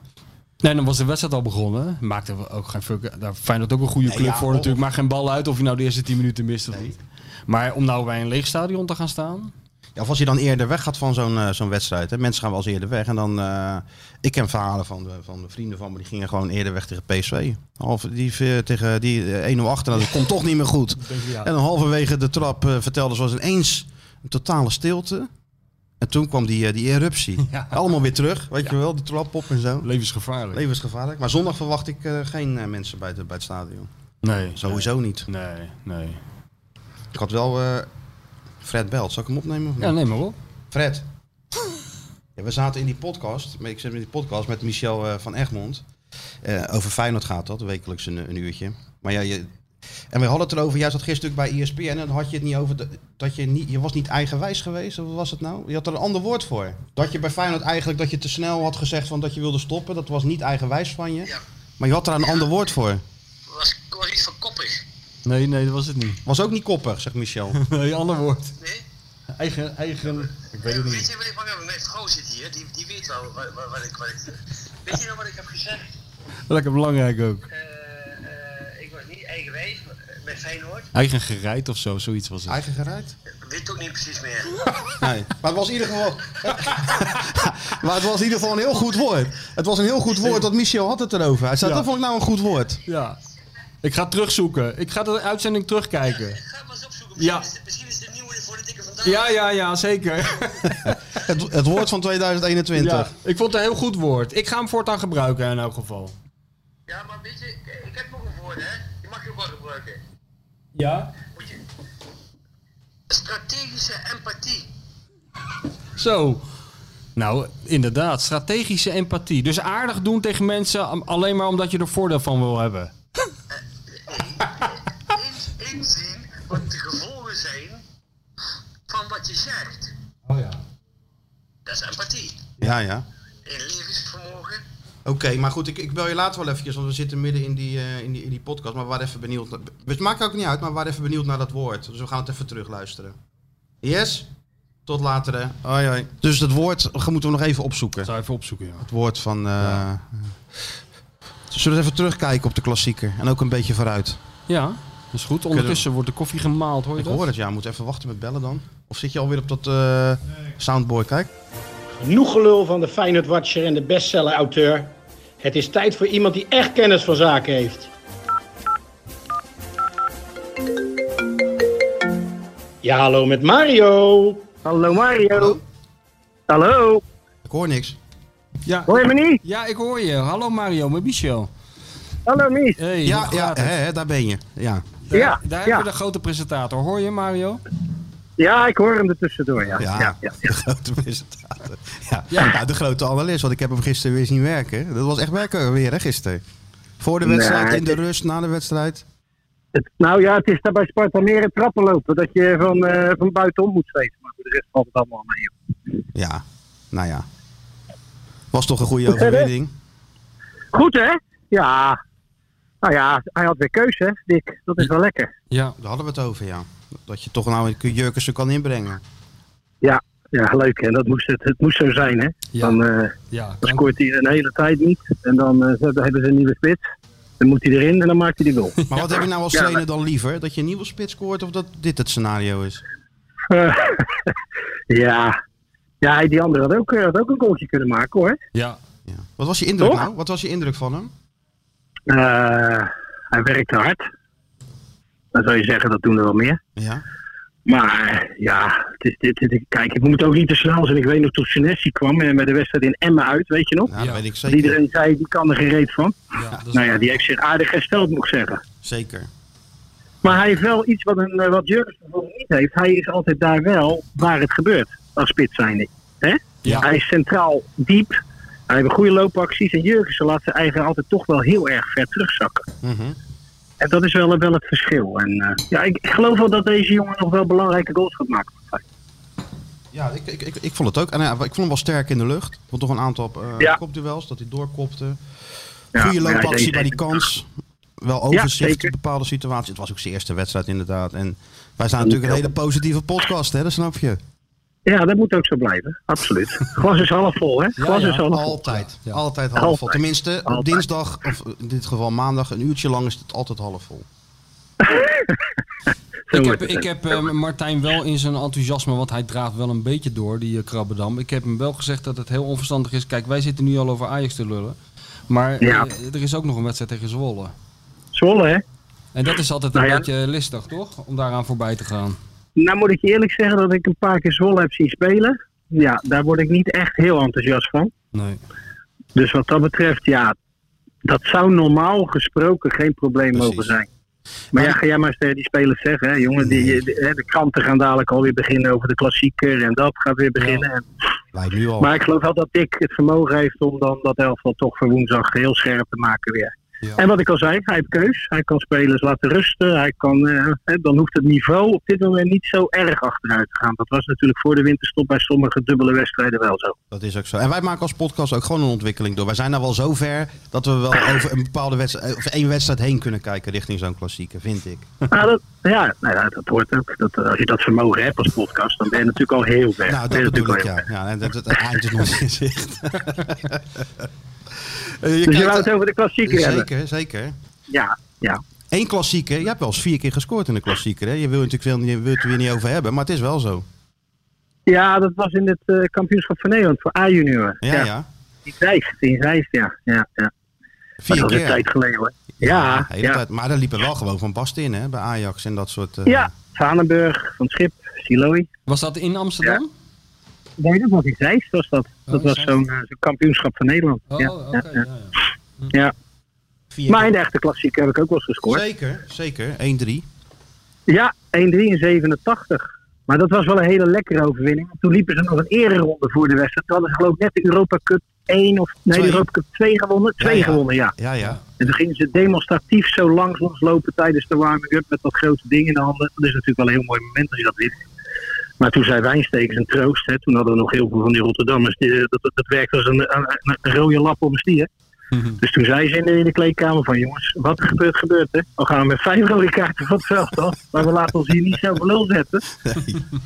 [SPEAKER 6] Nee, dan was de wedstrijd al begonnen. Maakte we ook geen fuck. Daar Feyenoord ook een goede
[SPEAKER 5] Nee,
[SPEAKER 6] club
[SPEAKER 5] ja,
[SPEAKER 6] voor
[SPEAKER 5] of-
[SPEAKER 6] natuurlijk. Maakt geen bal uit of je nou de eerste 10 minuten mist of niet. Maar om nou bij een leeg stadion te gaan staan.
[SPEAKER 5] Ja, of als je dan eerder weggaat van zo'n eh, zo'n wedstrijd. Hè? Mensen gaan wel eens eerder weg. En dan, eh, ik ken verhalen van, de, van de vrienden van me, die gingen gewoon eerder weg tegen PSV. Half, die eh, tegen die eh, 1-0 achter, nou, dat komt toch niet meer goed. En dan halverwege de trap eh, vertelden ze ons ineens een totale stilte. En toen kwam die, eh, die eruptie.
[SPEAKER 6] Ja.
[SPEAKER 5] Allemaal weer terug, weet je wel, de trap op en zo.
[SPEAKER 6] Levensgevaarlijk.
[SPEAKER 5] Levensgevaarlijk. Maar zondag verwacht ik eh, geen eh, mensen bij, de, bij het stadion.
[SPEAKER 6] Nee.
[SPEAKER 5] Sowieso niet.
[SPEAKER 6] Nee, nee.
[SPEAKER 5] Ik had wel eh, Fred belt. Zal ik hem opnemen? Of niet?
[SPEAKER 6] Ja, neem maar op.
[SPEAKER 5] Fred. Ja, we zaten in die podcast, ik zit in die podcast met Michel eh, van Egmond. Eh, over Feyenoord gaat dat, wekelijks een, een uurtje. Maar ja, je, en we hadden het erover, jij zat gisteren bij E ESPN en dan had je het niet over de- dat je niet, je was niet eigenwijs geweest, of wat was het nou? Je had er een ander woord voor. Dat je bij Feyenoord eigenlijk, dat je te snel had gezegd van dat je wilde stoppen, dat was niet eigenwijs van je.
[SPEAKER 9] Ja.
[SPEAKER 5] Maar je had daar een ander woord voor.
[SPEAKER 9] Was, was iets van koppig.
[SPEAKER 6] Nee, nee, dat was het niet.
[SPEAKER 5] Was ook niet koppig, zegt Michel.
[SPEAKER 6] Nee, ander woord.
[SPEAKER 9] Nee?
[SPEAKER 6] Eigen, eigen... Ik weet het
[SPEAKER 9] Weet
[SPEAKER 6] niet.
[SPEAKER 9] je wat ik maar Mijn vrouw zit hier, die, die weet wel wat, wat, ik, wat ik. Weet je nou wat ik heb gezegd?
[SPEAKER 6] Lekker belangrijk ook.
[SPEAKER 9] Eh, eh, ik was niet eigenwijs eh, bij Feyenoord.
[SPEAKER 6] Eigen gereid of zo, zoiets was het.
[SPEAKER 5] Eigen geruid?
[SPEAKER 9] Ik weet ook niet precies meer.
[SPEAKER 5] Nee. Maar het was in ieder geval. maar het was in ieder geval een heel goed woord. Het was een heel goed woord, dat Michel had het erover. Hij zei,
[SPEAKER 6] Ja.
[SPEAKER 5] dat vond ik nou een goed woord.
[SPEAKER 6] Ja. Ik ga terugzoeken. Ik ga de uitzending terugkijken.
[SPEAKER 9] Ga het maar eens opzoeken.
[SPEAKER 6] Ja.
[SPEAKER 9] Misschien, is, misschien is het een nieuwe voor de dikke vandaag.
[SPEAKER 6] Ja, ja, ja, zeker.
[SPEAKER 5] Het, het woord van 2021.
[SPEAKER 6] Ja, ik vond het een heel goed woord. Ik ga hem voortaan gebruiken in elk geval.
[SPEAKER 9] Ja, maar weet je, ik- ik heb nog een woord, hè? Je mag je ook wel gebruiken.
[SPEAKER 6] Ja?
[SPEAKER 9] Moet je. Strategische empathie.
[SPEAKER 6] Zo. Nou, inderdaad. Strategische empathie. Dus aardig doen tegen mensen am- alleen maar omdat je er voordeel van wil hebben.
[SPEAKER 9] Eh, Eens inzien wat de gevolgen zijn van wat je zegt.
[SPEAKER 6] Oh ja.
[SPEAKER 9] Dat is empathie.
[SPEAKER 5] ja. ja.
[SPEAKER 9] In levensvermogen.
[SPEAKER 5] Oké, maar goed, ik, ik bel je later wel eventjes, want we zitten midden in die, eh, in die, in die podcast. Maar waar even benieuwd. na- Het maakt ook niet uit, maar waar even benieuwd naar dat woord. Dus we gaan het even terugluisteren. Yes? Tot later. Hè. Hoi, hoi. Dus dat woord ge- moeten we nog even opzoeken.
[SPEAKER 6] Zou even opzoeken, ja.
[SPEAKER 5] Het woord van. eh, Zullen we even terugkijken op de klassieker? En ook een beetje vooruit.
[SPEAKER 6] Ja, dat is goed. Ondertussen wordt de koffie gemaald, hoor je
[SPEAKER 5] Ik
[SPEAKER 6] dat?
[SPEAKER 5] hoor het, ja. Moet even wachten met bellen dan. Of zit je alweer op dat eh soundboard? Kijk.
[SPEAKER 10] Genoeg gelul van de Feyenoord Watcher en de bestseller-auteur. Het is tijd voor iemand die echt kennis van zaken heeft. Ja, hallo met Mario.
[SPEAKER 11] Hallo Mario. Hallo.
[SPEAKER 5] Ik hoor niks.
[SPEAKER 6] Ja,
[SPEAKER 11] Hoor je me niet?
[SPEAKER 6] ja, ik hoor je. Hallo Mario, met Michel.
[SPEAKER 11] Hallo Mies.
[SPEAKER 6] Hey,
[SPEAKER 5] Ja,
[SPEAKER 6] hoe
[SPEAKER 5] ja
[SPEAKER 6] gaat het?
[SPEAKER 5] hè, hè, daar ben je. Ja.
[SPEAKER 6] Daar,
[SPEAKER 11] Ja,
[SPEAKER 6] daar heb
[SPEAKER 11] ja.
[SPEAKER 6] je de grote presentator. Hoor je Mario?
[SPEAKER 11] Ja, ik hoor hem er tussendoor. Ja.
[SPEAKER 5] Ja,
[SPEAKER 11] Ja, ja,
[SPEAKER 5] de grote presentator. Ja. Nou, de grote analist, want ik heb hem gisteren weer zien werken. Dat was echt werken weer, hè, gisteren. Voor de wedstrijd,
[SPEAKER 11] Nee,
[SPEAKER 5] in de
[SPEAKER 11] het-
[SPEAKER 5] rust, na de wedstrijd.
[SPEAKER 11] Het- nou ja, het is daar bij Sparta meer het trappen lopen. Dat je van, eh van buitenom moet zweven. Maar voor de rest valt het allemaal mee. joh.
[SPEAKER 5] Ja, nou ja. Was toch een goede
[SPEAKER 11] verder?
[SPEAKER 5] overwinning.
[SPEAKER 11] Goed hè? Ja. Nou ja, hij had weer keuze hè, Dick. Dat is wel lekker.
[SPEAKER 6] Ja.
[SPEAKER 5] Daar hadden we het over, ja. Dat je toch nou een Jurkensen kan inbrengen.
[SPEAKER 11] Ja, ja leuk hè. Dat moest het, het moest zo zijn hè.
[SPEAKER 6] Ja.
[SPEAKER 11] Dan, eh,
[SPEAKER 6] Ja,
[SPEAKER 11] dan scoort hij een hele tijd niet. En dan eh, ze hebben- hebben ze een nieuwe spits. Dan moet hij erin en dan maakt hij de goal.
[SPEAKER 5] Maar wat heb je nou als
[SPEAKER 11] Ja, maar-
[SPEAKER 5] trainer dan liever? Dat je een nieuwe spits scoort of dat dit het scenario is?
[SPEAKER 11] Eh, ja. Ja, die andere had ook, eh, had ook een goaltje kunnen maken hoor.
[SPEAKER 6] ja.
[SPEAKER 5] Ja. Wat was je indruk
[SPEAKER 11] Toch?
[SPEAKER 5] nou? Wat was je indruk van hem?
[SPEAKER 11] Eh, hij werkte hard. Dan zou je zeggen, dat doen er wel meer.
[SPEAKER 5] Ja.
[SPEAKER 11] Maar ja, het is, dit, dit- kijk, ik moet ook niet te snel zijn. Ik weet nog toen Senesi kwam en bij de wedstrijd in Emmen uit, weet je nog?
[SPEAKER 5] Nou,
[SPEAKER 6] Ja.
[SPEAKER 5] dat weet ik
[SPEAKER 11] Dat
[SPEAKER 5] zeker.
[SPEAKER 11] Iedereen zei, die kan er geen reet van.
[SPEAKER 6] ja, dat is
[SPEAKER 11] Nou ja,
[SPEAKER 6] waar.
[SPEAKER 11] die heeft zich aardig hersteld, moet ik zeggen.
[SPEAKER 5] Zeker.
[SPEAKER 11] Maar hij heeft wel iets wat, een, eh, wat Jurgen bijvoorbeeld niet heeft. Hij is altijd daar wel waar het gebeurt, als spits zijnde. hè?
[SPEAKER 6] Ja.
[SPEAKER 11] Hij is centraal diep. Hij heeft een goede loopacties. En Jurgensen laat zijn eigen altijd toch wel heel erg ver terugzakken.
[SPEAKER 5] Mhm.
[SPEAKER 11] En dat is wel, wel het verschil. En, eh, ja, ik, ik geloof wel dat deze jongen nog wel belangrijke goals gaat maken.
[SPEAKER 5] Ja, ik, ik, ik, ik vond het ook. En, ja, ik vond hem wel sterk in de lucht. Ik vond toch een aantal eh
[SPEAKER 11] Ja.
[SPEAKER 5] kopduels dat hij doorkopte.
[SPEAKER 11] Ja,
[SPEAKER 5] Goede
[SPEAKER 11] maar ja,
[SPEAKER 5] loopactie
[SPEAKER 11] deze-
[SPEAKER 5] bij die kans. Wel overzicht
[SPEAKER 11] zeker.
[SPEAKER 5] in bepaalde situaties. Het was ook zijn eerste wedstrijd inderdaad. En wij zijn natuurlijk een hele positieve podcast, hè? dat snap je.
[SPEAKER 11] Ja, dat moet ook zo blijven. Absoluut. Glas is half vol, hè? Glas
[SPEAKER 6] ja,
[SPEAKER 11] is half vol.
[SPEAKER 5] Altijd.
[SPEAKER 6] Ja.
[SPEAKER 5] Altijd half vol.
[SPEAKER 11] Altijd.
[SPEAKER 5] Tenminste, op
[SPEAKER 11] Altijd.
[SPEAKER 5] dinsdag, of in dit geval maandag, een uurtje lang is het altijd half vol.
[SPEAKER 11] Zo
[SPEAKER 6] Ik
[SPEAKER 11] wordt
[SPEAKER 6] heb,
[SPEAKER 11] het.
[SPEAKER 6] ik heb eh, Martijn wel in zijn enthousiasme, want hij draagt wel een beetje door, die eh, Krabbedam. Ik heb hem wel gezegd dat het heel onverstandig is. Kijk, wij zitten nu al over Ajax te lullen. Maar eh,
[SPEAKER 11] Ja.
[SPEAKER 6] er is ook nog een wedstrijd tegen Zwolle.
[SPEAKER 11] Zwolle, hè?
[SPEAKER 6] En dat is altijd een
[SPEAKER 11] Nou ja.
[SPEAKER 6] beetje listig, toch? Om daaraan voorbij te gaan.
[SPEAKER 11] Nou moet ik je eerlijk zeggen dat ik een paar keer Zwolle heb zien spelen. Ja, daar word ik niet echt heel enthousiast van.
[SPEAKER 6] Nee.
[SPEAKER 11] Dus wat dat betreft, ja, dat zou normaal gesproken geen probleem
[SPEAKER 5] Precies.
[SPEAKER 11] mogen zijn. Maar ja, ga jij maar eens tegen die spelers zeggen, hè, jongen. Die, die- hè, de kranten gaan dadelijk alweer beginnen over de klassieker en dat gaat weer beginnen. En-
[SPEAKER 5] Lijkt nu al.
[SPEAKER 11] maar ik geloof wel dat Dick het vermogen heeft om dan dat elftal toch voor woensdag heel scherp te maken weer.
[SPEAKER 5] Ja.
[SPEAKER 11] En wat ik al zei, hij heeft keus. Hij kan spelers laten rusten. Hij kan, eh, hè, dan hoeft het niveau op dit moment niet zo erg achteruit te gaan. Dat was natuurlijk voor de winterstop bij sommige dubbele wedstrijden wel zo.
[SPEAKER 5] Dat is ook zo. En wij maken als podcast ook gewoon een ontwikkeling door. Wij zijn nou wel zo ver dat we wel over een bepaalde wedstrijd, over één wedstrijd heen kunnen kijken richting zo'n klassieker, vind ik.
[SPEAKER 11] Nou, dat, ja, nou ja, dat hoort ook. Dat, eh, als je dat vermogen hebt als podcast, dan ben je natuurlijk al heel ver.
[SPEAKER 5] Nou,
[SPEAKER 11] Ben
[SPEAKER 5] dat
[SPEAKER 11] je
[SPEAKER 5] bedoel ik,
[SPEAKER 11] natuurlijk al heel
[SPEAKER 5] ja.
[SPEAKER 11] ver.
[SPEAKER 5] ja en dat, het eind is nog niet in zicht. Eh, je
[SPEAKER 11] Dus je
[SPEAKER 5] kijkt-
[SPEAKER 11] wou het over de klassieker hebben?
[SPEAKER 5] Zeker, zeker.
[SPEAKER 11] Ja, ja.
[SPEAKER 5] Eén klassieker. Je hebt wel eens vier keer gescoord in de klassieker. Hè? Je wil natuurlijk veel, je wilt het er weer niet over hebben, maar het is wel zo.
[SPEAKER 11] Ja, dat was in het eh, kampioenschap van Nederland voor A-junioren.
[SPEAKER 5] Ja, ja.
[SPEAKER 11] Die vijf, die vijf, ja. ja, ja. Maar
[SPEAKER 5] Vier
[SPEAKER 11] dat is een
[SPEAKER 5] keer.
[SPEAKER 11] tijd geleden hoor. Ja,
[SPEAKER 5] de hele
[SPEAKER 11] ja.
[SPEAKER 5] tijd. Maar daar liepen wel gewoon van Basten in, hè? Bij Ajax en dat soort... eh,
[SPEAKER 11] ja. Vanenburg, Van Schip, Siloy.
[SPEAKER 6] Was dat in Amsterdam?
[SPEAKER 11] Nee, dat was in Zeist, was dat. Dat
[SPEAKER 6] Oh,
[SPEAKER 11] was
[SPEAKER 6] Zeist.
[SPEAKER 11] zo'n eh, zo'n kampioenschap van Nederland.
[SPEAKER 6] Oh,
[SPEAKER 11] ja,
[SPEAKER 6] oké.
[SPEAKER 11] ja,
[SPEAKER 6] ja,
[SPEAKER 11] ja.
[SPEAKER 6] ja.
[SPEAKER 11] ja.
[SPEAKER 5] vier
[SPEAKER 11] Maar in de echte klassiek heb ik ook wel eens gescoord.
[SPEAKER 5] Zeker, zeker. 1-3.
[SPEAKER 11] Ja, 1-3 in 87. Maar dat was wel een hele lekkere overwinning. Toen liepen ze nog een ereronde voor de wedstrijd. Toen hadden ze geloof ik net de Europa Cup 1 of nee, de
[SPEAKER 5] Twee.
[SPEAKER 11] Europa Cup 2 gewonnen. 2
[SPEAKER 5] ja.
[SPEAKER 11] gewonnen, ja.
[SPEAKER 5] Ja, ja.
[SPEAKER 11] En toen gingen ze demonstratief zo langs ons lopen tijdens de warming-up met dat grote ding in de handen. Dat is natuurlijk wel een heel mooi moment als je dat wint. Maar toen zei Wijnstekens een troost. Hè. Toen hadden we nog heel veel van die Rotterdammers. Die, eh, dat, dat, dat werkte als een, een, een rode lap op een stier. Dus toen zei ze in de, in de kleedkamer van jongens, wat er gebeurt, gebeurt hè. We gaan met vijf rode kaarten van het veld af. Maar we laten ons hier niet zo voor lul zetten.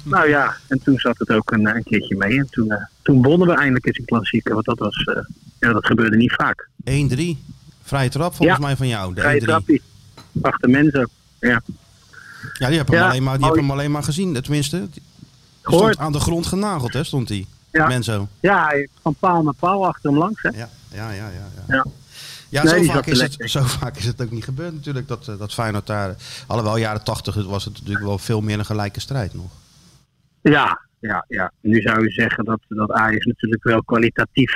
[SPEAKER 11] Nou ja, en toen zat het ook een, eh, een keertje mee. En toen, eh, toen wonnen we eindelijk eens een klassieker. Want dat, was, eh, ja, dat gebeurde niet vaak.
[SPEAKER 5] 1-3. Vrije trap volgens
[SPEAKER 11] Ja.
[SPEAKER 5] mij van jou. De
[SPEAKER 11] Vrije
[SPEAKER 5] 1-3.
[SPEAKER 11] trappie. Achter mensen. Ja.
[SPEAKER 5] Ja, die heb hem,
[SPEAKER 11] Ja,
[SPEAKER 5] alleen, maar, die heb
[SPEAKER 11] mooi.
[SPEAKER 5] hem alleen maar gezien. eh, Tenminste, die
[SPEAKER 11] Gehoord.
[SPEAKER 5] stond aan de grond genageld, hè, stond hij.
[SPEAKER 11] Ja.
[SPEAKER 5] Menzo.
[SPEAKER 11] Ja, hij- van paal naar paal achter hem langs. Hè?
[SPEAKER 5] Ja, ja, ja. ja, ja.
[SPEAKER 11] Ja.
[SPEAKER 5] Ja,
[SPEAKER 11] Nee, die
[SPEAKER 5] zo, vaak
[SPEAKER 11] zat er
[SPEAKER 5] is
[SPEAKER 11] lekker
[SPEAKER 5] het, zo vaak is het ook niet gebeurd natuurlijk, dat, eh, dat Feyenoord daar... Alhoewel, jaren 80 was het natuurlijk wel veel meer een gelijke strijd nog.
[SPEAKER 11] Ja, ja, ja. Nu zou je zeggen dat, dat Ajax natuurlijk wel kwalitatief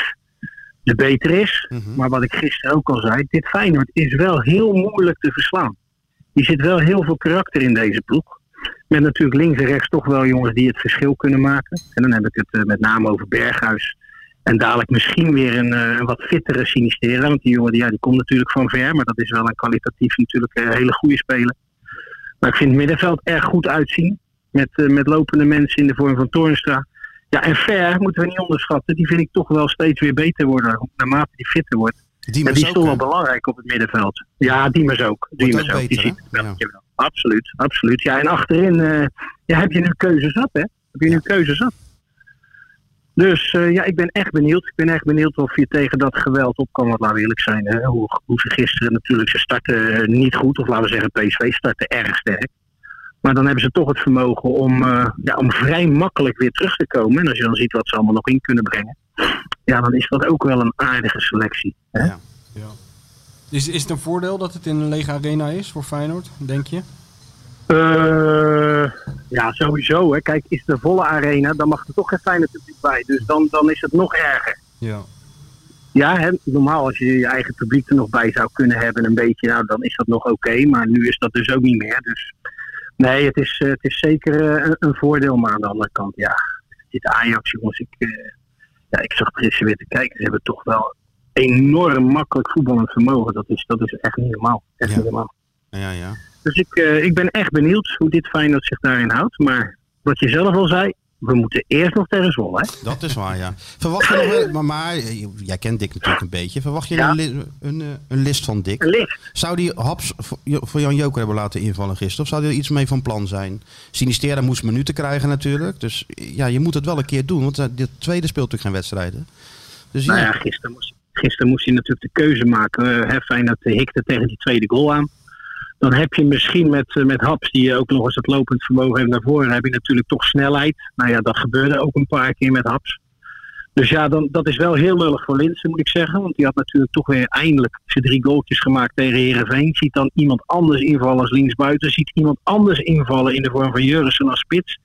[SPEAKER 11] de beter is.
[SPEAKER 5] Mhm.
[SPEAKER 11] Maar wat ik gisteren ook al zei, dit Feyenoord is wel heel moeilijk te verslaan. Er zit wel heel veel karakter in deze ploeg. Met natuurlijk links en rechts toch wel jongens die het verschil kunnen maken. En dan heb ik het eh, met name over Berghuis. En dadelijk misschien weer een, eh, een wat fittere Sinistera. Want die jongen die, ja, die komt natuurlijk van ver. Maar dat is wel een kwalitatief natuurlijk eh, hele goede speler. Maar ik vind het middenveld erg goed uitzien. Met, eh, met lopende mensen in de vorm van Toornstra. Ja, en Ver moeten we niet onderschatten. Die vind ik toch wel steeds weer beter worden. Naarmate die fitter wordt.
[SPEAKER 5] Die
[SPEAKER 11] En
[SPEAKER 5] was
[SPEAKER 11] die is
[SPEAKER 5] ook,
[SPEAKER 11] toch wel
[SPEAKER 5] hè?
[SPEAKER 11] belangrijk op het middenveld. Ja, Diemers ook. Diemers
[SPEAKER 5] ook
[SPEAKER 11] ook. die
[SPEAKER 5] beter,
[SPEAKER 11] ziet het
[SPEAKER 5] hè?
[SPEAKER 11] wel.
[SPEAKER 5] Ja.
[SPEAKER 11] Jawel. Absoluut, absoluut. Ja, en achterin eh, ja, heb je nu keuzes zat, hè? Heb je nu keuzes zat. Dus eh, ja, ik ben echt benieuwd. Ik ben echt benieuwd of je tegen dat geweld op kan. Want laten we eerlijk zijn, hè? Hoe, hoe ze gisteren natuurlijk, ze starten eh, niet goed. Of laten we zeggen, PSV startte erg sterk. Maar dan hebben ze toch het vermogen om, eh, ja, om vrij makkelijk weer terug te komen. En als je dan ziet wat ze allemaal nog in kunnen brengen. Ja, dan is dat ook wel een aardige selectie. Hè?
[SPEAKER 5] Ja.
[SPEAKER 6] Is, is het een voordeel dat het in een lege arena is voor Feyenoord, denk je?
[SPEAKER 11] Eh, ja, sowieso. Hè. Kijk, is het een volle arena, dan mag er toch geen fijne publiek bij. Dus dan, dan is het nog erger.
[SPEAKER 6] Ja.
[SPEAKER 11] Ja, hè, normaal als je je eigen publiek er nog bij zou kunnen hebben, een beetje, nou, dan is dat nog oké. maar nu is dat dus ook niet meer. Dus nee, het is, eh, het is zeker eh, een, een voordeel. Maar aan de andere kant, ja, dit Ajax, jongens, ik, eh, ja, ik zag gisteren weer te kijken. Ze hebben toch wel enorm makkelijk voetballend vermogen. Dat is, dat is echt niet normaal. Echt
[SPEAKER 5] Ja.
[SPEAKER 11] niet normaal.
[SPEAKER 5] Ja, ja.
[SPEAKER 11] Dus ik, eh, ik ben echt benieuwd hoe dit Feyenoord zich daarin houdt. Maar wat je zelf al zei, we moeten eerst nog tegen Zwolle. Hè?
[SPEAKER 5] Dat is waar, ja. Verwacht je nog wel- maar, maar eh, jij kent Dick natuurlijk een beetje. Verwacht je
[SPEAKER 11] Ja.
[SPEAKER 5] een, li- een, eh, een list van Dick?
[SPEAKER 11] Een licht.
[SPEAKER 5] Zou die Haps voor- Jo- voor Jan Joker hebben laten invallen gisteren? Of zou er iets mee van plan zijn? Sinistera moest minuten krijgen natuurlijk. Dus eh, ja, je moet het wel een keer doen. Want eh, de tweede speelt natuurlijk geen wedstrijden. Dus
[SPEAKER 11] Nou ja,
[SPEAKER 5] ja,
[SPEAKER 11] gisteren moest, gisteren moest hij natuurlijk de keuze maken. Eh, hè, Feyenoord hikte tegen die tweede goal aan. Dan heb je misschien met, eh, met Haps, die ook nog eens het lopend vermogen heeft naar voren, heb je natuurlijk toch snelheid. Nou ja, dat gebeurde ook een paar keer met Haps. Dus ja, dan, dat is wel heel lullig voor Linsen, moet ik zeggen. Want die had natuurlijk toch weer eindelijk zijn drie goaltjes gemaakt tegen Herenveen. Ziet dan iemand anders invallen als linksbuiten. Ziet iemand anders invallen in de vorm van Jurgensen als spits.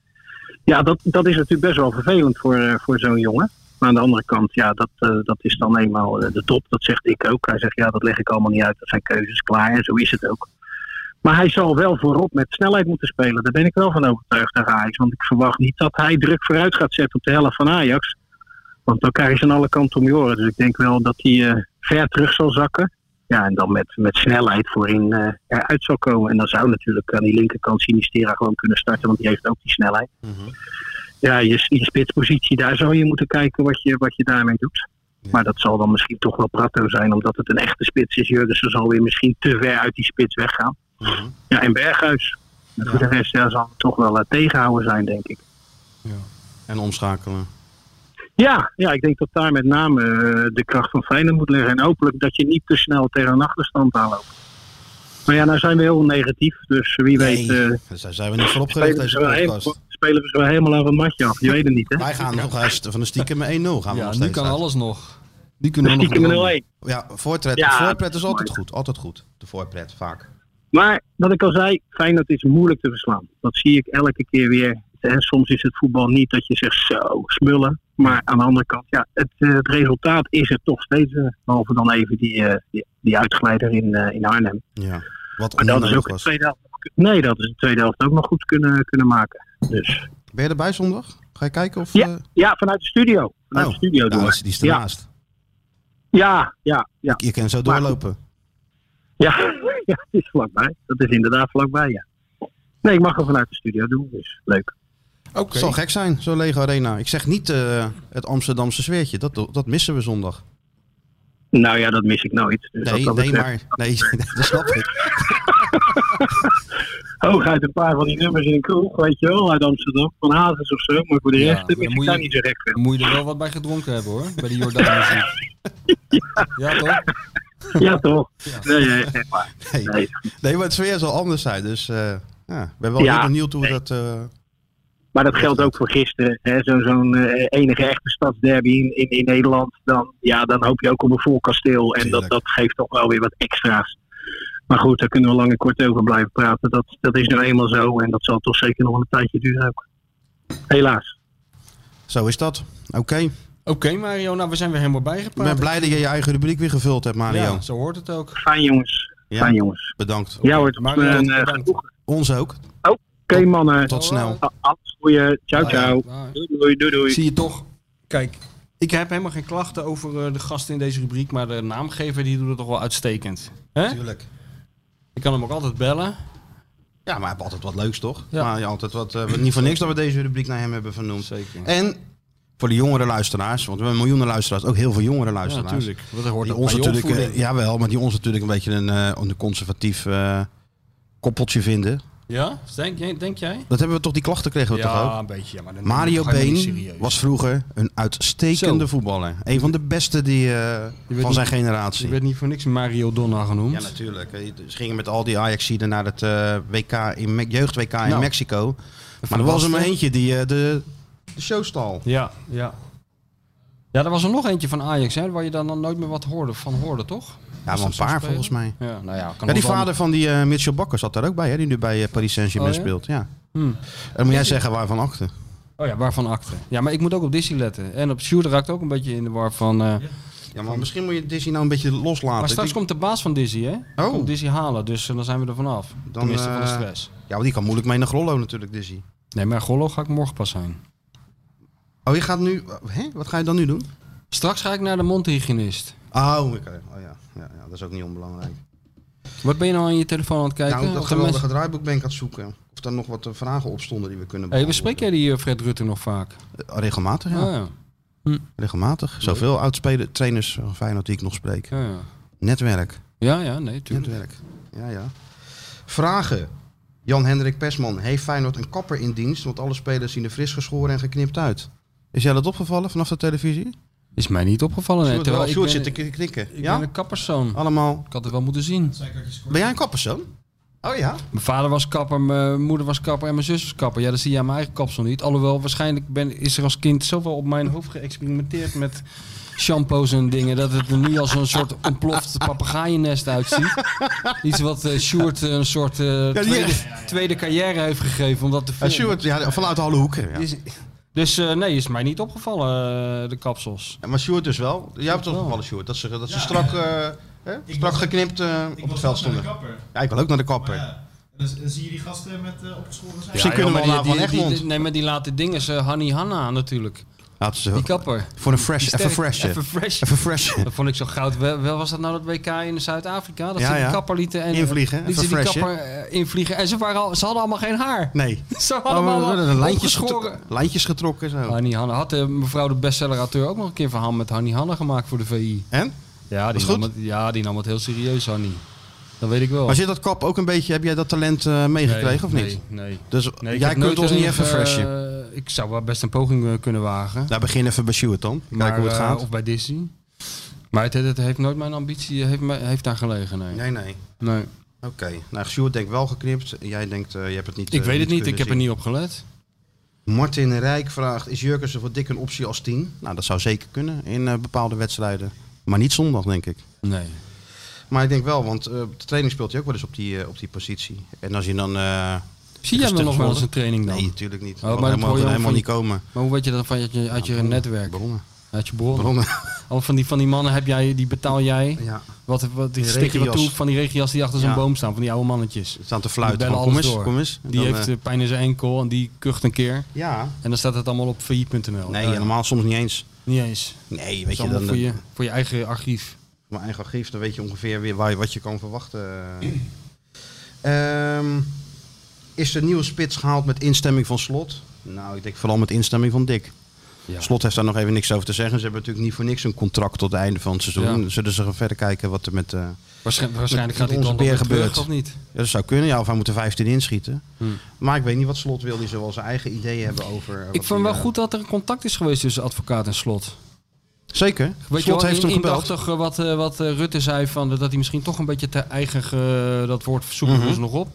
[SPEAKER 11] Ja, dat, dat is natuurlijk best wel vervelend voor, eh, voor zo'n jongen. Maar aan de andere kant, ja, dat, eh, dat is dan eenmaal eh, de top. Dat zegt ik ook. Hij zegt, ja, dat leg ik allemaal niet uit. Dat zijn keuzes, klaar. En zo is het ook. Maar hij zal wel voorop met snelheid moeten spelen. Daar ben ik wel van overtuigd naar Ajax. Want ik verwacht niet dat hij druk vooruit gaat zetten op de helft van Ajax. Want dan krijg je ze aan alle kanten om je oren. Dus ik denk wel dat hij eh, ver terug zal zakken. Ja, en dan met, met snelheid voorin eh, eruit zal komen. En dan zou natuurlijk aan die linkerkant Sinistera gewoon kunnen starten. Want die heeft ook die snelheid. Ja, je, je spitspositie, daar zou je moeten kijken wat je, wat je daarmee doet. Maar dat zal dan misschien toch wel Prato zijn, omdat het een echte spits is. Jurgensen zal weer misschien te ver uit die spits weggaan.
[SPEAKER 5] Mhm.
[SPEAKER 11] Ja, en Berghuis. En Voor de rest ja, zal het toch wel eh, tegenhouden zijn, denk ik.
[SPEAKER 5] En omschakelen.
[SPEAKER 11] Ja, ja, ik denk dat daar met name eh, de kracht van Feyenoord moet liggen. En hopelijk dat je niet te snel tegen een achterstand aanloopt. Maar ja, nou zijn we heel negatief, dus wie
[SPEAKER 5] Nee,
[SPEAKER 11] weet... eh,
[SPEAKER 5] daar zijn we niet voor opgericht
[SPEAKER 11] spelen we
[SPEAKER 5] deze
[SPEAKER 11] ze wel heel-
[SPEAKER 5] podcast.
[SPEAKER 11] Spelen we ze wel helemaal aan het matje af, je weet het niet, hè?
[SPEAKER 5] Wij gaan nog eens van de stiekem met 1-0 gaan we
[SPEAKER 6] Ja,
[SPEAKER 5] nog
[SPEAKER 6] nu
[SPEAKER 5] steeds
[SPEAKER 6] kan
[SPEAKER 5] uit.
[SPEAKER 6] alles nog.
[SPEAKER 5] Die kunnen
[SPEAKER 11] De
[SPEAKER 5] we nog
[SPEAKER 11] stiekem
[SPEAKER 5] doen.
[SPEAKER 11] 0-1.
[SPEAKER 5] Ja, voorpret.
[SPEAKER 11] Ja,
[SPEAKER 5] voorpret
[SPEAKER 11] dat
[SPEAKER 5] is
[SPEAKER 11] is
[SPEAKER 5] altijd goed. Altijd goed. De voorpret, vaak.
[SPEAKER 11] Maar wat ik al zei, Feyenoord is moeilijk te verslaan. Dat zie ik elke keer weer. En soms is het voetbal niet dat je zegt zo, smullen. Maar aan de andere kant, ja, het, eh, het resultaat is er toch steeds. eh, behalve dan even die, eh, die, die uitglijder in, eh, in Arnhem.
[SPEAKER 5] Ja. Wat
[SPEAKER 11] Maar dat is
[SPEAKER 5] onnodig
[SPEAKER 11] ook de
[SPEAKER 5] was.
[SPEAKER 11] tweede helft. Nee, dat is de tweede helft ook nog goed kunnen, kunnen maken. Dus
[SPEAKER 5] Ben je erbij zondag? Ga je kijken of... eh,
[SPEAKER 11] ja, ja, vanuit de studio. Vanuit
[SPEAKER 5] oh,
[SPEAKER 11] de studio
[SPEAKER 5] nou,
[SPEAKER 11] doen
[SPEAKER 5] dat
[SPEAKER 11] we.
[SPEAKER 5] is- die is
[SPEAKER 11] ja,
[SPEAKER 5] ernaast.
[SPEAKER 11] ja, ja, ja,
[SPEAKER 5] Je kan zo doorlopen.
[SPEAKER 11] ja. ja, het is vlakbij. Dat is inderdaad vlakbij, ja. Nee, ik mag het vanuit de studio doen, dus leuk.
[SPEAKER 5] Oké. Zal gek zijn, zo'n lege arena. Ik zeg niet eh, het Amsterdamse sfeertje. Dat, dat missen we zondag.
[SPEAKER 11] Nou ja, dat mis ik nooit. Dus wat
[SPEAKER 5] Nee,
[SPEAKER 11] dat
[SPEAKER 5] nee,
[SPEAKER 11] betreft,
[SPEAKER 5] maar... Nee, dat snap ik.
[SPEAKER 11] Hooguit Oh, een paar van die nummers in een kroeg, weet je wel, uit Amsterdam. Van Hazes of zo, maar voor de
[SPEAKER 6] Ja,
[SPEAKER 11] rest eh,
[SPEAKER 6] maar
[SPEAKER 11] mis
[SPEAKER 6] moet
[SPEAKER 11] ik daar
[SPEAKER 6] je-
[SPEAKER 11] niet zo gek van.
[SPEAKER 6] Dan moet je er wel wat bij gedronken hebben hoor, bij de Jordaanse. Ja toch?
[SPEAKER 11] Ja, toch? Nee, nee, echt waar.
[SPEAKER 5] Nee.
[SPEAKER 11] Nee.
[SPEAKER 5] nee, maar het sfeer zal anders zijn. Dus eh, ja, ik ben wel
[SPEAKER 11] Ja.
[SPEAKER 5] heel benieuwd hoe dat... eh,
[SPEAKER 11] Maar dat geldt ook voor gisteren. hè. Zo- Zo'n eh, enige echte stadsderby in, in, in Nederland. Dan, ja, dan hoop je ook op een vol kasteel. En dat,
[SPEAKER 5] Tuurlijk.
[SPEAKER 11] dat geeft toch wel weer wat extra's. Maar goed, daar kunnen we lang en kort over blijven praten. Dat, dat is nu eenmaal zo. En dat zal toch zeker nog een tijdje duren. ook. Helaas.
[SPEAKER 5] zo is dat. Oké.
[SPEAKER 6] Oké Mario, nou we zijn weer helemaal
[SPEAKER 5] Ik
[SPEAKER 6] bijgepraat.
[SPEAKER 5] ben blij dat je je eigen rubriek weer gevuld hebt, Mario.
[SPEAKER 6] Ja, zo hoort het ook.
[SPEAKER 11] Fijn jongens.
[SPEAKER 5] Ja.
[SPEAKER 11] Fijn jongens.
[SPEAKER 5] Bedankt.
[SPEAKER 11] Ja hoor, tot,
[SPEAKER 6] Mario,
[SPEAKER 11] eh, Oh, een, eh,
[SPEAKER 6] bedankt.
[SPEAKER 11] genoeg.
[SPEAKER 5] Ons ook.
[SPEAKER 11] Oké mannen.
[SPEAKER 5] Tot snel.
[SPEAKER 11] A- Alles goeie. Ciao, ciao.
[SPEAKER 6] Bye.
[SPEAKER 11] Doei, doei, doei. doei.
[SPEAKER 6] Zie je toch? Kijk, ik heb helemaal geen klachten over eh, de gasten in deze rubriek, maar de naamgever die doet het toch wel uitstekend. Hè?
[SPEAKER 5] Tuurlijk.
[SPEAKER 6] Ik kan hem ook altijd bellen.
[SPEAKER 5] Ja, maar we hebben altijd wat leuks, toch?
[SPEAKER 6] Ja.
[SPEAKER 5] Maar ja, altijd wat, eh, niet voor niks dat we deze rubriek naar hem hebben vernoemd.
[SPEAKER 6] Zeker.
[SPEAKER 5] En voor de jongere luisteraars, want we hebben miljoenen luisteraars, ook heel veel jongere
[SPEAKER 6] Ja,
[SPEAKER 5] luisteraars.
[SPEAKER 6] natuurlijk. Want dat hoort
[SPEAKER 5] Die
[SPEAKER 6] ook
[SPEAKER 5] ons
[SPEAKER 6] bij je
[SPEAKER 5] natuurlijk, eh,
[SPEAKER 6] opvoeding.
[SPEAKER 5] jawel, maar die ons natuurlijk een beetje een, eh, een conservatief eh, koppeltje vinden.
[SPEAKER 6] Ja? Dus Denk, jij- denk jij?
[SPEAKER 5] Dat hebben we toch, die klachten kregen we toch ook?
[SPEAKER 6] Ja, een beetje. Ja, maar dan
[SPEAKER 5] Mario
[SPEAKER 6] ga je niet
[SPEAKER 5] Been
[SPEAKER 6] serieus.
[SPEAKER 5] was vroeger een uitstekende
[SPEAKER 6] Zo.
[SPEAKER 5] voetballer. Een van de beste die, eh,
[SPEAKER 6] werd
[SPEAKER 5] van zijn
[SPEAKER 6] niet-
[SPEAKER 5] generatie.
[SPEAKER 6] Je werd niet voor niks Mario Donna genoemd.
[SPEAKER 5] Ja, natuurlijk. Eh, Ze gingen met al die Ajaxiden naar het eh, WK in Me- jeugd-WK in
[SPEAKER 6] Nou.
[SPEAKER 5] Mexico. Maar er was er maar
[SPEAKER 6] Basten.
[SPEAKER 5] eentje die eh, de, de show stal.
[SPEAKER 6] Ja, ja. Ja, er was er nog eentje van Ajax, hè, waar je dan, dan nooit meer wat hoorde, van hoorde, toch?
[SPEAKER 5] Ja, maar een paar volgens mij.
[SPEAKER 6] Ja, nou ja, kan
[SPEAKER 5] Ja, die
[SPEAKER 6] ook
[SPEAKER 5] vader van die eh, Mitchell Bakker zat daar ook bij, hè, die nu bij eh, Paris Saint-Germain
[SPEAKER 6] Oh, ja?
[SPEAKER 5] speelt. Ja.
[SPEAKER 6] Hmm.
[SPEAKER 5] En dan moet jij zeggen waarvan achter.
[SPEAKER 6] wel- Oh ja, waarvan akte? Ja, maar ik moet ook op Disney letten. En op Sjoerd raakt ook een beetje in de war van... eh,
[SPEAKER 5] Ja, maar misschien moet je Disney nou een beetje loslaten.
[SPEAKER 6] Maar straks
[SPEAKER 5] Ik
[SPEAKER 6] komt de baas van Disney, hè?
[SPEAKER 5] Oh.
[SPEAKER 6] Komt Disney halen, dus eh, dan zijn we er vanaf.
[SPEAKER 5] Dan,
[SPEAKER 6] Tenminste, van de
[SPEAKER 5] eh,
[SPEAKER 6] stress.
[SPEAKER 5] denk- Ja, want die kan moeilijk mee naar Grollo natuurlijk, Disney.
[SPEAKER 6] Nee, maar Gollo ga ik morgen pas zijn.
[SPEAKER 5] Oh, je gaat nu... Hè? Wat ga je dan nu doen?
[SPEAKER 6] Straks ga ik naar de mondhygiënist.
[SPEAKER 5] Oh, oké. Oh, ja. Ja, ja, dat is ook niet onbelangrijk.
[SPEAKER 6] Wat ben je nou aan je telefoon aan het kijken?
[SPEAKER 5] nou, dat
[SPEAKER 6] Of de mensen-
[SPEAKER 5] geweldige draaiboek ben ik aan het zoeken. Of daar nog wat eh, vragen op stonden die we kunnen
[SPEAKER 6] Hey,
[SPEAKER 5] beantwoorden.
[SPEAKER 6] bespreek jij die eh, Fred Rutte nog vaak?
[SPEAKER 5] Eh, Regelmatig, ja.
[SPEAKER 6] Ah, ja.
[SPEAKER 5] Regelmatig. Zoveel oudspelers, trainers van Feyenoord die ik nog spreek.
[SPEAKER 6] Ja, ja.
[SPEAKER 5] Netwerk.
[SPEAKER 6] ja, ja, nee, tuurlijk.
[SPEAKER 5] Netwerk. Ja, ja. Vragen. Jan-Hendrik Persman. Heeft Feyenoord een kapper in dienst? Want alle spelers zien er fris geschoren en geknipt uit. Is jij dat opgevallen vanaf de televisie?
[SPEAKER 6] Is mij niet opgevallen. Nee,
[SPEAKER 5] Sjoerd wel-
[SPEAKER 6] terwijl ik
[SPEAKER 5] Sjoerd
[SPEAKER 6] ben,
[SPEAKER 5] zit te knik- knikken.
[SPEAKER 6] ik
[SPEAKER 5] Ja?
[SPEAKER 6] ben een kapperszoon.
[SPEAKER 5] Allemaal.
[SPEAKER 6] Ik had het wel moeten zien.
[SPEAKER 5] Ben jij een kapperzoon? Oh ja?
[SPEAKER 6] Mijn vader was kapper, mijn moeder was kapper en mijn zus was kapper. Ja, dat zie je aan mijn eigen kapsel niet. Alhoewel, waarschijnlijk ben, is er als kind zoveel op mijn hoofd geëxperimenteerd met shampoos en dingen... dat het er nu als een soort ontploft papegaaiennest uitziet. Iets wat eh Sjoerd een soort eh,
[SPEAKER 5] die-
[SPEAKER 6] tweede, tweede carrière heeft gegeven. Omdat de
[SPEAKER 5] Ja,
[SPEAKER 6] film...
[SPEAKER 5] Sjoerd, ja, vanuit alle hoeken. Ja.
[SPEAKER 6] Is- dus eh, nee, is mij niet opgevallen, eh, de kapsels.
[SPEAKER 5] Ja, Maar Sjoerd dus wel. Jij
[SPEAKER 6] Oh.
[SPEAKER 5] hebt het opgevallen, Sjoerd. Dat ze, dat ze strak, eh, hè, strak geknipt eh, op het veld stonden. Ja, ik wil ook naar de kapper.
[SPEAKER 12] Dus eh, zie je die gasten met eh opgeschoren zijn?
[SPEAKER 5] Misschien kunnen we
[SPEAKER 6] Ah, maar
[SPEAKER 5] al
[SPEAKER 6] die-
[SPEAKER 5] naar Van
[SPEAKER 6] die- die-
[SPEAKER 5] Egmond.
[SPEAKER 6] Nee, maar die laten dingen, ze Hanni Hanna natuurlijk.
[SPEAKER 5] Laten ze
[SPEAKER 6] Die kapper.
[SPEAKER 5] Voor een fresh,
[SPEAKER 6] Die
[SPEAKER 5] even
[SPEAKER 6] sterk-
[SPEAKER 5] fresh.
[SPEAKER 6] Even fresh.
[SPEAKER 5] Even fresh.
[SPEAKER 6] Dat vond ik zo goud. Wel, wel was dat nou dat WK in Zuid-Afrika? Dat
[SPEAKER 5] Ja,
[SPEAKER 6] ze die
[SPEAKER 5] ja.
[SPEAKER 6] kapper lieten en eh,
[SPEAKER 5] Invliegen,
[SPEAKER 6] lieten
[SPEAKER 5] even
[SPEAKER 6] ze die
[SPEAKER 5] fresh, hè?
[SPEAKER 6] kapper eh, invliegen. En ze, waren al, ze hadden allemaal geen haar.
[SPEAKER 5] Nee.
[SPEAKER 6] Ze hadden
[SPEAKER 5] Oh, maar
[SPEAKER 6] allemaal
[SPEAKER 5] we hadden de lijntjes
[SPEAKER 6] opgeschoren.
[SPEAKER 5] getro- Lijntjes getrokken zo.
[SPEAKER 6] Hanni Hanna. Had eh, mevrouw de bestseller-auteur ook nog een keer verhaal met Hanni Hanna gemaakt voor de VI?
[SPEAKER 5] En?
[SPEAKER 6] Ja, die,
[SPEAKER 5] Was goed?
[SPEAKER 6] nam het, ja, die nam het heel serieus, Hanni. Dat weet ik wel.
[SPEAKER 5] Maar zit dat kap ook een beetje, heb jij dat talent eh, meegekregen
[SPEAKER 6] Nee,
[SPEAKER 5] of niet?
[SPEAKER 6] nee, nee.
[SPEAKER 5] Dus
[SPEAKER 6] Nee, ik
[SPEAKER 5] jij
[SPEAKER 6] heb
[SPEAKER 5] kunt
[SPEAKER 6] nooit
[SPEAKER 5] ons niet
[SPEAKER 6] erin
[SPEAKER 5] even
[SPEAKER 6] ge-
[SPEAKER 5] freshen.
[SPEAKER 6] eh, ik zou wel best een poging eh, kunnen wagen.
[SPEAKER 5] Nou, begin even bij Stuart dan. Kijken
[SPEAKER 6] Maar,
[SPEAKER 5] hoe het
[SPEAKER 6] eh,
[SPEAKER 5] gaat.
[SPEAKER 6] of bij Disney. Maar het, het heeft nooit mijn ambitie, eh, heeft, me- heeft daar gelegen, nee.
[SPEAKER 5] Nee, nee.
[SPEAKER 6] Nee.
[SPEAKER 5] Oké. Nou, Stuart denkt wel geknipt. Jij denkt, eh, je hebt het niet
[SPEAKER 6] Ik
[SPEAKER 5] eh,
[SPEAKER 6] weet het niet,
[SPEAKER 5] kunnen
[SPEAKER 6] ik heb er
[SPEAKER 5] zien.
[SPEAKER 6] niet op gelet.
[SPEAKER 5] Martin Rijk vraagt, is Jurkensen voor Dick een optie als 10? Nou, dat zou zeker kunnen in eh, bepaalde wedstrijden. Maar niet zondag, denk ik.
[SPEAKER 6] Nee.
[SPEAKER 5] Maar ik denk wel, want eh, op de training speelt hij ook wel eens op die, eh, op die positie. En als je dan...
[SPEAKER 6] Zie
[SPEAKER 5] eh,
[SPEAKER 6] jij
[SPEAKER 5] tegen
[SPEAKER 6] hem nog wel eens
[SPEAKER 5] Stugge-
[SPEAKER 6] een training dan?
[SPEAKER 5] Nee, natuurlijk niet.
[SPEAKER 6] Oh,
[SPEAKER 5] maar
[SPEAKER 6] maar
[SPEAKER 5] dat
[SPEAKER 6] dat
[SPEAKER 5] mag
[SPEAKER 6] hoor je
[SPEAKER 5] er
[SPEAKER 6] allemaal
[SPEAKER 5] helemaal
[SPEAKER 6] van die-
[SPEAKER 5] niet komen.
[SPEAKER 6] Maar hoe weet je dat van uit je, uit je netwerk? Oh.
[SPEAKER 5] Bronnen.
[SPEAKER 6] Uit je bronnen.
[SPEAKER 5] Bronnen.
[SPEAKER 6] Al van die, van die mannen heb jij, die betaal jij.
[SPEAKER 5] Ja.
[SPEAKER 6] Wat, wat, die
[SPEAKER 5] Die
[SPEAKER 6] stik je wat
[SPEAKER 5] regenjas.
[SPEAKER 6] toe van die regenjas die achter zo'n
[SPEAKER 5] Ja.
[SPEAKER 6] boom staan, van die oude mannetjes.
[SPEAKER 5] Staan te fluiten
[SPEAKER 6] Die bellen
[SPEAKER 5] van,
[SPEAKER 6] alles
[SPEAKER 5] kom eens,
[SPEAKER 6] door.
[SPEAKER 5] kom eens. En
[SPEAKER 6] Die
[SPEAKER 5] dan,
[SPEAKER 6] heeft
[SPEAKER 5] eh,
[SPEAKER 6] eh, pijn in zijn enkel en die kucht een keer.
[SPEAKER 5] Ja.
[SPEAKER 6] En dan staat het allemaal op vi.nl.
[SPEAKER 5] Nee,
[SPEAKER 6] Oh, Ja.
[SPEAKER 5] helemaal soms niet eens.
[SPEAKER 6] Eh, Niet eens.
[SPEAKER 5] Nee,
[SPEAKER 6] Dat
[SPEAKER 5] weet
[SPEAKER 6] is
[SPEAKER 5] je,
[SPEAKER 6] allemaal
[SPEAKER 5] dan, eh,
[SPEAKER 6] voor je, voor je eigen archief.
[SPEAKER 5] Mijn eigen archief, dan weet je ongeveer weer waar, je- wat je kan verwachten. Ehm, is de nieuwe spits gehaald met instemming van Slot? Nou, ik denk vooral met instemming van Dick.
[SPEAKER 6] Ja.
[SPEAKER 5] Slot heeft daar nog even niks over te zeggen. Ze hebben natuurlijk niet voor niks een contract tot het einde van het seizoen.
[SPEAKER 6] Ja.
[SPEAKER 5] Dan Zullen ze gaan verder kijken wat er met, eh
[SPEAKER 6] Waarschijn- waarschijnlijk
[SPEAKER 5] met-
[SPEAKER 6] gaat hij
[SPEAKER 5] met
[SPEAKER 6] dan
[SPEAKER 5] onze
[SPEAKER 6] nog
[SPEAKER 5] beer
[SPEAKER 6] weer terug,
[SPEAKER 5] gebeurt.
[SPEAKER 6] of niet?
[SPEAKER 5] Ja, dat zou kunnen, ja, of hij moet er 15 inschieten.
[SPEAKER 6] Hmm.
[SPEAKER 5] Maar ik weet niet wat Slot wil. Die zal wel zijn eigen ideeën hebben over... eh, wat
[SPEAKER 6] Ik vond
[SPEAKER 5] hij,
[SPEAKER 6] wel
[SPEAKER 5] eh,
[SPEAKER 6] goed dat er contact is geweest tussen advocaat en slot.
[SPEAKER 5] Zeker.
[SPEAKER 6] Weet je
[SPEAKER 5] Slot
[SPEAKER 6] wel,
[SPEAKER 5] heeft
[SPEAKER 6] in-
[SPEAKER 5] hem gebeld.
[SPEAKER 6] indachtig, eh, wat, eh, wat eh, Rutte zei, van, dat hij misschien toch een beetje te eigen, eh, dat woord zoeken we
[SPEAKER 5] Mhm.
[SPEAKER 6] ons nog op.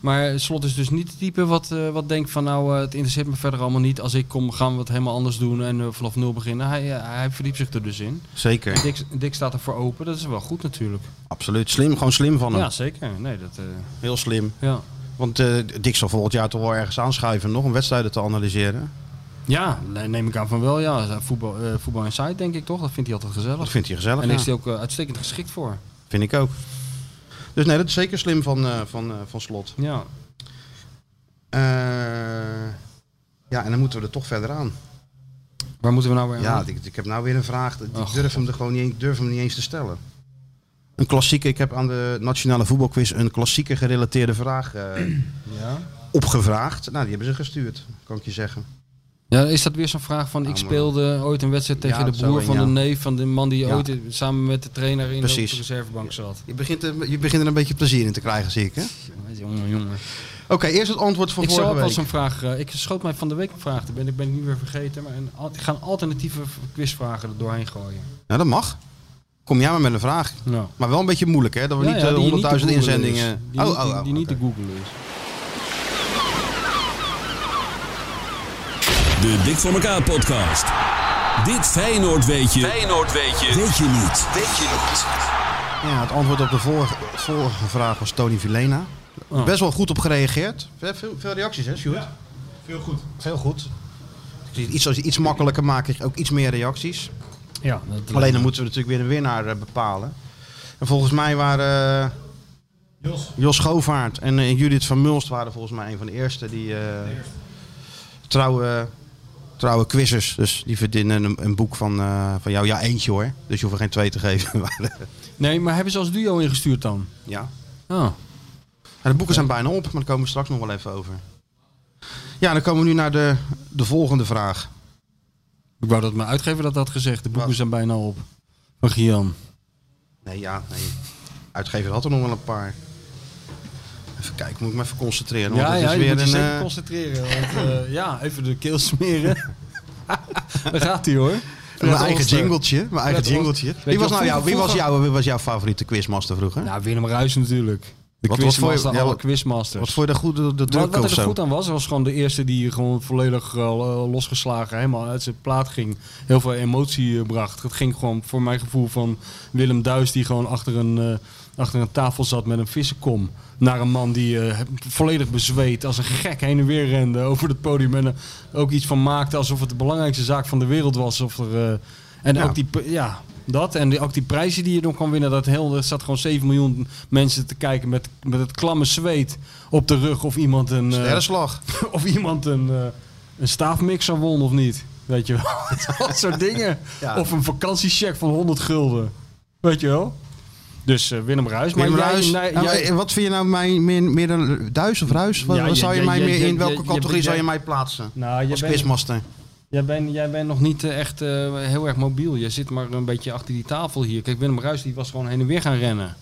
[SPEAKER 6] Maar Slot is dus niet het type wat, eh, wat denkt van nou, eh, het interesseert me verder allemaal niet. Als ik kom, gaan we het helemaal anders doen en eh, vanaf nul beginnen. Hij, eh, hij verdiep zich er dus in.
[SPEAKER 5] Zeker.
[SPEAKER 6] Dick, Dick staat er voor open, dat is wel goed natuurlijk.
[SPEAKER 5] Absoluut. Slim, gewoon slim van hem.
[SPEAKER 6] Ja, zeker. Nee, dat, eh,
[SPEAKER 5] Heel slim.
[SPEAKER 6] Ja.
[SPEAKER 5] Want eh Dick zal volgend jaar toch wel ergens aanschuiven nog om wedstrijden te analyseren.
[SPEAKER 6] ja, ne- neem ik aan van wel. Ja, voetbal, eh voetbal Inside denk ik toch? Dat vindt hij altijd gezellig.
[SPEAKER 5] Dat vindt hij gezellig,
[SPEAKER 6] En
[SPEAKER 5] ja.
[SPEAKER 6] is hij ook eh, uitstekend geschikt voor.
[SPEAKER 5] Vind ik ook. Dus nee, dat is zeker slim van, eh, van, eh, van slot. Eh,
[SPEAKER 6] Ja.
[SPEAKER 5] ja, en dan moeten we er toch verder aan.
[SPEAKER 6] Waar moeten we nou weer
[SPEAKER 5] Ja,
[SPEAKER 6] aan?
[SPEAKER 5] ik, ik heb nou weer een vraag. Ik
[SPEAKER 6] Oh,
[SPEAKER 5] durf, hem er gewoon niet, durf hem niet eens te stellen. Een klassieke, ik heb aan de Nationale Voetbalquiz een klassieke gerelateerde vraag eh,
[SPEAKER 6] Ja.
[SPEAKER 5] opgevraagd. Nou, die hebben ze gestuurd, kan ik je zeggen.
[SPEAKER 6] Ja, is dat weer zo'n vraag van, ik
[SPEAKER 5] maar-
[SPEAKER 6] speelde ooit een wedstrijd tegen
[SPEAKER 5] Ja,
[SPEAKER 6] de
[SPEAKER 5] zo
[SPEAKER 6] broer
[SPEAKER 5] een,
[SPEAKER 6] van
[SPEAKER 5] ja.
[SPEAKER 6] de neef van de man die
[SPEAKER 5] Ja.
[SPEAKER 6] ooit samen met de trainer in
[SPEAKER 5] Precies.
[SPEAKER 6] de reservebank zat.
[SPEAKER 5] Je begint, er, je begint er een beetje plezier in te krijgen, zie ik. hè?
[SPEAKER 6] Jongen, jongen.
[SPEAKER 5] Oké, eerst het antwoord van
[SPEAKER 6] Ik zou
[SPEAKER 5] vorige
[SPEAKER 6] ook wel
[SPEAKER 5] week.
[SPEAKER 6] zo'n vraag, eh, ik schoot mij van de week een vraag, te ben ik ben ik nu weer vergeten, maar een, al- ik ga een alternatieve v- quizvragen er doorheen gooien.
[SPEAKER 5] Nou, dat mag. Kom jij maar met een vraag.
[SPEAKER 6] Ja.
[SPEAKER 5] Maar wel een beetje moeilijk, hè? Dat we
[SPEAKER 6] Ja,
[SPEAKER 5] niet
[SPEAKER 6] ja,
[SPEAKER 5] eh,
[SPEAKER 6] die niet te
[SPEAKER 5] 100.000
[SPEAKER 6] googlen
[SPEAKER 5] inzendingen... Oh,
[SPEAKER 6] is. Die niet- die- die niet te googlen dus. is.
[SPEAKER 13] De Dik voor elkaar podcast. Dit Feyenoord weet je. Feyenoord weet je. Weet je niet. Weet je niet.
[SPEAKER 5] Ja, het antwoord op de vorige, vorige vraag was Tony Vilena.
[SPEAKER 13] Oh.
[SPEAKER 5] Best wel goed op gereageerd. Veel, veel, veel reacties, hè, Sjoerd?
[SPEAKER 12] Ja, veel goed.
[SPEAKER 5] Veel goed. Iets, als je iets makkelijker maakt, krijg je ook iets meer reacties.
[SPEAKER 6] Ja, dat
[SPEAKER 5] Alleen dan moeten we natuurlijk weer een winnaar eh, bepalen. En volgens mij waren eh,
[SPEAKER 12] Jos.
[SPEAKER 5] Jos Schoovaart en eh, Judith van Mulst waren volgens mij een van de eerste die eh, trouwe, trouwe quizzers. Dus die verdienen een, een boek van, eh, van jou. Ja, eentje hoor. Dus je hoeft er geen twee te geven. Maar, eh,
[SPEAKER 6] Nee, maar hebben ze als duo ingestuurd dan?
[SPEAKER 5] ja.
[SPEAKER 6] Oh.
[SPEAKER 5] Ja, de boeken zijn bijna op, maar daar komen we straks nog wel even over. Ja, dan komen we nu naar de, de volgende vraag.
[SPEAKER 6] Ik wou dat mijn uitgever dat had gezegd, de boeken zijn bijna op. Van Gian.
[SPEAKER 5] Nee, ja, nee. Uitgever had er nog wel een paar. Even kijken, moet ik me even concentreren. Want
[SPEAKER 6] Ja,
[SPEAKER 5] het
[SPEAKER 6] ja,
[SPEAKER 5] is
[SPEAKER 6] je
[SPEAKER 5] weer
[SPEAKER 6] moet je
[SPEAKER 5] een,
[SPEAKER 6] zeker
[SPEAKER 5] eh,
[SPEAKER 6] concentreren. Want, eh, ja, even de keel smeren. Daar gaat hij hoor.
[SPEAKER 5] Mijn
[SPEAKER 6] Fred
[SPEAKER 5] eigen
[SPEAKER 6] Olster.
[SPEAKER 5] jingletje, mijn eigen
[SPEAKER 6] Fred Olster.
[SPEAKER 5] jingletje.
[SPEAKER 6] Weet
[SPEAKER 5] Wie
[SPEAKER 6] je
[SPEAKER 5] was,
[SPEAKER 6] wel,
[SPEAKER 5] nou jou, wie, was
[SPEAKER 6] vroeger-
[SPEAKER 5] jou, wie was jouw favoriete quizmaster vroeger?
[SPEAKER 6] Nou, Willem Ruijs natuurlijk. De
[SPEAKER 5] Wat- wat vond je-
[SPEAKER 6] quizmaster,
[SPEAKER 5] ja,
[SPEAKER 6] alle
[SPEAKER 5] wat-
[SPEAKER 6] quizmasters.
[SPEAKER 5] Wat voor de goede de
[SPEAKER 6] Wat,
[SPEAKER 5] druk
[SPEAKER 6] wat
[SPEAKER 5] of
[SPEAKER 6] er
[SPEAKER 5] zo?
[SPEAKER 6] goed aan was, was gewoon de eerste die gewoon volledig eh, losgeslagen, helemaal uit zijn plaat ging. Heel veel emotie eh, bracht. Het ging gewoon voor mijn gevoel van Willem Duis die gewoon achter een, eh, achter een tafel zat met een vissenkom. Naar een man die eh, volledig bezweet, als een gek heen en weer rende over het podium. En er ook iets van maakte alsof het de belangrijkste zaak van de wereld was. Of er, eh, en
[SPEAKER 5] Ja.
[SPEAKER 6] ook die, pe- ja, Dat en die, ook die prijzen die je dan kan winnen. Dat heel, er zat gewoon 7 miljoen mensen te kijken met, met het klamme zweet op de rug. Of iemand een. eh,
[SPEAKER 5] Sterrenslag.
[SPEAKER 6] of iemand een, eh, een staafmixer won of niet. Weet je wel. dat soort dingen.
[SPEAKER 5] Ja.
[SPEAKER 6] Of een vakantiecheck van 100 gulden. Weet je wel. Dus eh, Willem Ruijs.
[SPEAKER 5] Willem
[SPEAKER 6] maar jij-
[SPEAKER 5] Ruijs,
[SPEAKER 6] nee,
[SPEAKER 5] nou,
[SPEAKER 6] jij-
[SPEAKER 5] eh, wat vind je nou mijn, meer, meer dan Duis of Ruis? Wat,
[SPEAKER 6] Ja,
[SPEAKER 5] wat
[SPEAKER 6] je-
[SPEAKER 5] zou je,
[SPEAKER 6] je-
[SPEAKER 5] mij
[SPEAKER 6] je-
[SPEAKER 5] meer,
[SPEAKER 6] je-
[SPEAKER 5] in welke
[SPEAKER 6] je- je-
[SPEAKER 5] categorie
[SPEAKER 6] je-
[SPEAKER 5] zou je mij plaatsen?
[SPEAKER 6] Nou, je
[SPEAKER 5] als
[SPEAKER 6] bent-
[SPEAKER 5] quizmaster.
[SPEAKER 6] Jij bent, jij bent nog niet eh, echt eh, heel erg mobiel. Jij zit maar een beetje achter die tafel hier. Kijk, Willem Ruijs die was gewoon heen en weer gaan rennen.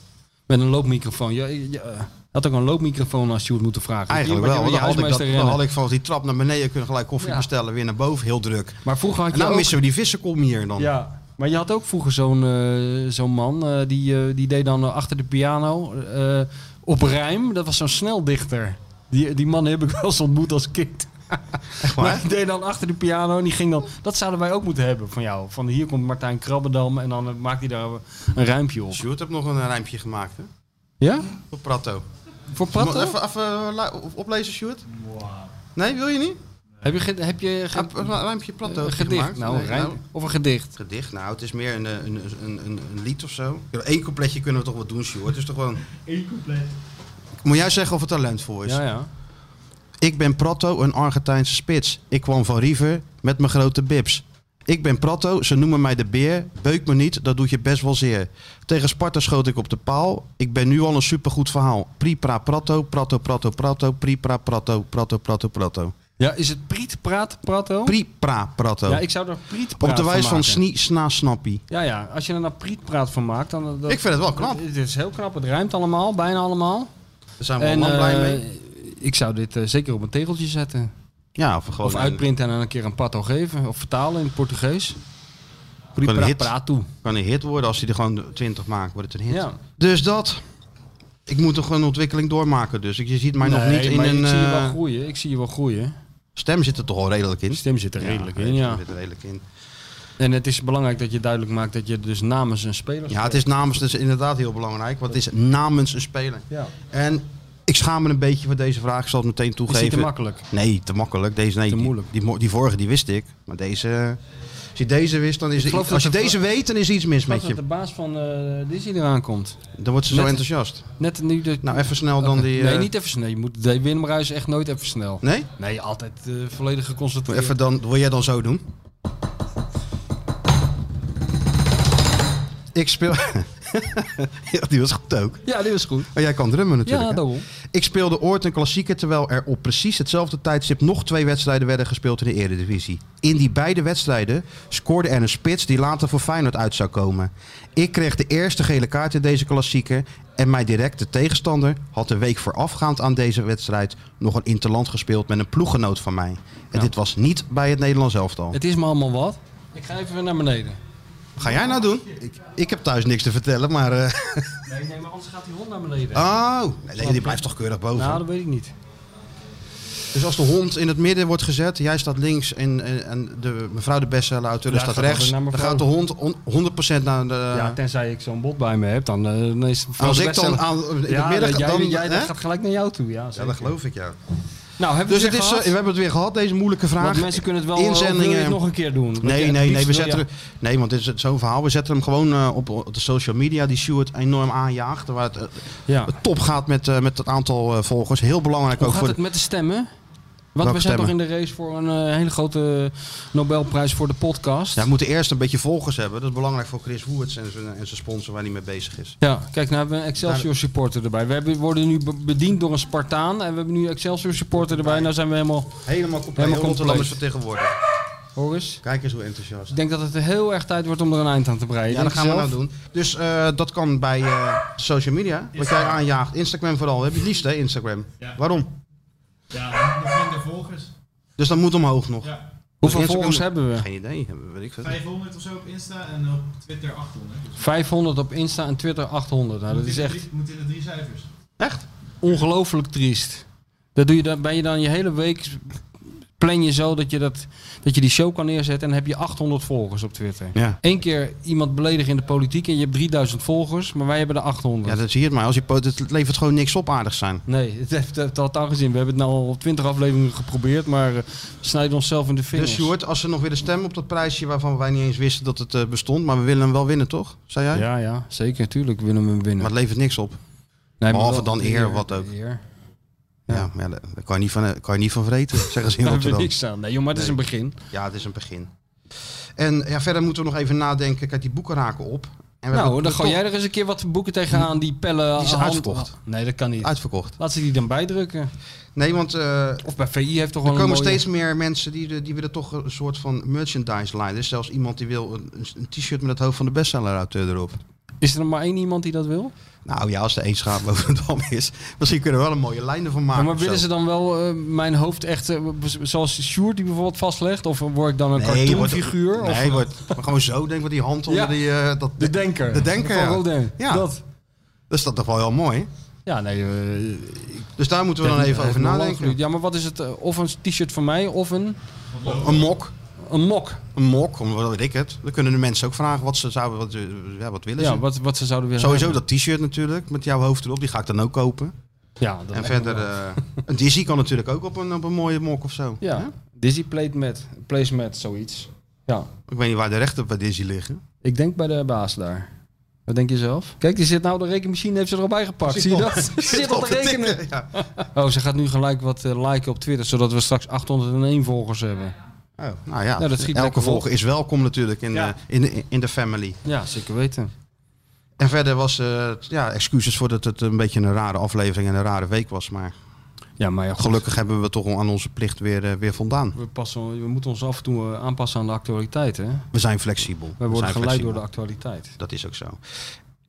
[SPEAKER 6] Met een loopmicrofoon. Je, je, eh, had ook een loopmicrofoon als je het moeten vragen.
[SPEAKER 5] Eigenlijk
[SPEAKER 6] Hier
[SPEAKER 5] wel,
[SPEAKER 6] werd je
[SPEAKER 5] want
[SPEAKER 6] met
[SPEAKER 5] dan
[SPEAKER 6] je
[SPEAKER 5] had, ik dat,
[SPEAKER 6] huismeester
[SPEAKER 5] dan had
[SPEAKER 6] rennen.
[SPEAKER 5] ik vanaf die trap naar beneden kunnen gelijk koffie
[SPEAKER 6] Ja.
[SPEAKER 5] bestellen, weer naar boven, heel druk.
[SPEAKER 6] Maar vroeger had
[SPEAKER 5] En
[SPEAKER 6] je
[SPEAKER 5] nou
[SPEAKER 6] ook...
[SPEAKER 5] missen we die vissenkom hier dan.
[SPEAKER 6] Ja, maar je had ook vroeger zo'n eh, zo'n man. eh, die, eh, die deed dan eh, achter de piano eh, op rijm. Dat was zo'n sneldichter. Die, die man heb ik wel eens ontmoet als kind. Maar die deed dan achter de piano en die ging dan... Dat zouden wij ook moeten hebben van jou. Van hier komt Martijn Krabbendam en dan eh, maakt hij daar een ruimpje op.
[SPEAKER 5] Sjoerd heeft nog een ruimpje gemaakt, hè?
[SPEAKER 6] Ja?
[SPEAKER 5] Voor Pratto.
[SPEAKER 6] Voor Pratto?
[SPEAKER 5] Even, even eh, lu- op- oplezen, Sjoerd? Nee, wil je niet?
[SPEAKER 6] Heb je, ge- heb je ge-
[SPEAKER 5] Ah, een ruimpje Pratto
[SPEAKER 6] Een
[SPEAKER 5] heeft hij
[SPEAKER 6] gedicht,
[SPEAKER 5] gemaakt?
[SPEAKER 6] nou, een ruimpje. Of een gedicht.
[SPEAKER 5] Gedicht, nou, het is meer een, eh, een, een, een, een lied of zo. Eén coupletje kunnen we toch wat doen, Sjoerd? Het is toch gewoon...
[SPEAKER 12] Eén compleet.
[SPEAKER 5] Moet jij zeggen of het talentvol is?
[SPEAKER 6] Ja, ja.
[SPEAKER 5] Ik ben Pratto, een Argentijnse spits. Ik kwam van River met mijn grote bips. Ik ben Pratto, ze noemen mij de beer. Beuk me niet, dat doet je best wel zeer. Tegen Sparta schoot ik op de paal. Ik ben nu al een supergoed verhaal. Pripra Pratto, Pratto, Pratto, Pratto, Pripra Pratto, Pratto, Pratto, Pratto.
[SPEAKER 6] Ja, is het Priet Praat Pratto?
[SPEAKER 5] Pripra Pratto.
[SPEAKER 6] Ja, ik zou er Priet Praat
[SPEAKER 5] Op de wijs van
[SPEAKER 6] maken.
[SPEAKER 5] Snie, Sna, Snappie.
[SPEAKER 6] Ja, ja. Als je er nou Priet Praat van maakt... Dan, dat-
[SPEAKER 5] Ik vind het wel knap.
[SPEAKER 6] Het is heel knap. Het ruimt allemaal, bijna allemaal.
[SPEAKER 5] Daar zijn we allemaal blij
[SPEAKER 6] eh,
[SPEAKER 5] mee.
[SPEAKER 6] Ik zou dit eh, zeker op een tegeltje zetten.
[SPEAKER 5] Ja, of gewoon
[SPEAKER 6] Of
[SPEAKER 5] een-
[SPEAKER 6] uitprinten en dan een keer een pato geven. Of vertalen in het Portugees. Priet
[SPEAKER 5] Kan een
[SPEAKER 6] Praat
[SPEAKER 5] hit.
[SPEAKER 6] Praat toe.
[SPEAKER 5] kan een hit worden als hij er gewoon 20 maakt, wordt het een hit.
[SPEAKER 6] Ja.
[SPEAKER 5] Dus dat. Ik moet toch een ontwikkeling doormaken. Dus je ziet mij nog
[SPEAKER 6] Nee,
[SPEAKER 5] niet in
[SPEAKER 6] maar
[SPEAKER 5] een.
[SPEAKER 6] Ik zie je wel
[SPEAKER 5] eh,
[SPEAKER 6] groeien. Ik zie je wel groeien.
[SPEAKER 5] Stem zit er toch al redelijk in?
[SPEAKER 6] Stem zit er redelijk in,
[SPEAKER 5] stem
[SPEAKER 6] ja.
[SPEAKER 5] Zit er redelijk in.
[SPEAKER 6] En het is belangrijk dat je duidelijk maakt dat je dus namens een speler
[SPEAKER 5] Ja, het is namens, dus inderdaad heel belangrijk, want het is namens een speler.
[SPEAKER 6] Ja.
[SPEAKER 5] En ik schaam me een beetje voor deze vraag, ik zal het meteen toegeven.
[SPEAKER 6] te makkelijk?
[SPEAKER 5] Nee, te makkelijk. Deze, nee,
[SPEAKER 6] Te
[SPEAKER 5] die-
[SPEAKER 6] moeilijk.
[SPEAKER 5] Die, mo- die vorige, die wist ik. Maar deze, als je deze wist, dan is
[SPEAKER 6] Ik
[SPEAKER 5] er,
[SPEAKER 6] geloof
[SPEAKER 5] iets- als je
[SPEAKER 6] dat de
[SPEAKER 5] deze
[SPEAKER 6] vla-
[SPEAKER 5] weet, dan is er iets mis
[SPEAKER 6] Ik geloof
[SPEAKER 5] met
[SPEAKER 6] dat
[SPEAKER 5] je.
[SPEAKER 6] de baas van eh Disney eraan komt.
[SPEAKER 5] Dan wordt ze zo
[SPEAKER 6] Net-
[SPEAKER 5] enthousiast.
[SPEAKER 6] Net nu de...
[SPEAKER 5] Nou, even snel dan die...
[SPEAKER 6] nee,
[SPEAKER 5] eh,
[SPEAKER 6] niet even snel. Je moet de Willem Ruijs echt nooit even snel.
[SPEAKER 5] Nee?
[SPEAKER 6] Nee, altijd eh, volledig geconcentreerd.
[SPEAKER 5] Even dan, wil jij dan zo doen? Ik speel... ja, die was goed ook.
[SPEAKER 6] Ja, dit was goed.
[SPEAKER 5] Oh, jij kan drummen natuurlijk.
[SPEAKER 6] Ja,
[SPEAKER 5] hè?
[SPEAKER 6] daarom.
[SPEAKER 5] Ik speelde ooit een klassieker terwijl er op precies hetzelfde tijdstip nog twee wedstrijden werden gespeeld in de Eredivisie. In die beide wedstrijden scoorde er een spits die later voor Feyenoord uit zou komen. Ik kreeg de eerste gele kaart in deze klassieker en mijn directe tegenstander had de week voorafgaand aan deze wedstrijd nog een interland gespeeld met een ploeggenoot van mij. En dit was niet bij het Nederlands elftal.
[SPEAKER 6] Het is me allemaal wat. Ik ga even naar beneden.
[SPEAKER 5] Ga jij nou doen? Ik, ik heb thuis niks te vertellen, maar... eh,
[SPEAKER 6] Nee, nee, maar anders gaat die hond naar beneden.
[SPEAKER 5] Oh, nee, die blijft toch keurig boven.
[SPEAKER 6] Nou, dat weet ik niet.
[SPEAKER 5] Dus als de hond in het midden wordt gezet, jij staat links en, en, en de mevrouw de bestseller auteur
[SPEAKER 6] Ja,
[SPEAKER 5] staat
[SPEAKER 6] gaat altijd
[SPEAKER 5] rechts,
[SPEAKER 6] naar
[SPEAKER 5] dan
[SPEAKER 6] mevrouw.
[SPEAKER 5] gaat de hond on- 100% naar de...
[SPEAKER 6] ja, tenzij ik zo'n bot bij me heb, dan, eh, dan is het
[SPEAKER 5] Als
[SPEAKER 6] de
[SPEAKER 5] ik
[SPEAKER 6] beste-
[SPEAKER 5] dan aan- in het
[SPEAKER 6] ja,
[SPEAKER 5] midden
[SPEAKER 6] dat
[SPEAKER 5] ga,
[SPEAKER 6] jij,
[SPEAKER 5] dan-
[SPEAKER 6] jij, dat
[SPEAKER 5] hè?
[SPEAKER 6] gaat gelijk naar jou toe. Ja,
[SPEAKER 5] ja,
[SPEAKER 6] zeker.
[SPEAKER 5] dat geloof ik, ja.
[SPEAKER 6] Nou, hebben
[SPEAKER 5] Dus
[SPEAKER 6] we
[SPEAKER 5] het
[SPEAKER 6] het, weer
[SPEAKER 5] is, eh, we
[SPEAKER 6] gehad?
[SPEAKER 5] hebben het weer gehad, deze moeilijke vraag.
[SPEAKER 6] Want mensen kunnen het wel, eh, wil je
[SPEAKER 5] Inzendingen.
[SPEAKER 6] het nog een keer doen? Want jij-
[SPEAKER 5] Nee,
[SPEAKER 6] het
[SPEAKER 5] nee, nee,
[SPEAKER 6] liefst
[SPEAKER 5] we
[SPEAKER 6] wil
[SPEAKER 5] zetten
[SPEAKER 6] je-
[SPEAKER 5] er- nee, want dit is zo'n verhaal. We zetten hem gewoon eh, op, op de social media, die Stuart enorm aanjaagt. Waar het eh,
[SPEAKER 6] Ja.
[SPEAKER 5] het top gaat met, eh, met het aantal eh, volgers. Heel belangrijk
[SPEAKER 6] Hoe
[SPEAKER 5] ook
[SPEAKER 6] gaat
[SPEAKER 5] voor...
[SPEAKER 6] het met de stemmen? Want
[SPEAKER 5] Welke
[SPEAKER 6] we zijn toch in
[SPEAKER 5] stemmen?
[SPEAKER 6] de race voor een eh, hele grote Nobelprijs voor de podcast.
[SPEAKER 5] Ja, we moeten eerst een beetje volgers hebben. Dat is belangrijk voor Chris Woerts en zijn en zijn sponsor waar hij mee bezig is.
[SPEAKER 6] Ja, kijk, nou hebben we een Excelsior supporter erbij. We hebben- worden nu be- bediend door een Spartaan en we hebben nu een Excelsior supporter erbij. Nou zijn we helemaal...
[SPEAKER 5] Helemaal compleet.
[SPEAKER 6] Helemaal
[SPEAKER 5] Heel Rotterdam is
[SPEAKER 6] compleet.
[SPEAKER 5] vertegenwoordigd.
[SPEAKER 6] Hoor eens.
[SPEAKER 5] Kijk eens hoe enthousiast.
[SPEAKER 6] Ik denk dat het heel erg tijd wordt om er een eind aan te breien.
[SPEAKER 5] Ja, dat
[SPEAKER 6] Denk
[SPEAKER 5] gaan
[SPEAKER 6] je
[SPEAKER 5] we nou
[SPEAKER 6] zelf?
[SPEAKER 5] doen. Dus eh, dat kan bij eh, social media. Wat jij aanjaagt. Instagram vooral. Heb je het liefst, hè, Instagram. Waarom?
[SPEAKER 12] Ja, nog minder volgers.
[SPEAKER 5] Dus dat moet omhoog nog.
[SPEAKER 12] Ja.
[SPEAKER 6] Hoeveel
[SPEAKER 5] Dus Instagram-
[SPEAKER 6] volgers hebben we?
[SPEAKER 5] Geen idee. Hebben we- Weet ik veel.
[SPEAKER 12] 500 of zo op Insta en op Twitter 800. Dus
[SPEAKER 6] 500 op Insta en Twitter 800. Nou, dat
[SPEAKER 12] moet
[SPEAKER 6] is
[SPEAKER 12] in de
[SPEAKER 6] echt...
[SPEAKER 12] drie- Moet in de drie cijfers.
[SPEAKER 5] Echt?
[SPEAKER 6] ongelooflijk triest. Dat doe je dan, ben je dan je hele week plan je zo dat je, dat, dat je die show kan neerzetten. En dan heb je 800 volgers op Twitter.
[SPEAKER 5] Ja.
[SPEAKER 6] Eén keer iemand beledigen in de politiek en je hebt 3000 volgers. Maar wij hebben er 800.
[SPEAKER 5] Ja, dat zie je het maar. Als je, po- het levert gewoon niks op aardig zijn.
[SPEAKER 6] Nee, het heeft het had aangezien. We hebben het nou al 20 afleveringen geprobeerd. Maar eh, we snijden onszelf in de vingers.
[SPEAKER 5] Dus Sjoerd, als ze nog willen stemmen op dat prijsje waarvan wij niet eens wisten dat het eh, bestond. Maar we willen hem wel winnen, toch? Zei jij?
[SPEAKER 6] Ja, ja, zeker. Tuurlijk willen we hem winnen.
[SPEAKER 5] Maar het levert niks op.
[SPEAKER 6] maar
[SPEAKER 5] Behalve
[SPEAKER 6] wel-
[SPEAKER 5] dan eer, wat ook. Ja, maar ja, daar daar kan je niet van, eh, kan je niet van vreten, zeggen ze in
[SPEAKER 6] Daar hebben we
[SPEAKER 5] Rotterdam.
[SPEAKER 6] niks aan. Nee, joh, maar het is een begin.
[SPEAKER 5] Ja, het is een begin. En ja, verder moeten we nog even nadenken. Kijk, die boeken raken op. En we
[SPEAKER 6] Nou,
[SPEAKER 5] hebben-
[SPEAKER 6] dan gooi
[SPEAKER 5] toch-
[SPEAKER 6] jij er eens een keer wat boeken tegenaan die pellen.
[SPEAKER 5] Hmm. Die zijn
[SPEAKER 6] hand- Ah,
[SPEAKER 5] uitverkocht.
[SPEAKER 6] Nee, dat kan niet.
[SPEAKER 5] Uitverkocht.
[SPEAKER 6] Laat ze die dan bijdrukken.
[SPEAKER 5] Nee, want eh,
[SPEAKER 6] Of bij VI heeft toch
[SPEAKER 5] er
[SPEAKER 6] wel een
[SPEAKER 5] komen
[SPEAKER 6] mooie-
[SPEAKER 5] steeds meer mensen die, de- die willen toch een soort van merchandise lijn. Er is zelfs iemand die wil een, een t-shirt met het hoofd van de bestseller-auteur erop.
[SPEAKER 6] Is er nog maar één iemand die dat wil?
[SPEAKER 5] Nou ja, als er één schaap over het dam is. Misschien kunnen we wel een mooie lijn ervan maken.
[SPEAKER 6] Ja, maar
[SPEAKER 5] of
[SPEAKER 6] willen
[SPEAKER 5] zo.
[SPEAKER 6] ze dan wel eh, mijn hoofd echt, eh, zoals Sjoerd die bijvoorbeeld vastlegt? Of word ik dan een
[SPEAKER 5] Nee, je wordt-
[SPEAKER 6] cartoonfiguur?
[SPEAKER 5] Nee,
[SPEAKER 6] of,
[SPEAKER 5] je wordt maar gewoon zo, denk ik, met die hand onder
[SPEAKER 6] Ja.
[SPEAKER 5] die... eh, dat,
[SPEAKER 6] de denker.
[SPEAKER 5] De denker,
[SPEAKER 6] Van
[SPEAKER 5] ja.
[SPEAKER 6] Rodin.
[SPEAKER 5] Ja.
[SPEAKER 6] Dat.
[SPEAKER 5] Dus dat toch wel heel mooi.
[SPEAKER 6] Ja, nee. eh, ik
[SPEAKER 5] Dus daar moeten we dan
[SPEAKER 6] ben-
[SPEAKER 5] even
[SPEAKER 6] eh,
[SPEAKER 5] over
[SPEAKER 6] nog lang
[SPEAKER 5] nadenken.
[SPEAKER 6] geduurd. Ja, maar wat is het? eh, Of een t-shirt van mij of een...
[SPEAKER 5] Een mok.
[SPEAKER 6] Een mok.
[SPEAKER 5] Een mok, om- wat weet ik het. Dan kunnen de mensen ook vragen wat ze zouden, wat, eh, ja, wat willen
[SPEAKER 6] Ja,
[SPEAKER 5] ze.
[SPEAKER 6] wat, wat ze zouden willen
[SPEAKER 5] Sowieso
[SPEAKER 6] hebben.
[SPEAKER 5] dat t-shirt natuurlijk, met jouw hoofd erop. Die ga ik dan ook kopen.
[SPEAKER 6] Ja, dat
[SPEAKER 5] en
[SPEAKER 6] lijkt
[SPEAKER 5] verder,
[SPEAKER 6] me wel.
[SPEAKER 5] eh, een Dizzy kan natuurlijk ook op een, op een mooie mok of zo.
[SPEAKER 6] Ja,
[SPEAKER 5] Hè?
[SPEAKER 6] Disney played met, plays met zoiets. Ja,
[SPEAKER 5] Ik weet niet waar de rechten bij Dizzy liggen. Oh,
[SPEAKER 6] ik denk bij de baas daar. Wat denk je zelf? Kijk, die zit nou, de rekenmachine heeft ze er al bij gepakt. Zie je dat? Ze zit al te rekenen.
[SPEAKER 5] tikken, ja.
[SPEAKER 6] Oh, ze gaat nu gelijk wat eh, liken op Twitter, zodat we straks 801 volgers hebben.
[SPEAKER 5] Oh, nou ja,
[SPEAKER 6] Nou, dat schiet
[SPEAKER 5] elke
[SPEAKER 6] lekker op.
[SPEAKER 5] volger is welkom natuurlijk in,
[SPEAKER 6] Ja.
[SPEAKER 5] eh, in, de- in de family.
[SPEAKER 6] Ja, zeker weten.
[SPEAKER 5] En verder was eh, t- ja, excuses voor dat het een beetje een rare aflevering en een rare week was. Maar
[SPEAKER 6] Ja, maar ja, goed.
[SPEAKER 5] gelukkig hebben we toch aan onze plicht weer, eh, weer voldaan.
[SPEAKER 6] We, passen, we moeten ons af en toe eh, aanpassen aan de actualiteit, hè?
[SPEAKER 5] We zijn flexibel.
[SPEAKER 6] We worden
[SPEAKER 5] zijn
[SPEAKER 6] geleid door
[SPEAKER 5] flexibel.
[SPEAKER 6] de actualiteit.
[SPEAKER 5] Dat is ook zo.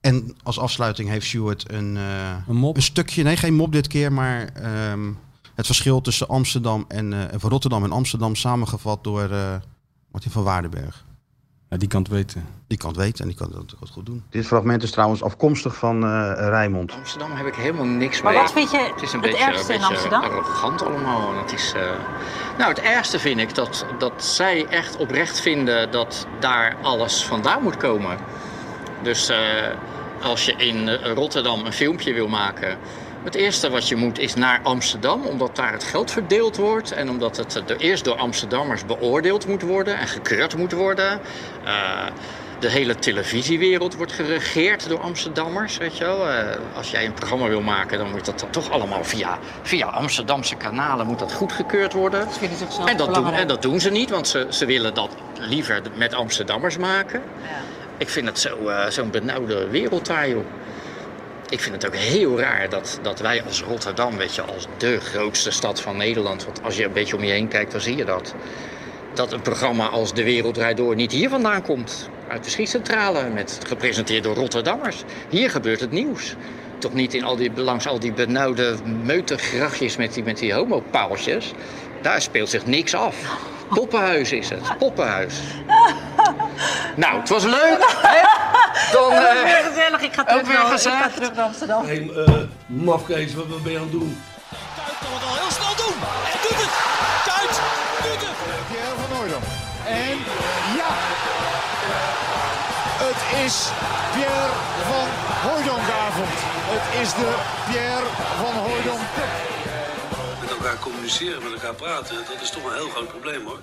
[SPEAKER 5] En als afsluiting heeft Stuart een, eh,
[SPEAKER 6] Een mop.
[SPEAKER 5] een stukje, nee geen mop dit keer, maar ehm, het verschil tussen Amsterdam en eh, of Rotterdam en Amsterdam samengevat door eh, Martin van Waardenberg.
[SPEAKER 6] Ja, die kan het weten.
[SPEAKER 5] Die kan het weten en die kan dat ook goed doen. Dit fragment is trouwens afkomstig van eh Rijmond.
[SPEAKER 7] Amsterdam heb ik helemaal niks
[SPEAKER 14] Maar
[SPEAKER 7] mee.
[SPEAKER 14] wat vind je
[SPEAKER 7] het, is een
[SPEAKER 14] het
[SPEAKER 7] beetje,
[SPEAKER 14] ergste
[SPEAKER 7] een
[SPEAKER 14] in
[SPEAKER 7] beetje
[SPEAKER 14] Amsterdam?
[SPEAKER 7] arrogant allemaal. En het is, eh, Nou, het ergste vind ik dat, dat zij echt oprecht vinden dat daar alles vandaan moet komen. Dus eh, als je in eh, Rotterdam een filmpje wil maken... Het eerste wat je moet is naar Amsterdam, omdat daar het geld verdeeld wordt. En omdat het eh, door- eerst door Amsterdammers beoordeeld moet worden en gekeurd moet worden. Eh, de hele televisiewereld wordt geregeerd door Amsterdammers, weet je wel. Eh, als jij een programma wil maken, dan moet dat dan toch allemaal via, via Amsterdamse kanalen moet dat goedgekeurd worden. en, dat doen,
[SPEAKER 14] belangrijk.
[SPEAKER 7] en dat doen ze niet, want ze, ze willen dat liever met Amsterdammers maken. Ik vind het zo, eh, zo'n benauwde wereld daar, joh. Ik vind het ook heel raar dat, dat wij als Rotterdam, weet je, als de grootste stad van Nederland... want als je een beetje om je heen kijkt, dan zie je dat dat een programma als De Wereld Draait Door niet hier vandaan komt. Uit de schietcentrale, met, gepresenteerd door Rotterdammers. Hier gebeurt het nieuws. Toch niet in al die, langs al die benauwde meutergrachtjes met die, met die homopaaltjes. Daar speelt zich niks af. Poppenhuis is het, poppenhuis. Nou, het was leuk. Hè? Dan,
[SPEAKER 14] Ook
[SPEAKER 7] eh,
[SPEAKER 14] weer gezellig. Ik ga
[SPEAKER 7] ook
[SPEAKER 14] terug, naar,
[SPEAKER 7] weer
[SPEAKER 14] Nou, ik
[SPEAKER 7] gezellig.
[SPEAKER 14] ga terug naar Amsterdam.
[SPEAKER 2] Hé, eh mafkees, wat, wat ben je aan het doen?
[SPEAKER 3] Heel snel doen. En doet het. Kuit. Doet het.
[SPEAKER 4] Pierre van Hooydonk. En ja, het is Pierre van Hooydonkavond. Het is de Pierre van Hooydonk.
[SPEAKER 2] Met elkaar communiceren, met elkaar praten, dat is toch een heel groot probleem hoor.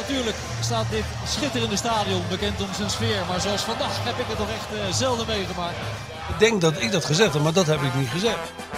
[SPEAKER 3] Natuurlijk staat dit schitterende stadion bekend om zijn sfeer. Maar zoals vandaag heb ik het toch echt eh, zelden meegemaakt.
[SPEAKER 15] Ik denk dat ik dat gezegd heb, maar dat heb ik niet gezegd.